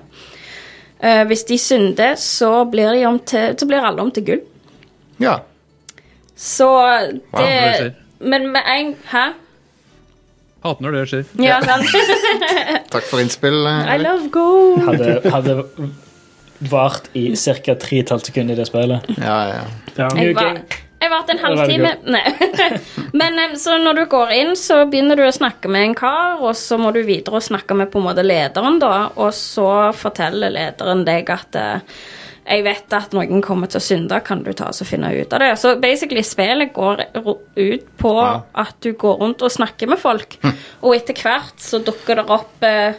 Speaker 3: Eh, hvis de synder, så blir, de om til, så blir alle om til gull.
Speaker 1: Ja.
Speaker 3: Så det
Speaker 5: Wow, det skjer.
Speaker 3: Men med en Hæ?
Speaker 5: Hater når det skjer.
Speaker 3: Ja, sant?
Speaker 1: Takk for innspill. eh,
Speaker 3: I love gold.
Speaker 2: Hadde, hadde vart i ca. 3,5 sekunder i det spillet.
Speaker 1: Ja, ja.
Speaker 2: New
Speaker 3: Jeg var,
Speaker 2: game.
Speaker 3: jeg vart en
Speaker 2: Det var veldig
Speaker 3: halvtime Nei. Men em, så når du går inn, så begynner du å snakke med en kar, og så må du videre og snakke med på en måte lederen, da, og så forteller lederen deg at eh, jeg vet at noen kommer til å synde, kan du ta oss og finne ut av det? Så basically spillet går ro- ut på at du går rundt og snakker med folk, og etter hvert så dukker det opp eh,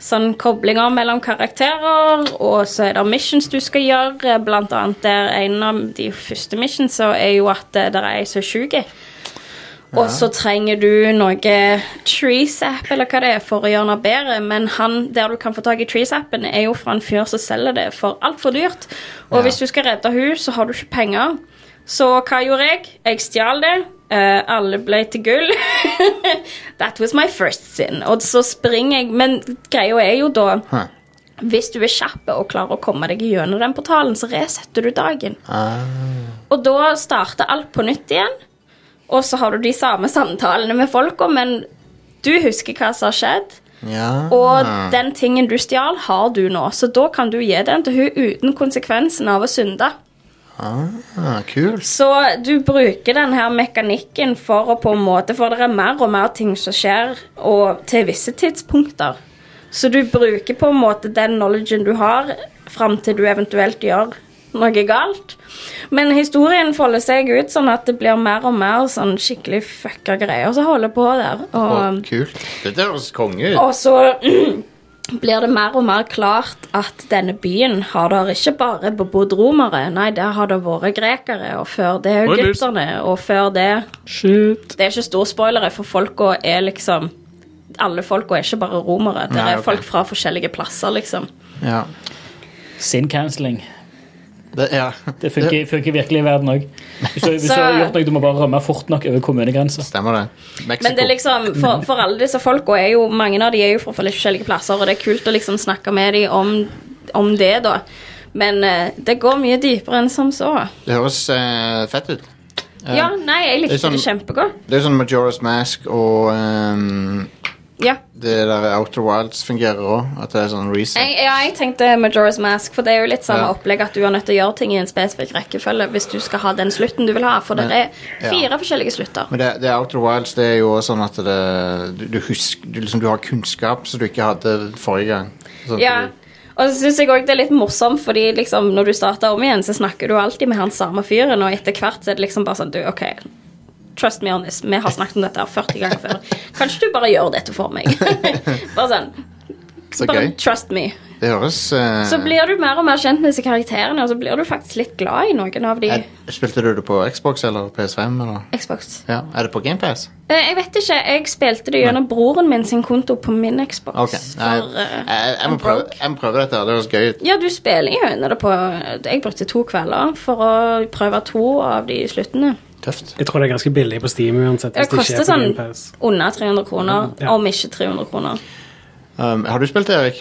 Speaker 3: sånn koblinger mellom karakterer, og så er det missions du skal gjøre, blant annet der en av de første missionsa er jo at det er ei som er sjuk. Og så trenger du noe treesap eller hva det er for å gjøre noe bedre, men han der du kan få tak i treesapen, er jo fra en fyr som selger det for altfor dyrt. Og hvis du skal redde hun, så har du ikke penger. Så hva gjorde jeg? Jeg stjal det. Eh, alle ble til gull. That was my first sin. Og så springer jeg, men greia er jo da
Speaker 1: Hæ.
Speaker 3: Hvis du er kjapp og klarer å komme deg gjennom den portalen, så resetter du dagen.
Speaker 1: Eh,
Speaker 3: Og da starter alt på nytt igjen. Og så har du de samme samtalene med folka, men du husker hva som har skjedd.
Speaker 1: ja. Ah,
Speaker 3: Og den tingen du stjal, har du nå, så da kan du gi den til hun uten konsekvensen av å synde.
Speaker 1: ah, Kult.
Speaker 3: Så du bruker den her mekanikken for å på en måte For det er mer og mer ting som skjer og til visse tidspunkter. Så du bruker på en måte den knowledgen du har, fram til du eventuelt gjør noe galt. Men historien folder seg ut sånn at det blir mer og mer sånn skikkelig fucka greier som holder på der. Og, um,
Speaker 1: Å, kult. Dette høres konge
Speaker 3: og
Speaker 1: ut.
Speaker 3: så blir det mer og mer klart at denne byen har der ikke bare bebodd romere, nei, der har det vært grekere, og før det
Speaker 2: Spoilers.
Speaker 3: egypterne, og før det
Speaker 2: Shit.
Speaker 3: Det er ikke store spoilere, for folka er liksom Alle folka er ikke bare romere. Det
Speaker 2: Nei,
Speaker 3: er
Speaker 2: ok.
Speaker 3: folk fra forskjellige plasser, liksom.
Speaker 1: Ja.
Speaker 2: Sin cancelling.
Speaker 1: Det,
Speaker 2: funker, funker virkelig i verden òg. Hvis, du- hvis du
Speaker 3: Så-
Speaker 2: har gjort noe, du må bare rømme fort nok over kommunegrenser.
Speaker 1: Stemmer det.
Speaker 3: Men det er liksom, for, for alle disse folka er jo Mange av de er jo fra forskjellige plasser, og det er kult å liksom snakke med dem om, om det, da. Men eh, det går mye dypere enn som så.
Speaker 1: Det høres eh, fett ut. Eh,
Speaker 3: Ja, nei, jeg
Speaker 1: det er
Speaker 3: likte
Speaker 1: sånn-
Speaker 3: det kjempegodt.
Speaker 1: Det er sånn Majora's Mask og ehm,
Speaker 3: Ja.
Speaker 1: det der Outer Wilds fungerer òg. At det er sånn reset.
Speaker 3: Jeg, ja, jeg tenkte Majora's Mask, for det er jo litt
Speaker 1: Ja.
Speaker 3: samme opplegg at du er nødt til å gjøre ting i en spesifikk rekkefølge hvis du skal ha den slutten du vil ha, for det
Speaker 1: Men-
Speaker 3: er
Speaker 1: ja.
Speaker 3: fire forskjellige slutter.
Speaker 1: Men det, det Outer Wilds det er jo også sånn at det, du, du, husker, du, liksom, du har kunnskap som du ikke hadde forrige gang. Sånn at
Speaker 3: Ja.
Speaker 1: du-
Speaker 3: Og så syns jeg òg det er litt morsomt, fordi liksom, når du starter om igjen, så snakker du alltid med han samme fyren, og etter hvert så er det liksom bare sånn du, OK, trust me on this, vi har snakket om dette her 40 ganger før. Kanskje du bare gjør dette for meg? bare sånn.
Speaker 1: Så
Speaker 3: bare
Speaker 1: gøy.
Speaker 3: trust me.
Speaker 1: Det høres eh,
Speaker 3: Så blir du mer og mer kjent med disse karakterene, og så blir du faktisk litt glad i noen av de.
Speaker 1: Spilte du det på Xbox eller PS5? Eller?
Speaker 3: Xbox.
Speaker 1: Ja. Er det på GamePass?
Speaker 3: Eh, Jeg vet ikke, jeg spilte det gjennom broren min sin konto på min Xbox.
Speaker 1: Ok. Nei,
Speaker 3: For, eh,
Speaker 1: jeg, jeg, må prøve, jeg må prøve dette. Det høres gøy ut.
Speaker 3: Ja, du spiller jo under det på eh, Jeg brukte to kvelder for å prøve to av de sluttene.
Speaker 1: Tøft.
Speaker 4: Jeg tror det er ganske billig på Steam uansett.
Speaker 3: Det
Speaker 4: hvis det
Speaker 3: koster
Speaker 4: ikke er
Speaker 3: sånn
Speaker 4: på Game Pass.
Speaker 3: under 300 kroner,
Speaker 4: Ja.
Speaker 3: om ikke 300 kroner.
Speaker 1: Um, har du spilt det, Erik?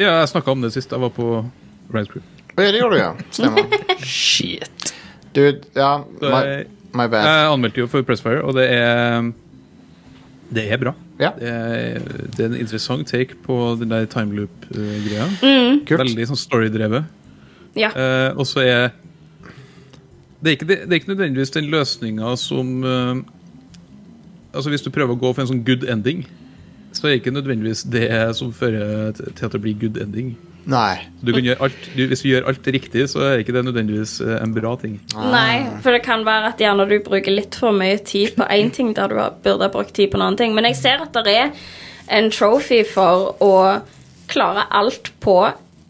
Speaker 5: Ja, jeg snakka om det sist jeg var på Ride Crew.
Speaker 1: Å, Ja, det gjorde du, ja. Stemmer.
Speaker 2: Shit.
Speaker 1: Dude, ja
Speaker 5: Så
Speaker 1: my,
Speaker 5: jeg- Eh,
Speaker 1: my bad.
Speaker 5: Jeg anmeldte jo for Pressfire, og det er Det er bra. Det, er, det er en interessant take på den der timeloop-greia.
Speaker 3: Mm.
Speaker 5: Veldig sånn storydrevet.
Speaker 3: Ja.
Speaker 5: Eh, og så er det er, ikke, det, det er ikke nødvendigvis den løsninga som eh, Altså Hvis du prøver å gå for en sånn good ending, så er det ikke nødvendigvis det som fører til til at det blir good ending.
Speaker 1: Nei.
Speaker 5: Du
Speaker 3: Mm.
Speaker 5: kan gjøre alt, du, hvis du gjør alt riktig, så er ikke det nødvendigvis eh, en bra ting.
Speaker 3: Nei, for det kan være at gjerne du bruker litt for mye tid på én ting der du har- burde ha brukt tid på en annen ting. Men jeg ser at det er en trophy for å klare alt på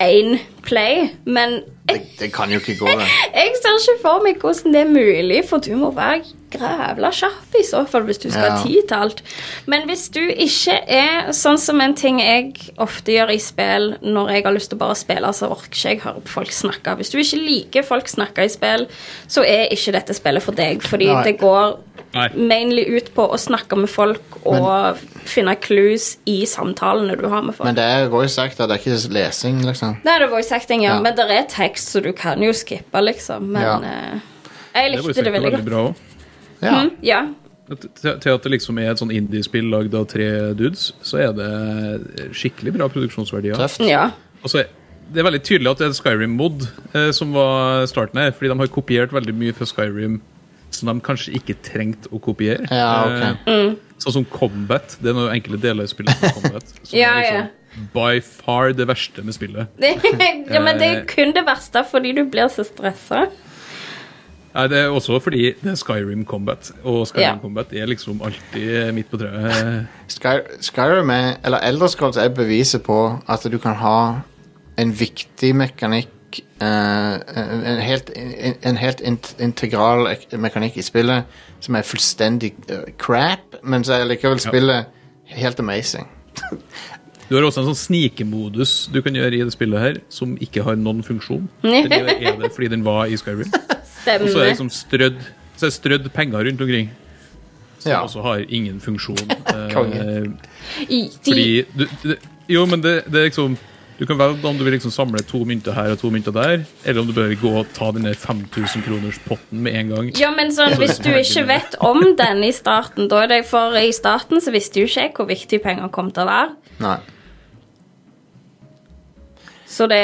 Speaker 3: én play, men
Speaker 1: Det, det kan jo ikke gå, det.
Speaker 3: jeg ser ikke for meg hvordan det er mulig, for du må være grævla kjapp i så fall hvis du skal ha
Speaker 1: Ja.
Speaker 3: tid til alt. Men hvis du ikke er sånn som en ting jeg ofte gjør i spill når jeg har lyst til å bare spille, så orker ikke jeg høre på folk snakke. Hvis du ikke liker folk snakke i spill, så er ikke dette spillet for deg, fordi
Speaker 1: Nei.
Speaker 3: det går
Speaker 5: Nei.
Speaker 3: mainly ut på å snakke med folk og finne clues i samtalene du har med folk.
Speaker 1: Men det er voice actor, det er ikke lesing, liksom.
Speaker 3: Nei, det var jo sagt en
Speaker 1: Ja.
Speaker 3: gang, men det er tekst, så du kan jo skippe, liksom. Men
Speaker 5: Ja.
Speaker 3: eh, jeg
Speaker 5: var jo
Speaker 3: likte det,
Speaker 5: sikkert
Speaker 3: veldig godt.
Speaker 5: bra også.
Speaker 1: Ja.
Speaker 3: Mm, ja.
Speaker 5: Til til at det liksom er et sånn indiespill lagd av tre dudes, så er det skikkelig bra produksjonsverdier.
Speaker 3: Ja.
Speaker 5: Og så er det er veldig tydelig at det er en Skyrim-mod eh, som var starten her, fordi de har kopiert veldig mye fra Skyrim som de kanskje ikke trengte å kopiere.
Speaker 1: Ja, ok.
Speaker 5: Eh, Sånn som Combat. Det er noen enkle deler i spillet som Combat. Som
Speaker 3: Ja,
Speaker 5: er
Speaker 3: ja.
Speaker 5: liksom by far det verste med spillet.
Speaker 3: ja, men det er kun det verste fordi du blir så stressa.
Speaker 5: Nei, Det er også fordi det er Skyrim Combat, og Skyrim
Speaker 3: Ja.
Speaker 5: Combat er liksom alltid midt på treet.
Speaker 1: Sky, Skyrim er, eller Elder Scrolls er beviset på at du kan ha en viktig mekanikk eh, en, en helt, en, en helt int- integral ek- mekanikk i spillet som er fullstendig eh, crap, men så er likevel spillet helt amazing.
Speaker 5: Du har også en sånn snikemodus du kan gjøre i det spillet her, som ikke har noen funksjon. Den er er det fordi den var i Skyrim. Og så er det liksom strødd, så er det strødd penger rundt omkring. Som
Speaker 1: Ja.
Speaker 5: også har ingen funksjon. Eh,
Speaker 1: Konge.
Speaker 3: I- de-
Speaker 5: fordi du, det, Jo, men det, det er liksom Du kan velge om du vil liksom samle to mynter her og to mynter der, eller om du bør gå og ta den der 5000 kroners potten med en gang.
Speaker 3: Ja, men sånn,
Speaker 5: Så
Speaker 3: Hvis
Speaker 5: liksom
Speaker 3: du
Speaker 5: hele
Speaker 3: ikke
Speaker 5: tiden-
Speaker 3: vet om den i starten da er det For i starten så visste jo ikke jeg hvor viktig penger kom til å være.
Speaker 1: Nei.
Speaker 3: Så det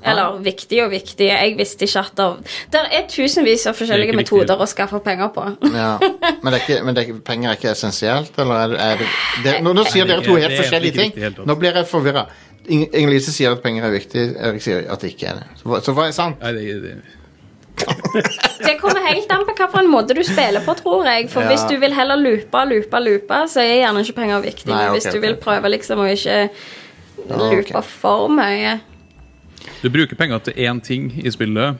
Speaker 3: Eller viktig og viktig Jeg visste ikke at det Der er tusenvis av forskjellige
Speaker 1: Det er ikke viktig.
Speaker 3: metoder å skaffe penger på.
Speaker 1: Ja. Men, det er ikke, men det er, ikke- penger er ikke essensielt, eller er, det- er det, det nå, nå
Speaker 5: Nei,
Speaker 1: sier
Speaker 5: det er
Speaker 1: dere
Speaker 5: ikke-
Speaker 1: to
Speaker 5: det
Speaker 1: helt
Speaker 5: er egentlig
Speaker 1: forskjellige
Speaker 5: ikke viktig i
Speaker 1: ting.
Speaker 5: det hele tatt.
Speaker 1: Nå blir jeg forvirra. Inger-Lise sier at penger er viktig, Erik sier at det ikke er det. Så, hva- så hva er sant?
Speaker 5: Nei, det, det,
Speaker 3: Det kommer helt an på hvilken måte du spiller på, tror jeg. For
Speaker 1: Ja.
Speaker 3: hvis du vil heller loope, loope, loope, så er gjerne ikke penger viktig.
Speaker 1: Nei,
Speaker 3: men
Speaker 1: ok,
Speaker 3: hvis du
Speaker 1: ok,
Speaker 3: vil
Speaker 1: ok.
Speaker 3: prøve liksom å ikke
Speaker 5: Ja,
Speaker 3: loope for mye
Speaker 5: Du bruker penger til én ting i spillet.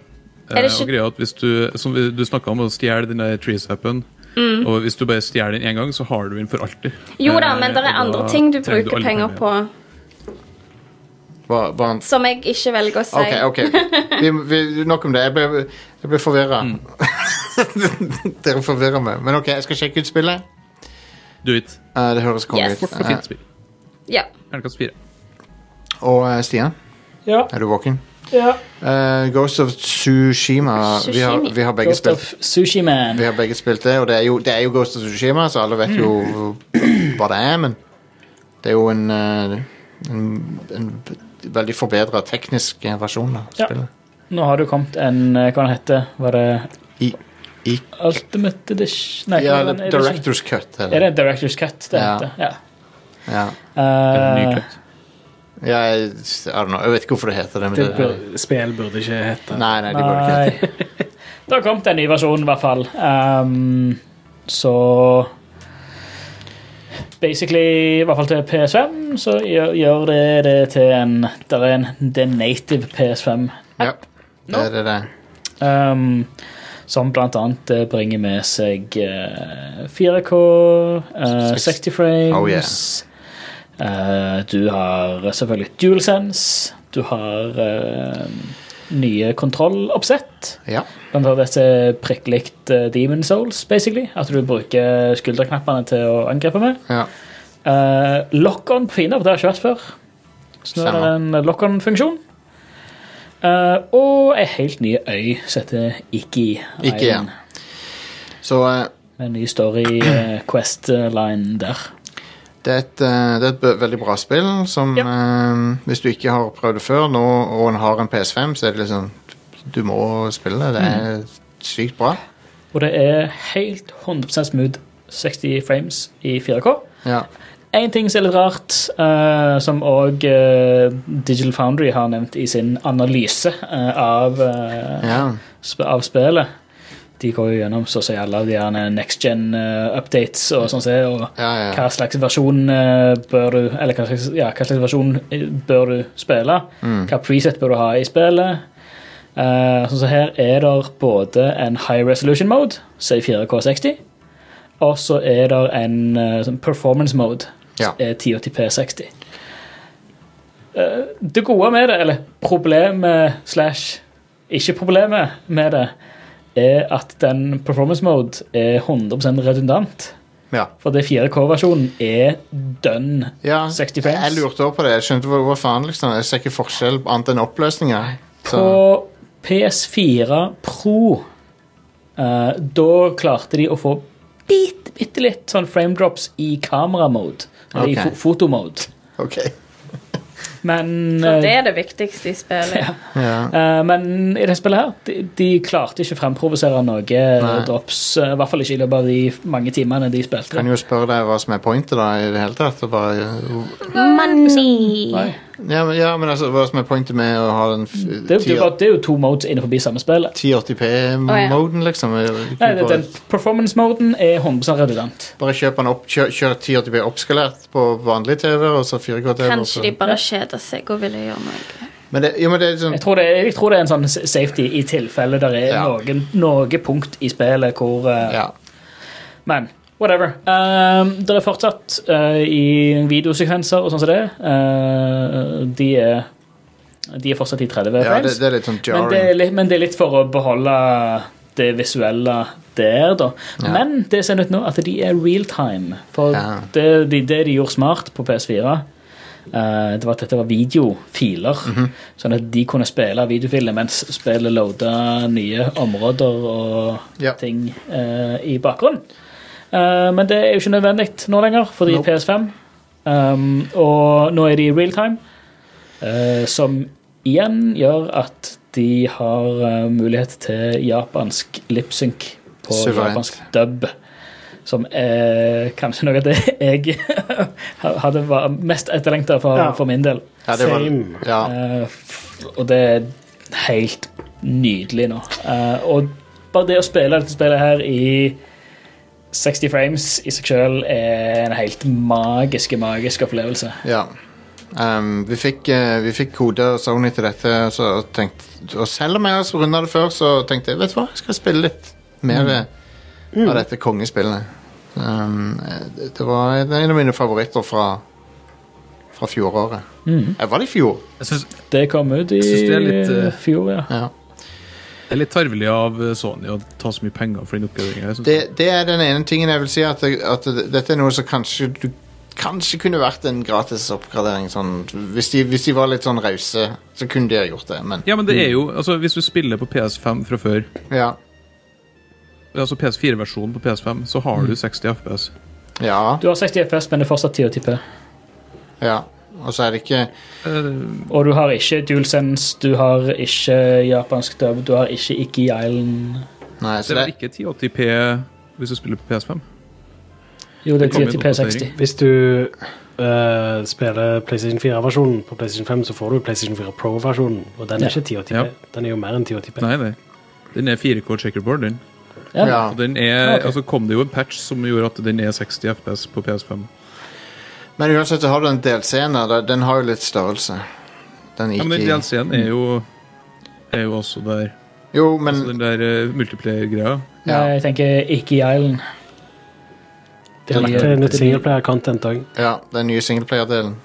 Speaker 3: Er det
Speaker 5: eh,
Speaker 3: ikke-
Speaker 5: Og greia at hvis Du, som vi- du snakka om å stjele den der treesappen.
Speaker 3: Mm.
Speaker 5: Og hvis du bare stjeler den én gang, så har du den for alltid.
Speaker 3: Jo da,
Speaker 5: Eh,
Speaker 3: men det
Speaker 5: og
Speaker 3: er
Speaker 5: da
Speaker 3: andre ting du
Speaker 5: trenger
Speaker 3: bruker
Speaker 5: alle
Speaker 3: penger på
Speaker 1: Hva, hva han
Speaker 3: som jeg ikke velger å si.
Speaker 1: Ok, ok. Vi, vi, nok om det. Jeg ble, jeg ble forvirra. Dere forvirrer meg. Men ok, jeg skal sjekke ut spillet.
Speaker 5: Do it.
Speaker 1: Eh, det høres konge
Speaker 3: Yes.
Speaker 1: ut.
Speaker 5: Kort og fint spill.
Speaker 3: Ja.
Speaker 5: Terningkast fire.
Speaker 1: Eh, og eh, Stian,
Speaker 2: Ja.
Speaker 1: er du våken?
Speaker 2: Ja.
Speaker 1: Eh, Ghost of Tsushima. Vi har, vi har begge
Speaker 2: Ghost
Speaker 1: spilt
Speaker 2: of Sushi Man.
Speaker 1: Vi har begge spilt det, og det er jo, det er jo Ghost of Tsushima, så alle vet jo
Speaker 2: Mm.
Speaker 1: hva det er, men det er jo en, eh, en, en veldig forbedra teknisk versjon av
Speaker 2: Ja.
Speaker 1: spillet.
Speaker 2: Nå har det jo kommet en eh, Hva den heter Var det Ultimate Edition? Nei,
Speaker 1: ja,
Speaker 2: hva var
Speaker 1: det,
Speaker 2: den?
Speaker 1: Directors Cut.
Speaker 2: Er det Director's Cut det
Speaker 1: Ja.
Speaker 2: Eh, heter? Ja.
Speaker 1: Ja.
Speaker 2: Eh,
Speaker 1: Ja, jeg, I don't know. jeg vet ikke hvorfor det heter det. Men
Speaker 4: Det
Speaker 1: det,
Speaker 4: bur spill burde ikke hete
Speaker 1: Nei, nei, det burde ikke hete
Speaker 2: Det har kommet en ny versjon, i hvert fall. Ehm, så Basically, i hvert fall til PS5, så gjør, gjør det det til en Det er en det er en native PS5
Speaker 1: Ja, det er det. det.
Speaker 2: Ehm, som blant annet eh, bringer med seg eh, 4K, eh, 60 frames
Speaker 1: Oh, yeah.
Speaker 2: Eh, Du har selvfølgelig DualSense. Du har eh, nye kontrolloppsett.
Speaker 1: Ja.
Speaker 2: Blant annet dette prikklikt eh, Demon Souls, basically. At du bruker skulderknappene til å angripe med.
Speaker 1: Ja.
Speaker 2: Eh, Lock-on på Fina, for det har jeg ikke vært før. Så nå er det en lock-on-funksjon. Eh, og ei helt ny øy som heter Iki.
Speaker 1: Ikke igjen. Så eh,
Speaker 2: Med en ny story eh, quest-line der.
Speaker 1: Det er et, eh, det er et bø- veldig bra spill som eh, Hvis du ikke har prøvd det før nå, og en har en PS5, så er det liksom Du må spille det. Det er
Speaker 2: Mm.
Speaker 1: sykt bra.
Speaker 2: Og det er helt 100 smooth 60 frames i 4K.
Speaker 1: Ja.
Speaker 2: Én ting som er litt rart, eh, som òg Digital Foundry har nevnt i sin analyse eh, av, eh,
Speaker 1: Ja.
Speaker 2: sp av spillet De går jo gjennom så å si alle de her next gen-updates og sånn se, og
Speaker 1: ja.
Speaker 2: hva slags versjon eh, bør du Eller hva slags, ja, hva slags versjon eh, bør du spille?
Speaker 1: Mm.
Speaker 2: Hva preset bør du ha i spillet? Eh, sånn som her er det både en high resolution mode, som er 4K60, og så er det en eh, sånn performance mode,
Speaker 1: Ja.
Speaker 2: som er 1080P60. Eh, det gode med det, eller problemet slash ikke problemet med det, er at den performance mode er 100 redundant.
Speaker 1: Ja.
Speaker 2: For det 4K-versjonen er dønn.
Speaker 1: Ja,
Speaker 2: 60 frames.
Speaker 1: jeg lurte også på det. Jeg skjønte hva, hva faen, liksom. Jeg ser ikke forskjell annet enn oppløsninga.
Speaker 2: På PS4 Pro eh, Da klarte de å få bitte, bitte litt sånn frame drops i kameramode. Eller
Speaker 1: Ok.
Speaker 2: i fo fotomode. Men
Speaker 3: For
Speaker 2: eh,
Speaker 3: det er det viktigste i spillet.
Speaker 2: Eh, men i det spillet her, de, de klarte ikke å fremprovosere noe
Speaker 1: Nei.
Speaker 2: drops. eh, I hvert fall ikke i løpet av de mange timene de spilte.
Speaker 1: Kan jo spørre deg hva som er pointet, da, i det hele tatt. Og bare,
Speaker 3: Money.
Speaker 1: ja, men, ja, men altså, hva som er pointet med å ha den f-
Speaker 2: Det, er jo- det, er jo bare- det er jo to modes innenfor samme spillet.
Speaker 1: 1080p-moden, liksom? Jeg-
Speaker 2: Nei, det-
Speaker 1: bare-
Speaker 2: den performance-moden er 100 redundant.
Speaker 1: Bare kjøp den opp, kjør, kjør 1080p oppskalert på vanlig TV, og så 4K-TV.
Speaker 3: Kanskje de bare kjeder seg og ville gjøre noe.
Speaker 1: Men det, jo, men det er sånn
Speaker 2: Jeg tror det, er- jeg tror det er en sånn s- safety i tilfelle det er noen, noe punkt i spillet hvor eh, Men whatever. Um, det er fortsatt eh, i videosekvenser og sånn som det. eh, de, er, de er fortsatt i 30
Speaker 1: Ja,
Speaker 2: frames.
Speaker 1: det, det er litt sånn
Speaker 2: Men det,
Speaker 1: jarring.
Speaker 2: er litt, men det er litt for å beholde det visuelle der, da.
Speaker 1: Ja.
Speaker 2: Men det ser ut nå at de er real time. For
Speaker 1: Ja.
Speaker 2: det, de, det de gjorde smart på PS4, eh, det var at dette var videofiler.
Speaker 1: Mhm.
Speaker 2: Sånn at de kunne spille videofiler mens spillet loada nye områder og ting eh, i bakgrunnen. Eh, men det er jo ikke nødvendig nå lenger, fordi
Speaker 1: Nope.
Speaker 2: PS5. Um, og nå er de i real time. Eh, som igjen gjør at de har eh, mulighet til japansk lipsync på
Speaker 1: Suverent.
Speaker 2: japansk dub. Som er kanskje noe av det jeg hadde var mest etterlengta for,
Speaker 4: Ja.
Speaker 2: for min del.
Speaker 1: Ja, det var- Same.
Speaker 2: Eh, f- og det er helt nydelig nå. Eh, og bare det å spille dette spillet her i 60 frames i seg sjøl er en helt magisk, magisk opplevelse.
Speaker 1: Ja. Ehm, vi fikk, eh, vi fikk kode av Sony til dette, så tenkte, og selv om jeg har runda det før, så tenkte jeg vet du hva, jeg skal spille litt mer eh, av dette kongespillet. Ehm, eh, det det var en en av mine favoritter fra, fra fjoråret.
Speaker 2: Mhm.
Speaker 1: Eh, Var det i fjor?
Speaker 2: Det kom ut i
Speaker 5: Jeg synes det er litt, eh,
Speaker 2: fjor, ja.
Speaker 5: Det er litt tarvelig av eh, Sony å ta så mye penger for den oppgraderinga.
Speaker 1: Det, det er den ene tingen jeg vil si, at, at dette er noe som kanskje du Kanskje kunne vært en gratis oppgradering. Sånn, hvis, de, hvis de var litt sånn rause, så kunne de ha gjort det, men
Speaker 5: Ja, men det er jo altså, Hvis du spiller på PS5 fra før,
Speaker 1: Ja.
Speaker 5: altså PS4-versjonen på PS5, så har du 60 FPS.
Speaker 1: Ja.
Speaker 2: Du har 60 FPS, men det er fortsatt 1080p.
Speaker 1: ja. Og så er det ikke
Speaker 2: Og du har ikke DualSense, du har ikke japansk dub, du har ikke Iggy Island.
Speaker 1: Nei,
Speaker 5: det er vel ikke 1080p hvis du spiller på PS5?
Speaker 2: Jo, det er til P60.
Speaker 4: Hvis du eh, spiller PlayStation 4-versjonen på PlayStation 5, så får du PlayStation 4 Pro-versjonen, og den
Speaker 5: Ja.
Speaker 4: er ikke 1080p.
Speaker 5: Ja.
Speaker 4: Den er jo mer enn 1080p.
Speaker 5: Nei, nei. Den er 4K checkerboard, den.
Speaker 4: Ja. Ja.
Speaker 5: Og Den er,
Speaker 4: Ah, ok.
Speaker 5: altså kom det jo en patch som gjorde at den er 60 FPS på PS5.
Speaker 1: Men uansett så har du den DLC-en der. den- Den har jo litt størrelse. Den
Speaker 5: Ja, men den
Speaker 1: ikke-
Speaker 5: DLC-en er jo, er jo også der.
Speaker 1: Jo, men
Speaker 5: altså, Den der eh, multiplayer-greia.
Speaker 2: Nei, jeg tenker ikke i Island.
Speaker 4: Det er
Speaker 1: Eller-
Speaker 4: lagt til nytt singleplayer-content òg.
Speaker 1: Ja, den nye singleplayer-delen.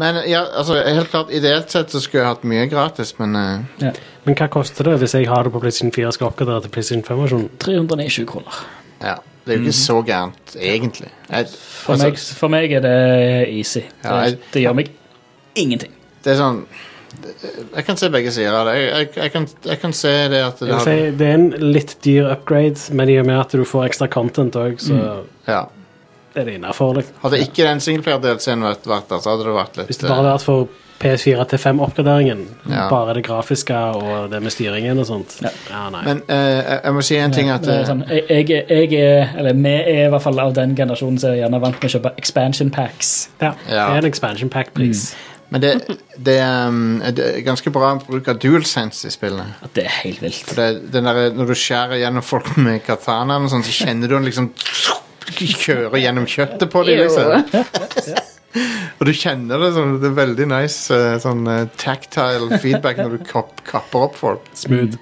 Speaker 1: Men ja, altså, helt klart, ideelt sett så skulle jeg hatt mye gratis, men eh,
Speaker 4: Men hva koster det hvis jeg har det på PlayStation 4 og skal oppgradere til PlayStation 5-versjonen?
Speaker 2: 390 kroner.
Speaker 1: ja, det er jo ikke så gærent, egentlig. Jeg, altså,
Speaker 2: For, meg, for meg er det easy.
Speaker 1: Ja, jeg-
Speaker 2: det, det gjør meg ingenting.
Speaker 1: det er sånn Jeg kan se begge sider av det. Jeg, jeg, jeg, kan, jeg kan se det at det
Speaker 4: Jeg vil si,
Speaker 1: har
Speaker 4: det er en litt dyr upgrade, men i og med at du får ekstra content òg, så
Speaker 1: Mm. Ja.
Speaker 4: er det innafor. liksom.
Speaker 1: Hadde ikke den singleplayer-delen vært vært der, så hadde det vært litt eh,
Speaker 4: Hvis det bare hadde vært for PS4 til 5-oppgraderingen,
Speaker 1: Ja.
Speaker 4: bare det grafiske og det med styringen og sånt Ja, nei.
Speaker 1: Men eh, jeg, jeg må si en ting at
Speaker 2: Det er
Speaker 1: eh,
Speaker 2: sånn, jeg, jeg, er- jeg er, eller vi er i hvert fall av den generasjonen som er gjerne vant med å kjøpe expansion packs.
Speaker 1: Ja.
Speaker 4: Det er en expansion pack-pris.
Speaker 1: Men det, det, um, det er ganske bra bruk av DualSense i spillene.
Speaker 2: Det er helt vilt.
Speaker 1: For det, den der, når du skjærer gjennom folk med katanaen, og sånn, så kjenner du den liksom kjøre gjennom kjøttet på dem.
Speaker 2: Jo.
Speaker 1: Liksom. og du kjenner det sånn. Det er veldig nice eh, sånn eh, tactile feedback når du kapp, kapper opp folk.
Speaker 4: Smooth.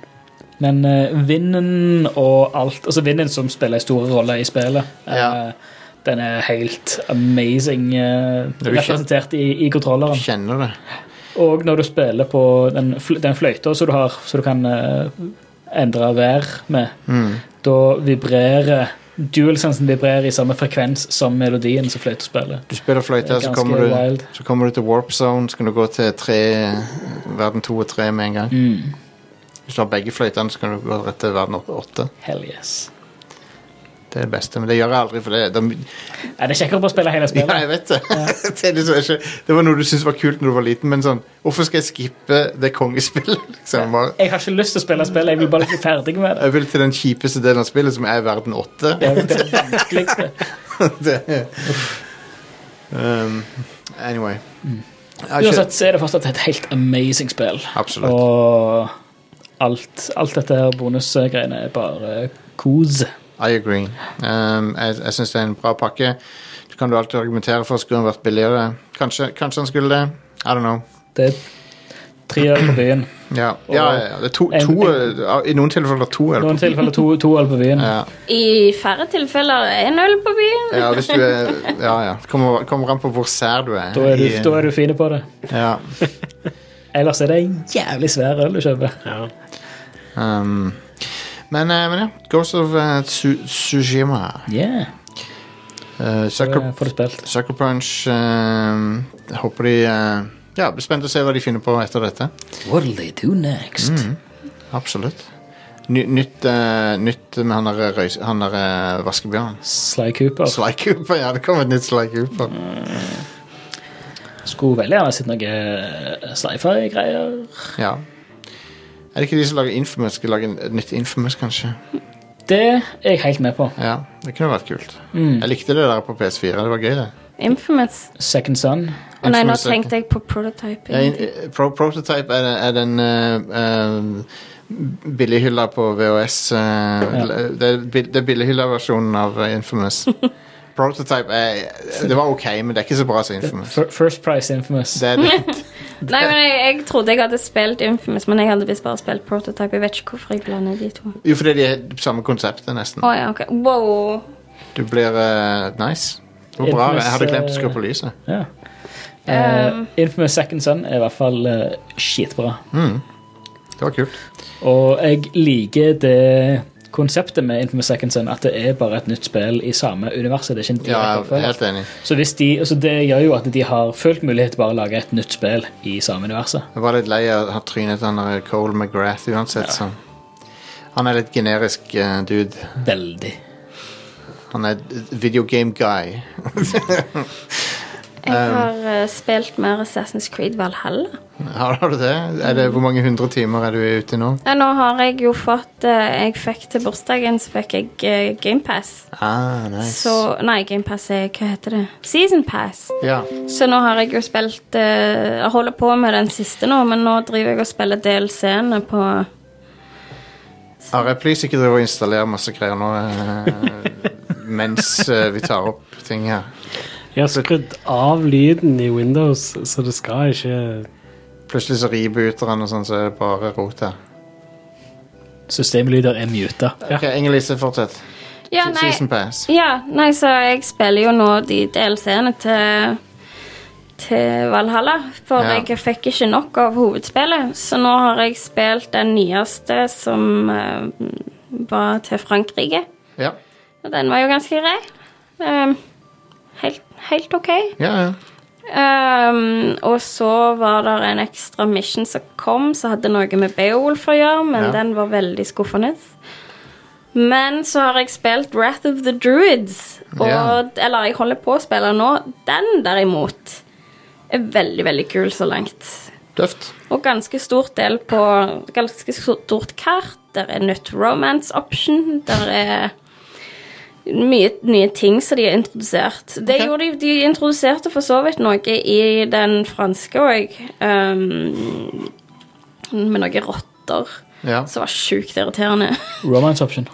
Speaker 2: Men eh, vinden og alt Altså vinden som spiller en stor rolle i spillet. eh, den er helt amazing eh,
Speaker 1: du kjen-
Speaker 2: representert i, i kontrolleren.
Speaker 1: Kjenner det.
Speaker 2: Og når du spiller på den, fl den fløyta som du har, så du kan eh, endre vær med,
Speaker 1: Mm.
Speaker 2: da vibrerer Dualsensen vibrerer i samme frekvens som melodien som fløyta spiller.
Speaker 1: Du spiller fløyte,
Speaker 2: Det er
Speaker 1: så
Speaker 2: ganske
Speaker 1: kommer, du,
Speaker 2: wild.
Speaker 1: så kommer du til warp zone. Så kan du gå til tre, verden to og tre med en gang. Hvis du har begge fløytene, så kan du gå rett til verden åtte- åtte.
Speaker 2: Hell yes.
Speaker 1: Det er det beste, men det gjør jeg aldri, for det, det,
Speaker 2: Er det kjekkere å bare spille hele spillet?
Speaker 1: Ja, jeg vet det. det, er liksom ikke, det var noe du syntes var kult når du var liten, men sånn Hvorfor skal jeg skippe det kongespillet? Liksom? Bare-
Speaker 2: Jeg har ikke lyst til å spille spillet, jeg vil bare bli ferdig med det.
Speaker 1: Jeg vil til den kjipeste delen av spillet, som er verden åtte.
Speaker 2: Det er det vanskeligste.
Speaker 1: Det er- um, anyway. Jeg har ikke-
Speaker 2: Mm. Uansett så er det fortsatt et helt amazing spill.
Speaker 1: Absolutt.
Speaker 2: Og alt, alt dette her bonusgreiene er bare kos.
Speaker 1: I agree. Um, jeg jeg syns det er en bra pakke. Så kan du alltid argumentere for skulle den vært billigere. Kanskje, kanskje den skulle det. I don't know.
Speaker 2: Det er tre øl på byen.
Speaker 1: Ja, ja, ja, ja. Det er to,
Speaker 2: En-
Speaker 1: to, I noen tilfeller to.
Speaker 2: I noen tilfeller to, to øl på byen.
Speaker 1: Ja.
Speaker 3: I færre tilfeller er null på byen.
Speaker 1: Ja, hvis du er Ja, ja. Kommer, kommer an på hvor sær du er.
Speaker 2: Da er du,
Speaker 1: I-
Speaker 2: da er du fine på det.
Speaker 1: ja.
Speaker 2: Ellers er det en jævlig svær øl du kjøper.
Speaker 1: Um, men, eh, men ja. Ghost of eh, Tsu- Tsushima.
Speaker 2: Yeah.
Speaker 1: Eh, Sucker, Sucker Punch eh, jeg Håper de eh, Ja, blir spent å se hva de finner på etter dette.
Speaker 2: What'll they do next?
Speaker 1: Mhm. absolutt. Ny, nytt, eh, nytt med han der, røys, han der eh, vaskebjørnen.
Speaker 2: Sly Cooper.
Speaker 1: Sly Cooper, Ja, det kommer et nytt Sly Cooper.
Speaker 2: Skulle veldig gjerne sett noe sci-fi-greier.
Speaker 1: Ja. Er det ikke de som lager Infamous? Skal lage en- et nytt Infamous, kanskje?
Speaker 2: Det er jeg helt med på.
Speaker 1: Ja, det kunne vært kult.
Speaker 2: Mm.
Speaker 1: Jeg likte det der på PS4. Det var gøy, det.
Speaker 3: Infamous.
Speaker 2: Second Son.
Speaker 3: Å nei, nå
Speaker 1: Infamous er-
Speaker 3: tenkte jeg på
Speaker 1: Ja,
Speaker 3: prototyping.
Speaker 1: in- eh, Pro Prototype er, er den uh, billighylla på VHS. eh, l- Det er, bi- det er billighylla-versjonen av eh, Infamous. Prototype er Det var ok, men det er ikke så bra som Infamous.
Speaker 2: Fir- First Price Infamous.
Speaker 1: Det er det.
Speaker 3: Nei, men jeg, jeg trodde jeg hadde spilt Infamous, men jeg hadde visst bare spilt Prototype. Jeg vet ikke hvorfor jeg blander de to.
Speaker 1: Jo, fordi de er samme konseptet, nesten.
Speaker 3: Å ja, ok. Wow.
Speaker 1: Du blir eh, nice. Det var bra. Jeg hadde glemt å skru på lyset.
Speaker 2: Ja. Eh, Infamous Second Son er i hvert fall eh, skitbra.
Speaker 1: Mm. Det var kult.
Speaker 2: Og jeg liker det konseptet med Infamous Second Son, at det er bare et nytt spill i samme universet. Det er ikke
Speaker 1: Ja,
Speaker 2: en direkte
Speaker 1: jeg er
Speaker 2: oppfølger.
Speaker 1: helt enig.
Speaker 2: Så hvis de, altså det gjør jo at de har fullt mulighet til bare å lage et nytt spill i samme universet.
Speaker 1: Jeg var litt lei av å ha trynet til han der Cole McGrath uansett, så Han er litt generisk eh, dude.
Speaker 2: Veldig.
Speaker 1: Han er d- videogame guy. Um,
Speaker 3: Jeg har eh, spilt mer Assassin's Creed Valhalla.
Speaker 1: Har har du det? Er det? Hvor mange hundre timer er du ute i nå?
Speaker 3: Ja, Nå har jeg jo fått eh, Jeg fikk til bursdagen så fikk jeg eh, Game Pass
Speaker 1: Ah, nice.
Speaker 3: Så, nei, Game Pass er Hva heter det? Season Pass.
Speaker 1: Ja.
Speaker 3: Så nå har jeg jo spilt eh, Jeg holder på med den siste nå, men nå driver jeg og spiller DLC-ene på
Speaker 1: Are, please ikke drive og installere masse greier nå eh, mens eh, vi tar opp ting her.
Speaker 4: Jeg har skrudd av lyden i Windows, så det skal ikke
Speaker 1: Plutselig så rebooter han, og sånn, så er det bare rot her.
Speaker 2: Systemlyder er muta.
Speaker 1: Ok, Inger-Lise, fortsett.
Speaker 3: Ja,
Speaker 1: Se-
Speaker 3: nei.
Speaker 1: Season Pass.
Speaker 3: Ja, nei, så jeg spiller jo nå de DLC-ene til, til Valhalla. For
Speaker 1: Ja.
Speaker 3: jeg fikk ikke nok av hovedspillet, så nå har jeg spilt den nyeste som eh, var til Frankrike.
Speaker 1: Ja.
Speaker 3: Og den var jo ganske grei. Eh, helt, helt OK.
Speaker 1: Ja, ja.
Speaker 3: Ehm, og så var det en ekstra mission som kom, som hadde noe med Beowulf å gjøre, men
Speaker 15: Ja.
Speaker 3: den var veldig skuffende. Men så har jeg spilt Wrath of the Druids, og,
Speaker 15: Ja.
Speaker 3: eller jeg holder på å spille nå. Den derimot er veldig, veldig kul så langt.
Speaker 1: Døft.
Speaker 3: Og ganske stort del på ganske stort kart. Der er nytt romance option. Der er mye nye ting som de har introdusert. Det gjorde de, de introduserte for så vidt noe i den franske òg. med noen rotter
Speaker 1: Ja.
Speaker 3: som var sjukt irriterende.
Speaker 2: Romance option.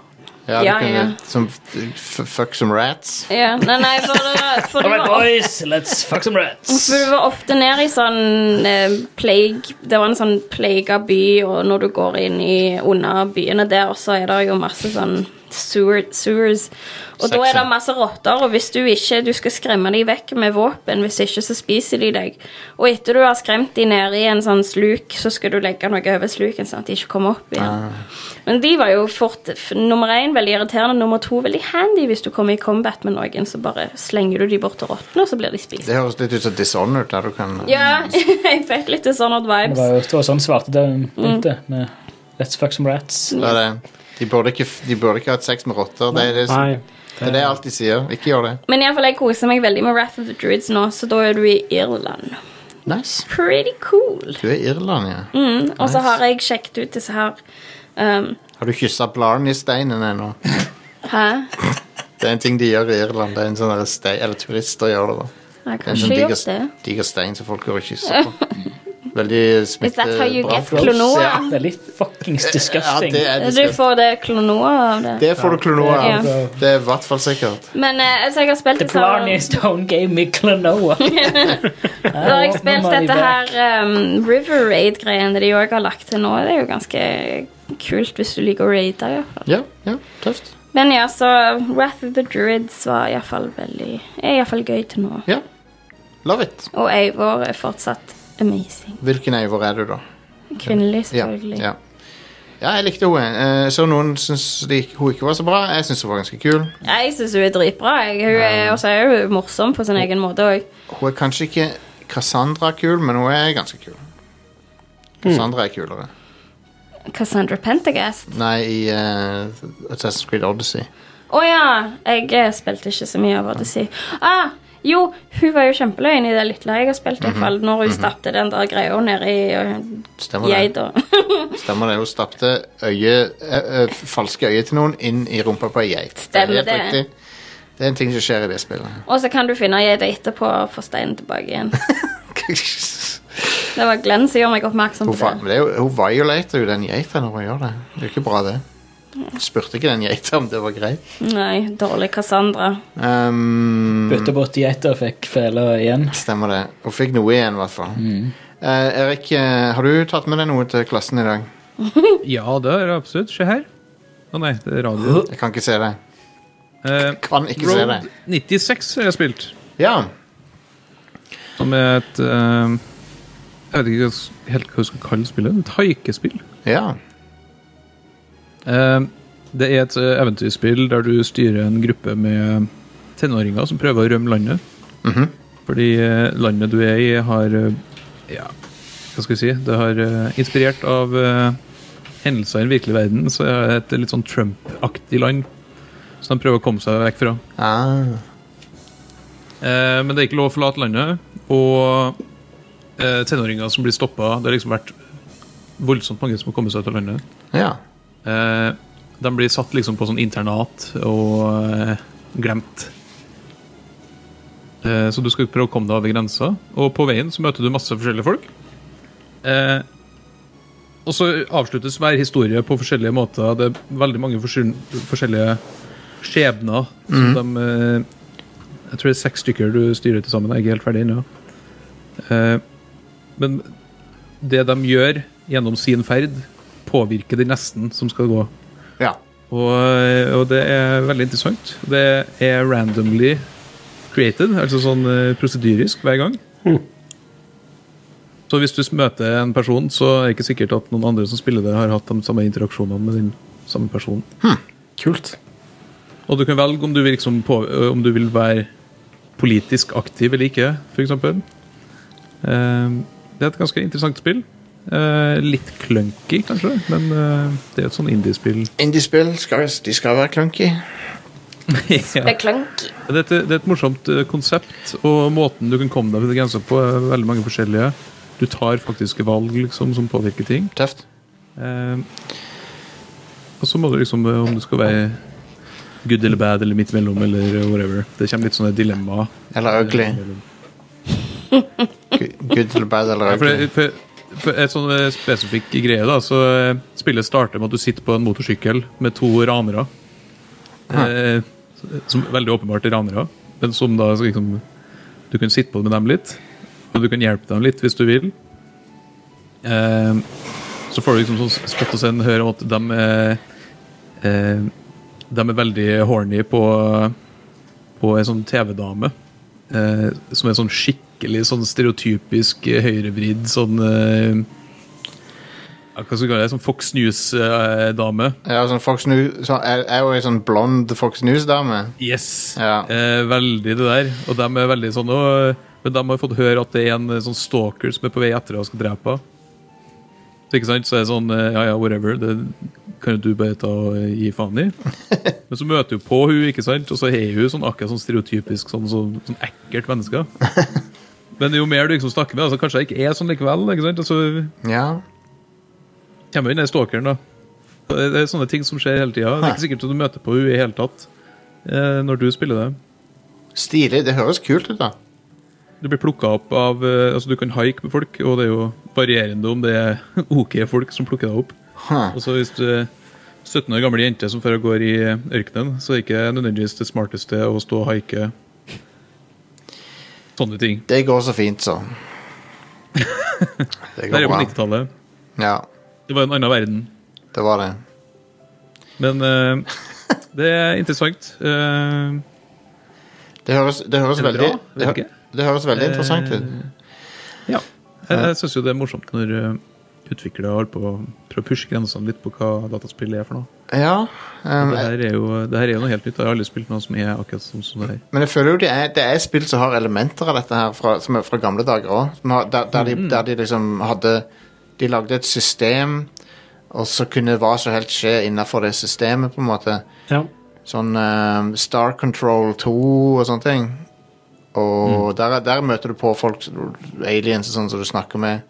Speaker 1: Ja, du
Speaker 3: Ja,
Speaker 1: kunne
Speaker 3: ja.
Speaker 1: Som, f fuck some rats.
Speaker 3: ja, nei, nei, for det var, for det var ofte-
Speaker 2: boys, let's fuck some rats.
Speaker 3: For du Altså, var ofte nede i sånn eh, plague Det var en sånn plaga by, og når du går inn i under byene der, så er det jo masse sånn sewer, sewers. Og da er det masse rotter, og hvis du ikke Du skal skremme dem vekk med våpen, hvis ikke så spiser de deg. Og etter du har skremt dem nede i en sånn sluk, så skal du legge noe over sluken, sånn at de ikke kommer opp igjen. Men de var jo fort f- nummer én veldig irriterende, nummer to veldig handy hvis du kommer i combat med noen, så bare slenger du de bort til rottene, og så blir de spist.
Speaker 1: Det høres litt ut som Dishonored, der du kan
Speaker 3: Ja, jeg fikk litt Dishonored
Speaker 2: Det
Speaker 3: vibes.
Speaker 2: var jo det var sånn svartedauden begynte. med Let's fuck some rats.
Speaker 1: Det er det. De burde ikke, f- de burde ikke hatt sex med rotter. Det er det, som,
Speaker 2: Nei,
Speaker 1: det, er det jeg alltid sier. Ikke gjør det.
Speaker 3: Men iallfall, jeg koser meg veldig med Wrath of the Druids nå, så da er du i Irland.
Speaker 1: Nice.
Speaker 3: Pretty cool.
Speaker 1: Du er Irland, ja.
Speaker 3: Mm, og
Speaker 1: Nice.
Speaker 3: så har jeg sjekket ut disse her um,
Speaker 1: Har du kyssa blaren i steinen ennå?
Speaker 3: Hæ?
Speaker 1: Det er en ting de gjør i Irland. Det er en sånn der stein, Eller turister gjør det, da.
Speaker 3: Jeg
Speaker 1: Det er en
Speaker 3: kan
Speaker 1: sånn
Speaker 3: ikke
Speaker 1: diger,
Speaker 3: gjøre det.
Speaker 1: diger stein som folk går og kysser på. Veldig
Speaker 3: Is
Speaker 1: smitte...
Speaker 3: that how you
Speaker 1: bra
Speaker 3: get
Speaker 1: for oss.
Speaker 3: klonoa?
Speaker 1: Ja.
Speaker 2: Det er litt fuckings disgusting.
Speaker 1: Eh, Ja, det er
Speaker 3: Du
Speaker 1: disgusting.
Speaker 3: får det klonoa av det.
Speaker 1: Det får du klonoa
Speaker 3: Ja.
Speaker 1: av. Det er i hvert fall sikkert.
Speaker 3: Men eh, altså, jeg har spilt
Speaker 2: The
Speaker 3: disse her-
Speaker 2: Blarney Stone game med Klonoa.
Speaker 3: Da har
Speaker 2: want
Speaker 3: jeg
Speaker 2: my
Speaker 3: spilt
Speaker 2: money
Speaker 3: dette her um, River Raid-greiene de òg har lagt til nå. Det er jo ganske kult hvis du liker å raide. i hvert fall.
Speaker 1: Ja, ja, tøft.
Speaker 3: Men ja, så Wrath of the Druids var iallfall veldig Er iallfall gøy til nå.
Speaker 1: Ja. Love it.
Speaker 3: Og Eivor er fortsatt amazing.
Speaker 1: Hvilken Eivor er du, da?
Speaker 3: Kvinnelig,
Speaker 1: Ja,
Speaker 3: selvfølgelig.
Speaker 1: ja. ja jeg likte henne. Eh, Så noen syns de, hun ikke var så bra. Jeg syns hun var ganske kul.
Speaker 3: Jeg syns hun er dritbra. jeg. Hun er, og så er hun morsom på sin egen måte òg.
Speaker 1: Hun er kanskje ikke Cassandra-kul, men hun er ganske kul.
Speaker 3: Hmm.
Speaker 1: Cassandra er kulere.
Speaker 3: Cassandra Pentagast.
Speaker 1: Nei, i eh, Assassin's Creed Odyssey.
Speaker 3: Å ja! Jeg eh, spilte ikke så mye av Odyssey. Ah, jo, hun var jo kjempeløgn i det lille jeg har spilt, i hvert fall, når hun stappte den der greia eh, nedi
Speaker 1: Mhm. Stemmer det.
Speaker 3: geita.
Speaker 1: Stemmer det. Hun stappte øye, eh, eh, falske øyet til noen inn i rumpa på ei geit. Det er
Speaker 3: Stemmer
Speaker 1: helt
Speaker 3: det.
Speaker 1: riktig. Det er en ting som skjer i det spillet.
Speaker 3: Og så kan du finne geita etterpå og få steinen tilbake igjen. Det var Glenn som gjorde meg oppmerksom
Speaker 1: Hun,
Speaker 3: på
Speaker 1: fa-
Speaker 3: det.
Speaker 1: men det er jo, hun violater jo den geita når hun gjør det. Det er jo ikke bra, det. Hun Spurte ikke den geita om det var greit.
Speaker 3: Nei, dårlig Cassandra.
Speaker 1: Um,
Speaker 2: Bytta bort geiter og fikk feler igjen.
Speaker 1: Stemmer det. Hun fikk noe igjen, i hvert fall. Eh, Erik, eh, har du tatt med deg noe til klassen i dag?
Speaker 5: Ja, det er det absolutt. Se her. Å nei, det er radio.
Speaker 1: Jeg kan ikke se det.
Speaker 5: Eh,
Speaker 1: Kan ikke se det.
Speaker 5: Road 96 har jeg spilt.
Speaker 1: Ja.
Speaker 5: Som er et eh, Jeg vet ikke hva- helt hva du skal kalle spillet. Et haikespill.
Speaker 1: Ja.
Speaker 5: Eh, det er et eh, eventyrspill der du styrer en gruppe med tenåringer som prøver å rømme landet.
Speaker 1: Mhm.
Speaker 5: Fordi eh, landet du er i, har eh, Ja, hva skal vi si? Det har eh, inspirert av eh, hendelser i den virkelige verden, så er det et litt sånn Trump-aktig land som de prøver å komme seg vekk fra.
Speaker 1: Ah.
Speaker 5: Eh, men det er ikke lov å forlate landet, og eh, tenåringer som blir stoppa. Det har liksom vært voldsomt mange som har kommet seg ut av landet.
Speaker 1: Ja.
Speaker 5: Eh, de blir satt liksom på sånn internat og eh, glemt. Eh, så du skal prøve å komme deg over grensa, og på veien så møter du masse forskjellige folk. Eh, og så avsluttes hver historie på forskjellige måter. Det er veldig mange forskjell- forskjellige skjebner. som de, eh, jeg tror det er seks stykker du styrer til sammen. Jeg er ikke helt ferdig ennå. Eh, men det de gjør gjennom sin ferd, påvirker den nesten som skal gå.
Speaker 1: Ja.
Speaker 5: Og, eh, og det er veldig interessant. Det er randomly created, altså sånn eh, prosedyrisk hver gang. Så hvis du møter en person, så er det ikke sikkert at noen andre som spiller det, har hatt de samme interaksjonene med den samme personen.
Speaker 4: Kult.
Speaker 5: Og du kan velge om du, vil liksom på, om du vil være politisk aktiv eller ikke, f.eks. Det er et ganske interessant spill. Eh, Litt clunky, kanskje, men eh, det er et sånn indie-spill.
Speaker 1: Indiespill skal, de skal være clunky.
Speaker 5: Ja. Det er, et, det er et morsomt eh, konsept, og måten du kan komme deg til grensa på, er veldig mange forskjellige. Du tar faktiske valg liksom, som påvirker ting. Eh,
Speaker 1: Tøft.
Speaker 5: og så må du liksom eh, Om du skal være good eller bad eller midt imellom eller whatever. Det kommer litt sånne dilemmaer.
Speaker 1: Eller ugly. Good eller bad eller
Speaker 5: Ja, for,
Speaker 1: ugly.
Speaker 5: det- for, for et sånn eh, spesifikk greie, da, så eh, spillet starter med at du sitter på en motorsykkel med to ranere. Eh, som veldig åpenbart er ranere, men som da så liksom Du kan sitte på med dem litt, og du kan hjelpe dem litt hvis du vil. Eh, så får du liksom sånn spott og sen høre om at de eh, eh, De er veldig horny på på ei sånn TV-dame. Eh, som er sånn skikkelig sånn stereotypisk eh, høyrevridd sånn eh, ja, Hva skal vi kalle det? Sånn Fox eh, News-dame.
Speaker 1: Ja, sånn Fox News, sånn, jeg jeg er jo ei sånn blond Fox News-dame.
Speaker 5: Yes.
Speaker 1: Ja.
Speaker 5: Eh, veldig det der. Og de er veldig sånn «Åh», Men de har fått høre at det er en eh, sånn stalker som er på vei etter og skal drepe henne. Så ikke sant? Så er det sånn eh, Ja ja, whatever. Det kan jo du bare ta og eh, gi faen i. Men så møter du på hun, ikke sant? og så er hun sånn, akkurat sånn stereotypisk sånn, sånn, sånn ekkelt menneske. Men jo mer du liksom snakker med, altså, kanskje jeg ikke er sånn likevel. ikke sant? Og så
Speaker 1: Ja.
Speaker 5: kommer jo inn den stalkeren, da. Det det er sånne ting som skjer hele tida. Det er ikke sikkert at du møter på henne i hele tatt eh, når du spiller det.
Speaker 1: Stilig. Det høres kult ut, da.
Speaker 5: Du blir plukka opp av eh, Altså, du kan haike med folk, og det er jo varierende om det er OK folk som plukker deg opp.
Speaker 1: Huh.
Speaker 5: Og så hvis du er 17 år gammel jente som fører og går i eh, ørkenen, så er ikke nødvendigvis det smarteste å stå og haike. Sånne ting.
Speaker 1: Det går så fint, så. Det
Speaker 5: Der
Speaker 1: går
Speaker 5: er på
Speaker 1: bra.
Speaker 5: 90-tallet.
Speaker 1: Ja,
Speaker 5: Det var en annen verden.
Speaker 1: det var det.
Speaker 5: Men eh, det er interessant. Eh,
Speaker 1: Det høres, det høres
Speaker 5: Er det
Speaker 1: veldig
Speaker 5: bra?
Speaker 1: det,
Speaker 5: Vet
Speaker 1: hø-
Speaker 5: ikke.
Speaker 1: det høres veldig interessant ut.
Speaker 5: Ja. Jeg, jeg syns jo det er morsomt når eh, utviklere holder på å prøve å pushe grensene litt på hva dataspill er for noe.
Speaker 1: Ja.
Speaker 5: Og
Speaker 1: ehm,
Speaker 5: det, her er jo, det her er jo noe helt nytt. Jeg har aldri spilt noe som er akkurat som, som det her.
Speaker 1: men jeg føler jo det er, det er spill som har elementer av dette her fra, som er fra gamle dager òg. Der, der, de- der de liksom hadde De lagde et system, og så kunne hva som helst skje innafor det systemet, på en måte.
Speaker 4: Ja.
Speaker 1: Sånn ehm, Star Control 2 og sånne ting. Og der, der møter du på folk, aliens og sånn som du snakker med.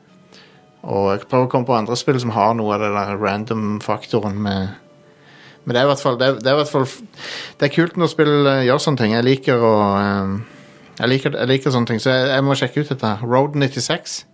Speaker 1: Og jeg prøver å komme på andre spill som har noe av den der random-faktoren med Men det er i hvert fall det er, det er, i hvert fall, f- det er kult når spill eh, gjør sånne ting. Jeg liker å eh, jeg, liker, jeg liker sånne ting, så jeg, jeg må sjekke ut dette. her. Road 96.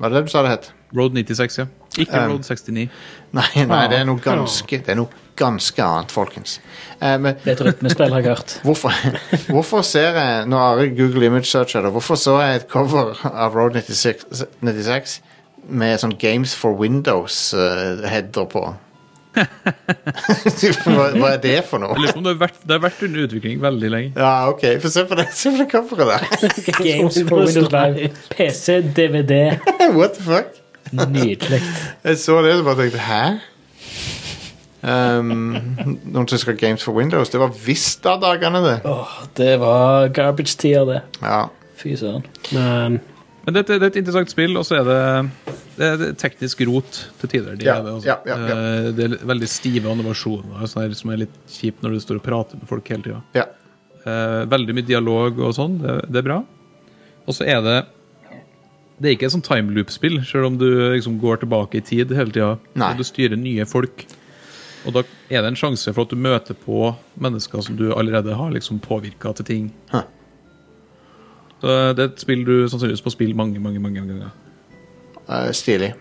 Speaker 1: Var det det du sa det het?
Speaker 5: Road 96, ja. Ikke
Speaker 1: Um,
Speaker 5: Road 69.
Speaker 1: Nei, nei, det er noe
Speaker 5: Ja.
Speaker 1: ganske Det er noe ganske annet, folkens. Eh, men,
Speaker 2: Det er et rytmespill, har jeg hørt.
Speaker 1: Hvorfor, hvorfor ser jeg, når Ari Google Image searcher det, hvorfor så jeg et cover av Road 96, 96 med sånn Games for Windows-header på? hva, hva er det for
Speaker 5: Jeg
Speaker 1: noe?
Speaker 5: lurer på om det har vært, det har vært under utvikling veldig lenge.
Speaker 1: Ja, ok, få se på det, se på det coveret der.
Speaker 2: Games for Windows Live. PC, DVD.
Speaker 1: What the fuck?
Speaker 2: Nydelig.
Speaker 1: Jeg så det og bare tenkte, hæ? Um, noen som skal Games for Windows, det var Vista-dagene det.
Speaker 2: Det var garbage-tider, det.
Speaker 1: Ja.
Speaker 2: Fy søren.
Speaker 4: Men
Speaker 5: Men det, det er et interessant spill, og så er det, det er teknisk rot til tider. De
Speaker 1: Ja,
Speaker 5: er det, altså.
Speaker 1: ja, ja,
Speaker 5: Eh, det er veldig stive animasjoner og sånn her, som er litt kjipt når du står og prater med folk hele Eh, tida.
Speaker 1: Ja.
Speaker 5: veldig mye dialog og sånn. Det, det er bra. Og så er det Det er ikke et sånn timeloop-spill, selv om du liksom går tilbake i tid hele tida.
Speaker 1: Nei.
Speaker 5: Og Du styrer nye folk. Og da er det en sjanse for at du møter på mennesker som du allerede har liksom påvirka til ting.
Speaker 1: Hæ.
Speaker 5: Så det er et spill du sannsynligvis må spille mange, mange, mange ganger.
Speaker 1: Eh, stilig.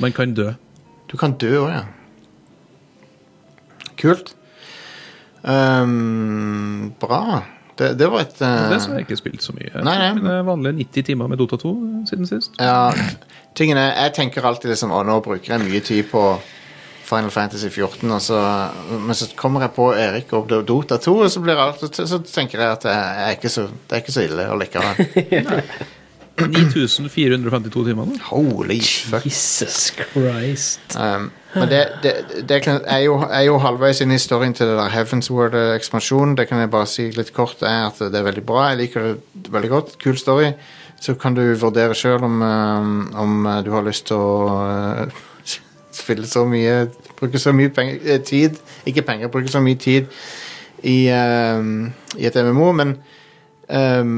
Speaker 5: Man kan dø.
Speaker 1: Du kan dø òg, ja. Kult. Ehm, bra. Det, det var et eh,
Speaker 5: Det så har jeg ikke spilt så mye.
Speaker 1: Nei, nei.
Speaker 5: Mine vanlige 90 timer med Dota 2 siden sist.
Speaker 1: Ja, tingen er, jeg tenker alltid liksom, å, nå bruker jeg mye tid på Final Fantasy 14, og så, men så kommer jeg på Erik og Dota 2, og så, blir alt, så, så tenker jeg at jeg, jeg er ikke så, det er ikke så ille allikevel.
Speaker 5: 9452 timer. nå.
Speaker 1: Holy fuck.
Speaker 2: Jesus Christ.
Speaker 1: Um, men det, det, det kan, jeg, er jo, jeg er jo halvveis inn i historien til det der Heavensward-ekspansjonen. Det kan jeg bare si litt kort er at det er veldig bra. Jeg liker det veldig godt. Kul story. Så kan du vurdere sjøl om, um, om uh, du har lyst til å uh, spille så mye Bruke så mye penger, eh, tid Ikke penger, bruke så mye tid i, um, i et MMO, men um,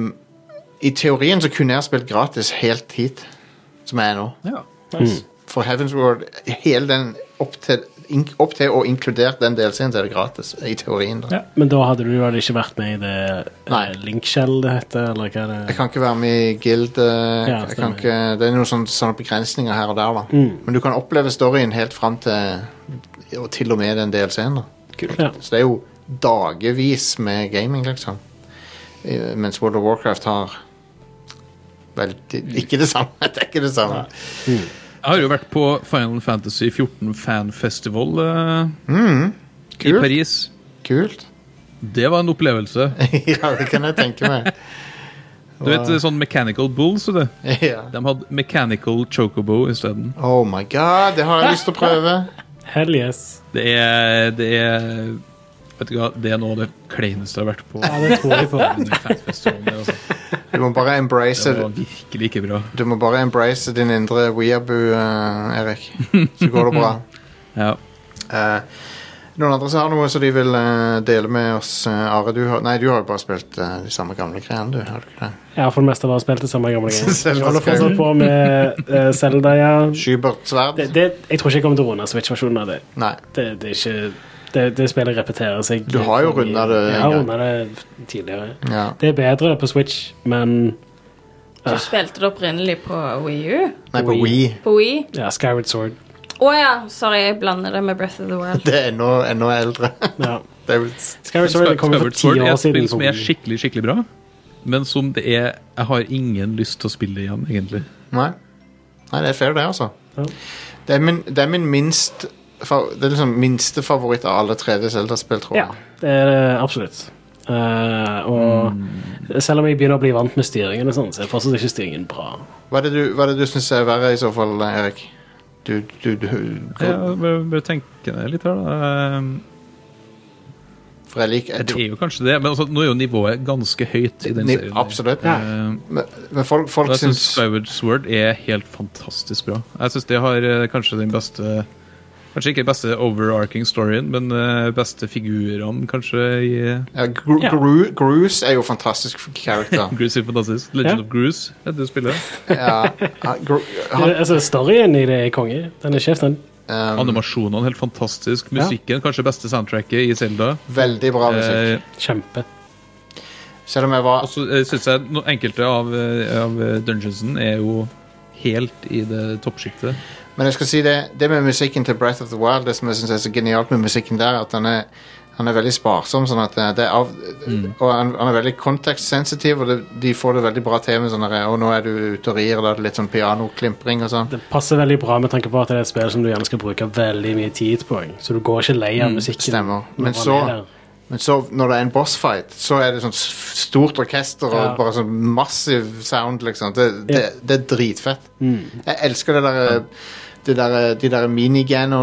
Speaker 1: i teorien så kunne jeg spilt gratis helt hit, som jeg er nå.
Speaker 5: Ja.
Speaker 4: Nice.
Speaker 1: For Heaven's World, hele den opp til, ink- opp til og inkludert den delscenen, så er det gratis. I teorien, da.
Speaker 4: Ja, men da hadde du vel ikke vært med i det eh, Linkshell det heter, eller hva det
Speaker 1: Jeg kan ikke være med i guild. eh, jeg kan
Speaker 4: stemmer.
Speaker 1: ikke, det er noen sånne, sånne begrensninger her og der, da.
Speaker 4: Mm.
Speaker 1: Men du kan oppleve storyen helt fram til og til og med den delscenen. da.
Speaker 4: Ja.
Speaker 1: Så det er jo dagevis med gaming, liksom. Eh, Mens World of Warcraft har Vel, det, ikke det samme. Det er ikke det samme.
Speaker 5: Jeg har jo vært på Final Fantasy 14 Fan Festival eh,
Speaker 1: Mm.
Speaker 5: i
Speaker 1: Kult.
Speaker 5: Paris.
Speaker 1: Kult.
Speaker 5: Det var en opplevelse.
Speaker 1: ja, det kan jeg tenke meg.
Speaker 5: Du vet sånn Mechanical Bulls? vet du?
Speaker 1: Ja.
Speaker 5: De hadde Mechanical Chocobo isteden.
Speaker 1: Oh my god, det har jeg lyst til å prøve.
Speaker 4: Hell yes.
Speaker 5: Det er Det er Vet du hva, det er noe av det kleineste jeg har vært på.
Speaker 4: Ja, det tror jeg på.
Speaker 5: Under fanfestivalen, det, altså.
Speaker 1: Du må bare embrace
Speaker 5: Det var virkelig ikke bra.
Speaker 1: Du må bare embrace din indre weeaboo, eh, Erik. Så går det bra.
Speaker 5: Ja.
Speaker 1: Eh, noen andre som har noe som de vil eh, dele med oss? Eh, Are, du har, nei, du har jo bare spilt eh, de samme gamle greiene, du. Har du ikke det?
Speaker 4: Jeg har for det meste bare spilt det samme gamle greiene.
Speaker 1: Selv
Speaker 4: Jeg holder
Speaker 1: skal jeg-
Speaker 4: fortsatt på med eh, Zelda, ja.
Speaker 1: Skybert sverd?
Speaker 4: Det, det, jeg tror ikke jeg kommer til å runde Switch-versjonen av det.
Speaker 1: Nei.
Speaker 4: Det, det er ikke det, det spillet repeterer seg.
Speaker 1: Du har jo rundet det
Speaker 4: Jeg
Speaker 1: en
Speaker 4: har
Speaker 1: gang.
Speaker 4: runda det tidligere.
Speaker 1: Ja.
Speaker 4: Det er bedre på Switch, men
Speaker 3: Du spilte det opprinnelig på Wii U?
Speaker 1: Nei, på Wii.
Speaker 3: På Wii?
Speaker 4: Ja, Skyward Sword.
Speaker 3: Å ja, sorry, jeg blander det med Breath of the Wild.
Speaker 1: Det er ennå, ennå eldre.
Speaker 4: Ja.
Speaker 1: det er jo
Speaker 4: Skyward Sword det kom jo for
Speaker 5: Skyward
Speaker 4: ti
Speaker 5: Sword er
Speaker 4: år
Speaker 5: et
Speaker 4: siden.
Speaker 5: spill
Speaker 4: på
Speaker 5: som er
Speaker 4: Wii.
Speaker 5: skikkelig, skikkelig bra, men som det er Jeg har ingen lyst til å spille det igjen, egentlig.
Speaker 1: Nei. Nei, det er fair, det, altså.
Speaker 4: Ja.
Speaker 1: Det, er min, det er min minst fa- Det er liksom minste favoritt av alle 3D Zelda-spill, tror jeg.
Speaker 4: Ja, det er det absolutt. Eh, og
Speaker 1: Mm.
Speaker 4: selv om jeg begynner å bli vant med styringen, og sånn, så er fortsatt ikke styringen bra.
Speaker 1: Hva er det du, hva er det du syns er verre, i så fall, Erik? Du, du, du,
Speaker 5: Jeg bør, bør tenke ned litt her, da. Um,
Speaker 1: For jeg liker jeg
Speaker 5: Det
Speaker 1: tror-
Speaker 5: er jo kanskje det, men altså, nå er jo nivået ganske høyt i den
Speaker 1: Ni-
Speaker 5: serien.
Speaker 1: Absolutt.
Speaker 5: Ja.
Speaker 1: Men, men folk, folk
Speaker 5: Jeg syns
Speaker 1: syns
Speaker 5: Skyward Sword er helt fantastisk bra. Jeg syns det har eh, kanskje den beste Kanskje ikke beste overarching storyen, men eh, beste figurene, kanskje, i eh,
Speaker 1: ja, Gru,
Speaker 5: Ja.
Speaker 1: Gru, Gruce er jo fantastisk character.
Speaker 5: Gruce er fantastisk. Legend
Speaker 4: Ja.
Speaker 5: of Gruce er det spillet.
Speaker 1: ja, ja, Gru,
Speaker 4: Det,
Speaker 1: han,
Speaker 4: altså, storyen i det er konge. Den er sånn sjef, den.
Speaker 1: um,
Speaker 5: Animasjonene helt fantastisk.
Speaker 4: Ja.
Speaker 5: Musikken kanskje beste soundtracket i Zelda.
Speaker 1: veldig bra musikk.
Speaker 5: Eh,
Speaker 4: Kjempe.
Speaker 1: Selv om jeg var
Speaker 5: og så eh, syns jeg no, enkelte av, eh, av dungeonsen er jo helt i det toppsjiktet.
Speaker 1: Men jeg skal si det, det med musikken til Breath of the Wild, det som jeg synes er så genialt med musikken der, er at han er, han er veldig sparsom, sånn at det er av,
Speaker 5: Mm.
Speaker 1: og han, han er veldig kontekstsensitiv, og det, de får det veldig bra til med sånn der, og nå er du ute og rir, og da er det litt sånn pianoklimpring og sånn.
Speaker 4: Det passer veldig bra med tanke på at det er et spill som du gjerne skal bruke veldig mye tid på. Så du går ikke lei av musikken.
Speaker 1: Mm, Stemmer.
Speaker 4: når
Speaker 1: Men
Speaker 4: man
Speaker 1: så-
Speaker 4: er der.
Speaker 1: Men så, når det er en bossfight, så er det sånn s- stort orkester og
Speaker 4: Ja.
Speaker 1: bare sånn massiv sound, liksom. Det, det,
Speaker 4: Ja. Mm.
Speaker 1: det er dritfett. Jeg elsker det der, det der de der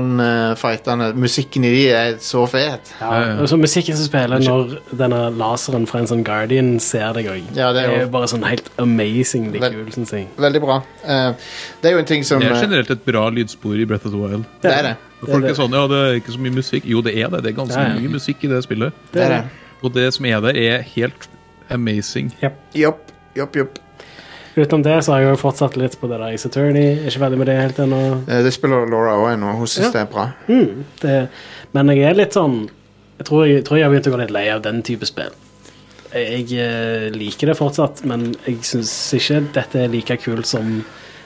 Speaker 1: miniganon-fightene. Musikken i de er så fet.
Speaker 4: Ja, og så musikken som spiller når denne laseren fra en sånn Guardian ser deg òg.
Speaker 1: Ja, det er jo-
Speaker 4: jo bare sånn helt amazingly
Speaker 1: Vel-
Speaker 4: kul, syns jeg.
Speaker 1: Veldig bra. Eh, det er jo en ting som
Speaker 5: Det er
Speaker 1: eh,
Speaker 5: generelt et bra lydspor i Breath of the Wild.
Speaker 1: Det er det.
Speaker 5: Når Folk
Speaker 4: Det er
Speaker 5: er sånn, ja, det er ikke så mye musikk. Jo, det er det. Det er ganske
Speaker 4: Ja, ja.
Speaker 5: mye musikk i det spillet.
Speaker 1: Det er det.
Speaker 5: Og det som er der, er helt amazing.
Speaker 1: Jopp, jopp, jopp.
Speaker 4: Utenom det så har jeg jo fortsatt litt på det der Ace Attorney. Ikke ferdig med det helt ennå.
Speaker 1: Eh, Det spiller Laura òg ennå. Hun syns det
Speaker 4: Ja.
Speaker 1: er bra.
Speaker 4: Mm, det, men jeg er litt sånn Jeg tror jeg, tror jeg har begynt å gå litt lei av den type spill. Jeg, eh, liker det fortsatt, men jeg syns ikke dette er like kult som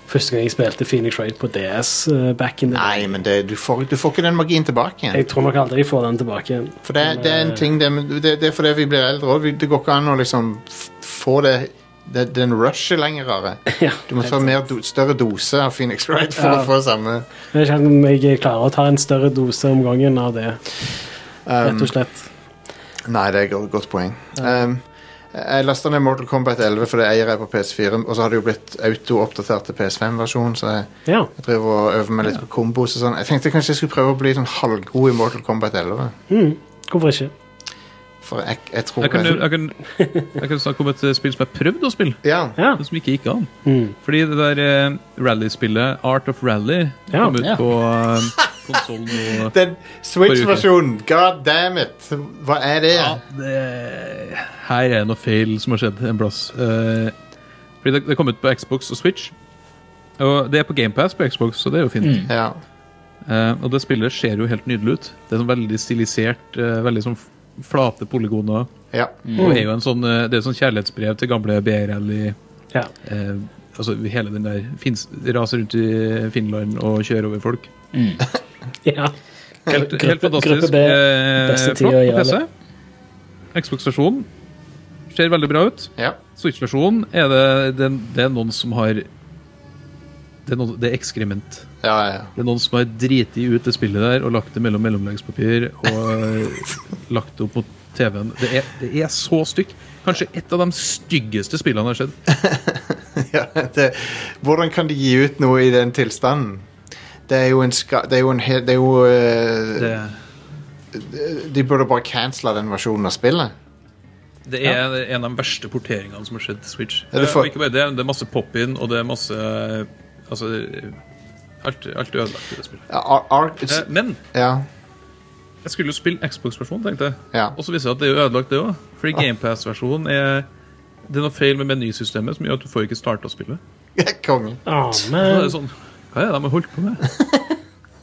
Speaker 4: første gang jeg spilte Phoenix Raid på DS eh, back in the
Speaker 1: Nei, men det, du, får, du får ikke den magien tilbake igjen.
Speaker 4: Jeg tror nok aldri jeg får den tilbake.
Speaker 1: For det, det er en ting det, det, det er fordi vi blir eldre òg. Det går ikke an å liksom f- få det, det den rushet lenger. Are. Du må ta mer do, større dose av Phoenix Wright for
Speaker 4: Ja.
Speaker 1: å få samme
Speaker 4: Jeg vet ikke om jeg klarer å ta en større dose om gangen av det.
Speaker 1: Um,
Speaker 4: Rett og slett.
Speaker 1: Nei, det er et godt- godt poeng. Um, jeg lasta ned Mortal Kombat 11 fordi jeg eier jeg på PS4, og så har det jo blitt auto-oppdatert til PS5-versjonen, så jeg,
Speaker 4: Ja.
Speaker 1: jeg driver og øver meg litt på kombos og sånn. Jeg tenkte kanskje jeg skulle prøve å bli sånn halvgod i Mortal Kombat 11,
Speaker 4: Mm, hvorfor ikke?
Speaker 1: for jeg, jeg tror
Speaker 5: Jeg kan, jeg, kan, jeg kan snakke om et eh, spill som jeg prøvde å spille, men som ikke gikk an.
Speaker 4: Mm.
Speaker 5: Fordi det der eh, rallyspillet Art of Rally
Speaker 1: Ja.
Speaker 5: kom ut
Speaker 1: Ja.
Speaker 5: på eh, konsoll nå
Speaker 1: Den
Speaker 5: forrige uke.
Speaker 1: Switch-versjonen, god damn it! Hva er det?
Speaker 5: Her er noe feil som har skjedd en plass. Eh, fordi det, det kom ut på Xbox og Switch. Og det er på GamePass på Xbox, så det er jo fint.
Speaker 1: Mm.
Speaker 5: Eh, og det spillet ser jo helt nydelig ut. Det er sånn veldig stilisert, eh, veldig sånn f- flate polygoner.
Speaker 1: Ja.
Speaker 2: Mm.
Speaker 5: Og er jo en sånn, eh, det er sånn kjærlighetsbrev til gamle BRL i
Speaker 4: Ja.
Speaker 5: eh, Altså hele den der fins, Raser rundt i Finland og kjører over folk.
Speaker 4: Ja.
Speaker 5: Helt,
Speaker 2: Gruppe-
Speaker 5: helt fantastisk.
Speaker 2: gruppe B, beste tid
Speaker 5: eh,
Speaker 2: å
Speaker 5: flott på
Speaker 2: gjøre
Speaker 5: PC. Xbox-versjonen ser veldig bra ut. Switch-versjonen er det, det, det er noen som har det er, noen, det er ekskrement. Det er noen som har driti ut det spillet der og lagt det mellom mellomleggspapir og lagt det opp mot TV-en. Det, er- det er så stygt. Kanskje et av de styggeste spillene jeg har sett.
Speaker 1: ja, det, hvordan kan de gi ut noe i den tilstanden? Det er jo en ska... Det er jo en hel... Det er jo eh, De burde bare cancela den versjonen av spillet.
Speaker 5: Det er en av de verste porteringene som har skjedd til Switch.
Speaker 1: Er det for-
Speaker 5: Og ikke bare det, det er masse pop-in, og det er masse Altså Alt, alt er ødelagt i det spillet. Eh, Men
Speaker 1: Ja.
Speaker 5: jeg skulle jo spille Xbox-versjonen, tenkte jeg.
Speaker 1: Ja. Ah.
Speaker 5: Og så viser det seg at det er jo ødelagt, det òg. Fordi GamePass-versjonen er Det er noe feil med menysystemet som gjør at du får ikke starta spillet.
Speaker 1: Kongen.
Speaker 4: Å,
Speaker 5: Så
Speaker 4: men-
Speaker 5: da er det sånn Hva er det de har holdt på med?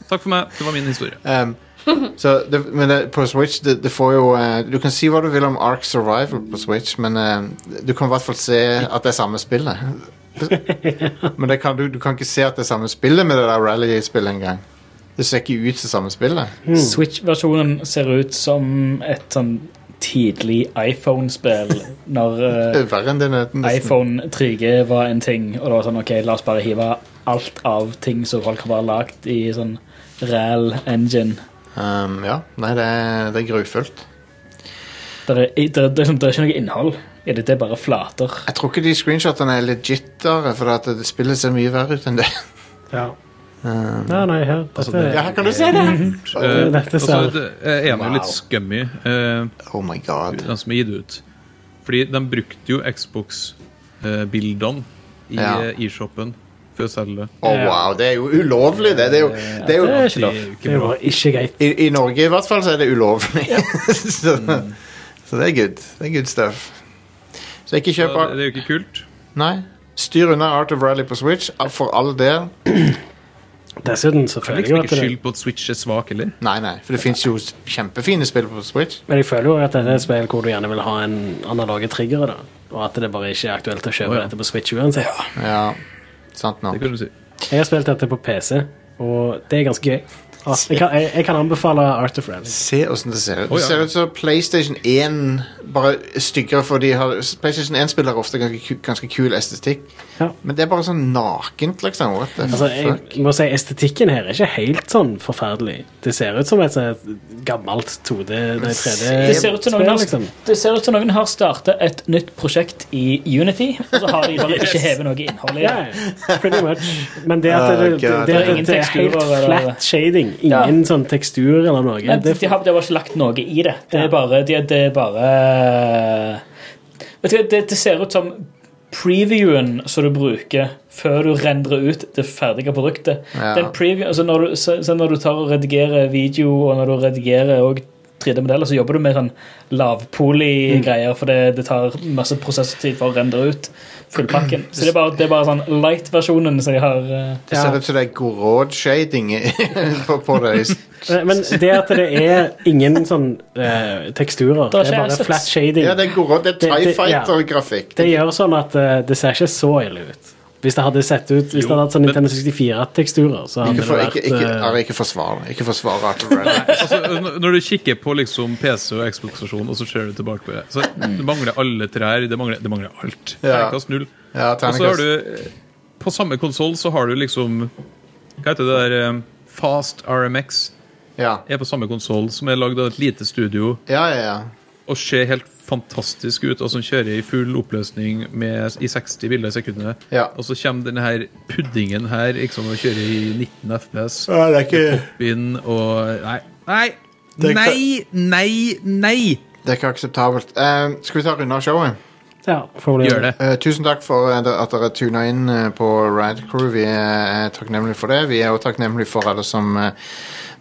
Speaker 5: Takk for meg. Det var min historie. Eh,
Speaker 1: Um, så det, men det, på Switch det, det får jo eh, Du kan si hva du vil om Ark Survival på Switch, men eh, du kan i hvert fall se at det er samme spillet. men det kan, du, du kan ikke se at det er samme spillet med det der rally-spillet engang. Det ser ikke ut som samme spillet.
Speaker 2: Mm. Switch-versjonen ser ut som et sånn tidlig iPhone-spill når
Speaker 1: Det
Speaker 2: eh,
Speaker 1: er verre enn det nesten.
Speaker 2: iPhone 3G var en ting, og det var sånn OK, la oss bare hive alt av ting som folk har bare lagd i sånn ræl engine.
Speaker 1: Um, ja. Nei, det er, det er grufullt.
Speaker 2: Det er, det, er, det, er, det er ikke noe innhold i det, det er bare flater.
Speaker 1: Jeg tror ikke de screenshotene er legitere, for at det spillet ser mye verre ut enn det.
Speaker 4: Ja.
Speaker 1: Um,
Speaker 4: Nei, nei, her. Dette,
Speaker 1: Altså, det- Ja, her kan du se det!
Speaker 5: Eh,
Speaker 4: Dette ser
Speaker 5: altså, det er enig
Speaker 1: Wow.
Speaker 5: litt scummy. eh,
Speaker 1: oh my god.
Speaker 5: Den som er gitt ut. Fordi de brukte jo Xbox-bildene i
Speaker 1: Ja.
Speaker 5: eh, e-shoppen for å selge det.
Speaker 1: Å, Oh, wow, det er jo ulovlig! Det, det er jo, det er jo
Speaker 5: det er ikke lov. Det er jo bare
Speaker 4: ikke greit.
Speaker 1: I, I Norge i hvert fall så er det ulovlig. så, så det er good. Det er good stuff. Så ikke kjøp
Speaker 5: Så
Speaker 1: Ar-
Speaker 5: Det er jo ikke kult.
Speaker 1: Nei. Styr unna Art of Rally på Switch, ah, for all del.
Speaker 4: Dessuten så
Speaker 5: Det er
Speaker 4: føler jeg
Speaker 5: liksom
Speaker 4: jo at
Speaker 5: ikke
Speaker 4: det
Speaker 5: skyld på at Switch er svak, eller?
Speaker 1: Nei, nei, for det fins jo s- kjempefine spill på Switch.
Speaker 4: Men jeg føler jo at dette er et spill hvor du gjerne vil ha en analoge trigger, da. Og at det bare ikke er aktuelt å kjøpe
Speaker 1: Å, ja.
Speaker 4: dette på Switch uansett.
Speaker 1: Ja, sant nå.
Speaker 5: Det kan du si.
Speaker 4: Jeg har spilt dette på PC, og det er ganske gøy. Ja, Jeg kan, jeg, jeg kan anbefale Art of Rally.
Speaker 1: Se åssen det ser ut.
Speaker 4: Å,
Speaker 1: Det
Speaker 4: ja.
Speaker 1: ser ut som PlayStation 1, bare styggere, for de har PlayStation 1 spiller ofte ganske, ku- ganske kul estetikk. Men det er bare sånn nakent, liksom. What the
Speaker 4: Altså, jeg
Speaker 1: fuck?
Speaker 4: må si Estetikken her er ikke helt sånn forferdelig. Det ser ut som et, sånn et gammelt 2D nei, 3D
Speaker 2: Det ser ut som noen,
Speaker 4: spill,
Speaker 2: har-
Speaker 4: liksom.
Speaker 2: det ser ut som noen har startet et nytt prosjekt i Unity, og så har de bare ikke hevet noe innhold i
Speaker 4: Ja,
Speaker 2: det.
Speaker 4: pretty much. Men det at
Speaker 2: Oh, God.
Speaker 4: det, det, det,
Speaker 2: Det er
Speaker 4: det,
Speaker 2: ingen
Speaker 4: det er
Speaker 2: teksturer
Speaker 4: helt
Speaker 2: eller-
Speaker 4: flat shading, ingen sånn tekstur eller noe
Speaker 2: Nei,
Speaker 4: det,
Speaker 2: de, har, de har ikke lagt noe i det. Det er bare Det, det er bare Vet du, hva, det, det ser ut som previewen som du bruker før du rendrer ut det ferdige produktet.
Speaker 1: Ja.
Speaker 2: Den preview, altså når, du, så, så når du tar og redigerer video, og når du redigerer og 3D-modeller, så jobber du med sånn lavpolig-greier, for det, det tar masse prosesstid for å rendre ut. fullpakken. Så det er bare, det er bare sånn light-versjonen som de har. eh,
Speaker 1: Det ser ut som det er Gorod-shading i- på, på det.
Speaker 4: Men men det at det er ingen sånn eh, teksturer, det er bare flat shading.
Speaker 1: Ja, det er Gorod. Det er
Speaker 4: Det-
Speaker 1: Tie
Speaker 4: det- ja.
Speaker 1: Fighter-grafikk.
Speaker 4: Det gjør sånn at eh, det ser ikke så ille ut. Hvis det hadde sett ut Hvis det hadde hatt sånn Nintendo 64-teksturer, så hadde
Speaker 1: Ikke, for,
Speaker 4: det vært
Speaker 1: ikke, ikke,
Speaker 4: eh,
Speaker 1: Ari, ikke forsvar Ikke forsvar Arthur Red.
Speaker 5: altså, n- når du kikker på liksom PC og Xbox-versjonen, og så ser du tilbake på det Så Det mangler alle trær, det mangler, det mangler alt.
Speaker 1: Ja.
Speaker 5: Terningkast null.
Speaker 1: Ja,
Speaker 5: og så har
Speaker 1: terningkast.
Speaker 5: du eh, På samme konsoll så har du liksom Hva heter det der eh, Fast RMX?
Speaker 1: Er
Speaker 5: på samme konsoll, som er lagd av et lite studio. Og ser helt fantastisk ut, og som kjører i full oppløsning med, i 60 bilder i sekundet.
Speaker 1: Ja.
Speaker 5: Og så kommer denne her puddingen her liksom, og kjører i 19 FPS.
Speaker 1: Ja, det er ikke-
Speaker 5: med pop-in og Nei. Nei!
Speaker 1: Det er ikke-
Speaker 5: Nei, nei, nei!
Speaker 1: Det er ikke akseptabelt. Eh, skal vi ta runde av showet?
Speaker 4: Ja, får vi-
Speaker 1: Eh, tusen takk for eh, at dere tuna inn eh, på Rad Crew. Vi er eh, takknemlige for det. Vi er også takknemlige for alle som eh,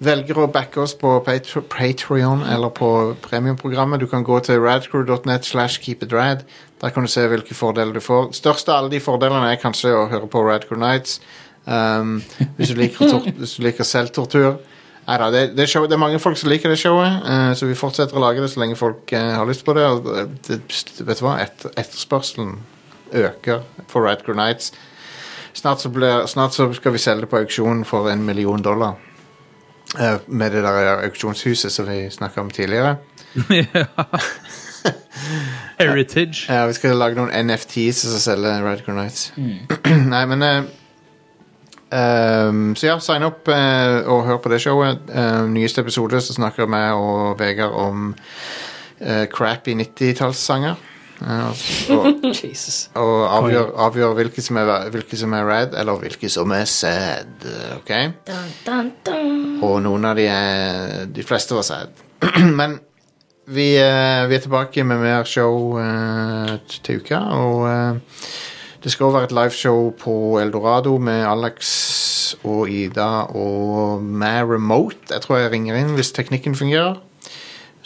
Speaker 1: velger å backe oss på Patr- Patreon eller på premiumprogrammet. Du kan gå til radcrew.net slash keepitrad. Der kan du se hvilke fordeler du får. Størst av alle de fordelene er kanskje å høre på Radcrew Nights. Um, hvis, du liker tor hvis du liker selvtortur. Neida, det, det, er show, det er mange folk som liker det showet, eh, så vi fortsetter å lage det så lenge folk eh, har lyst på det. Og eh, det vet du hva? Et, etterspørselen øker for Radcrew Nights. Snart så, blir, snart så skal vi selge det på auksjon for en million dollar. Eh, med det der auksjonshuset som vi snakka om tidligere.
Speaker 5: Heritage.
Speaker 1: Ja, Eh, vi skal lage noen NFTs som selger Radcrew Nights. Nei, men eh, ehm, Så ja, sign opp eh, og hør på det showet. Eh, nyeste episode så snakker vi og Vegard om eh, crappy 90-tallssanger. Eh, og
Speaker 2: Jesus.
Speaker 1: og avgjør, avgjør hvilke, som er, hvilke som er rad, eller hvilke som er sad. Ok?
Speaker 3: Dun, dun, dun.
Speaker 1: Og noen av de er De fleste var sad. Men vi, eh, vi er tilbake med mer show eh, t- til uka, og eh, det skal også være et liveshow på Eldorado med Alex og Ida og meg remote. Jeg tror jeg ringer inn hvis teknikken fungerer.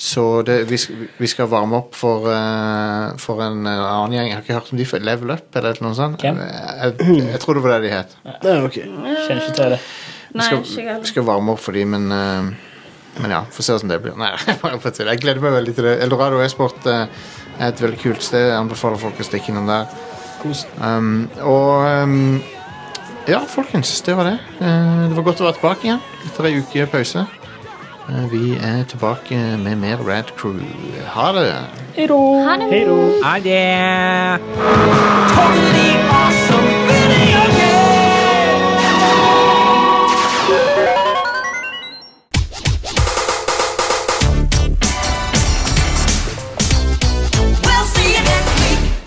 Speaker 1: Så det, vi, sk- vi skal varme opp for, eh, for en eh, annen gjeng. Jeg har ikke hørt om de før. Level Up eller noe sånt.
Speaker 2: Hvem?
Speaker 1: Jeg, jeg, jeg tror det var det de het.
Speaker 2: Kjenner ikke til det.
Speaker 1: Vi
Speaker 3: Nei,
Speaker 1: skal,
Speaker 3: ikke
Speaker 1: vi
Speaker 3: heller.
Speaker 1: skal varme opp for de, men eh, Men ja, får se hvordan det blir. Nei, bare på tull. Jeg gleder meg veldig til det. Eldorado e-sport eh, er et veldig kult sted. Jeg anbefaler folk å stikke innom der. Um, og um, Ja, folkens, det var det. Eh, det var godt å være tilbake igjen etter ei uke pause. Eh, vi er tilbake med mer Rad Crew. Ha det.
Speaker 2: Hei då.
Speaker 3: Ha det.
Speaker 5: Ha det.
Speaker 9: Totally awesome.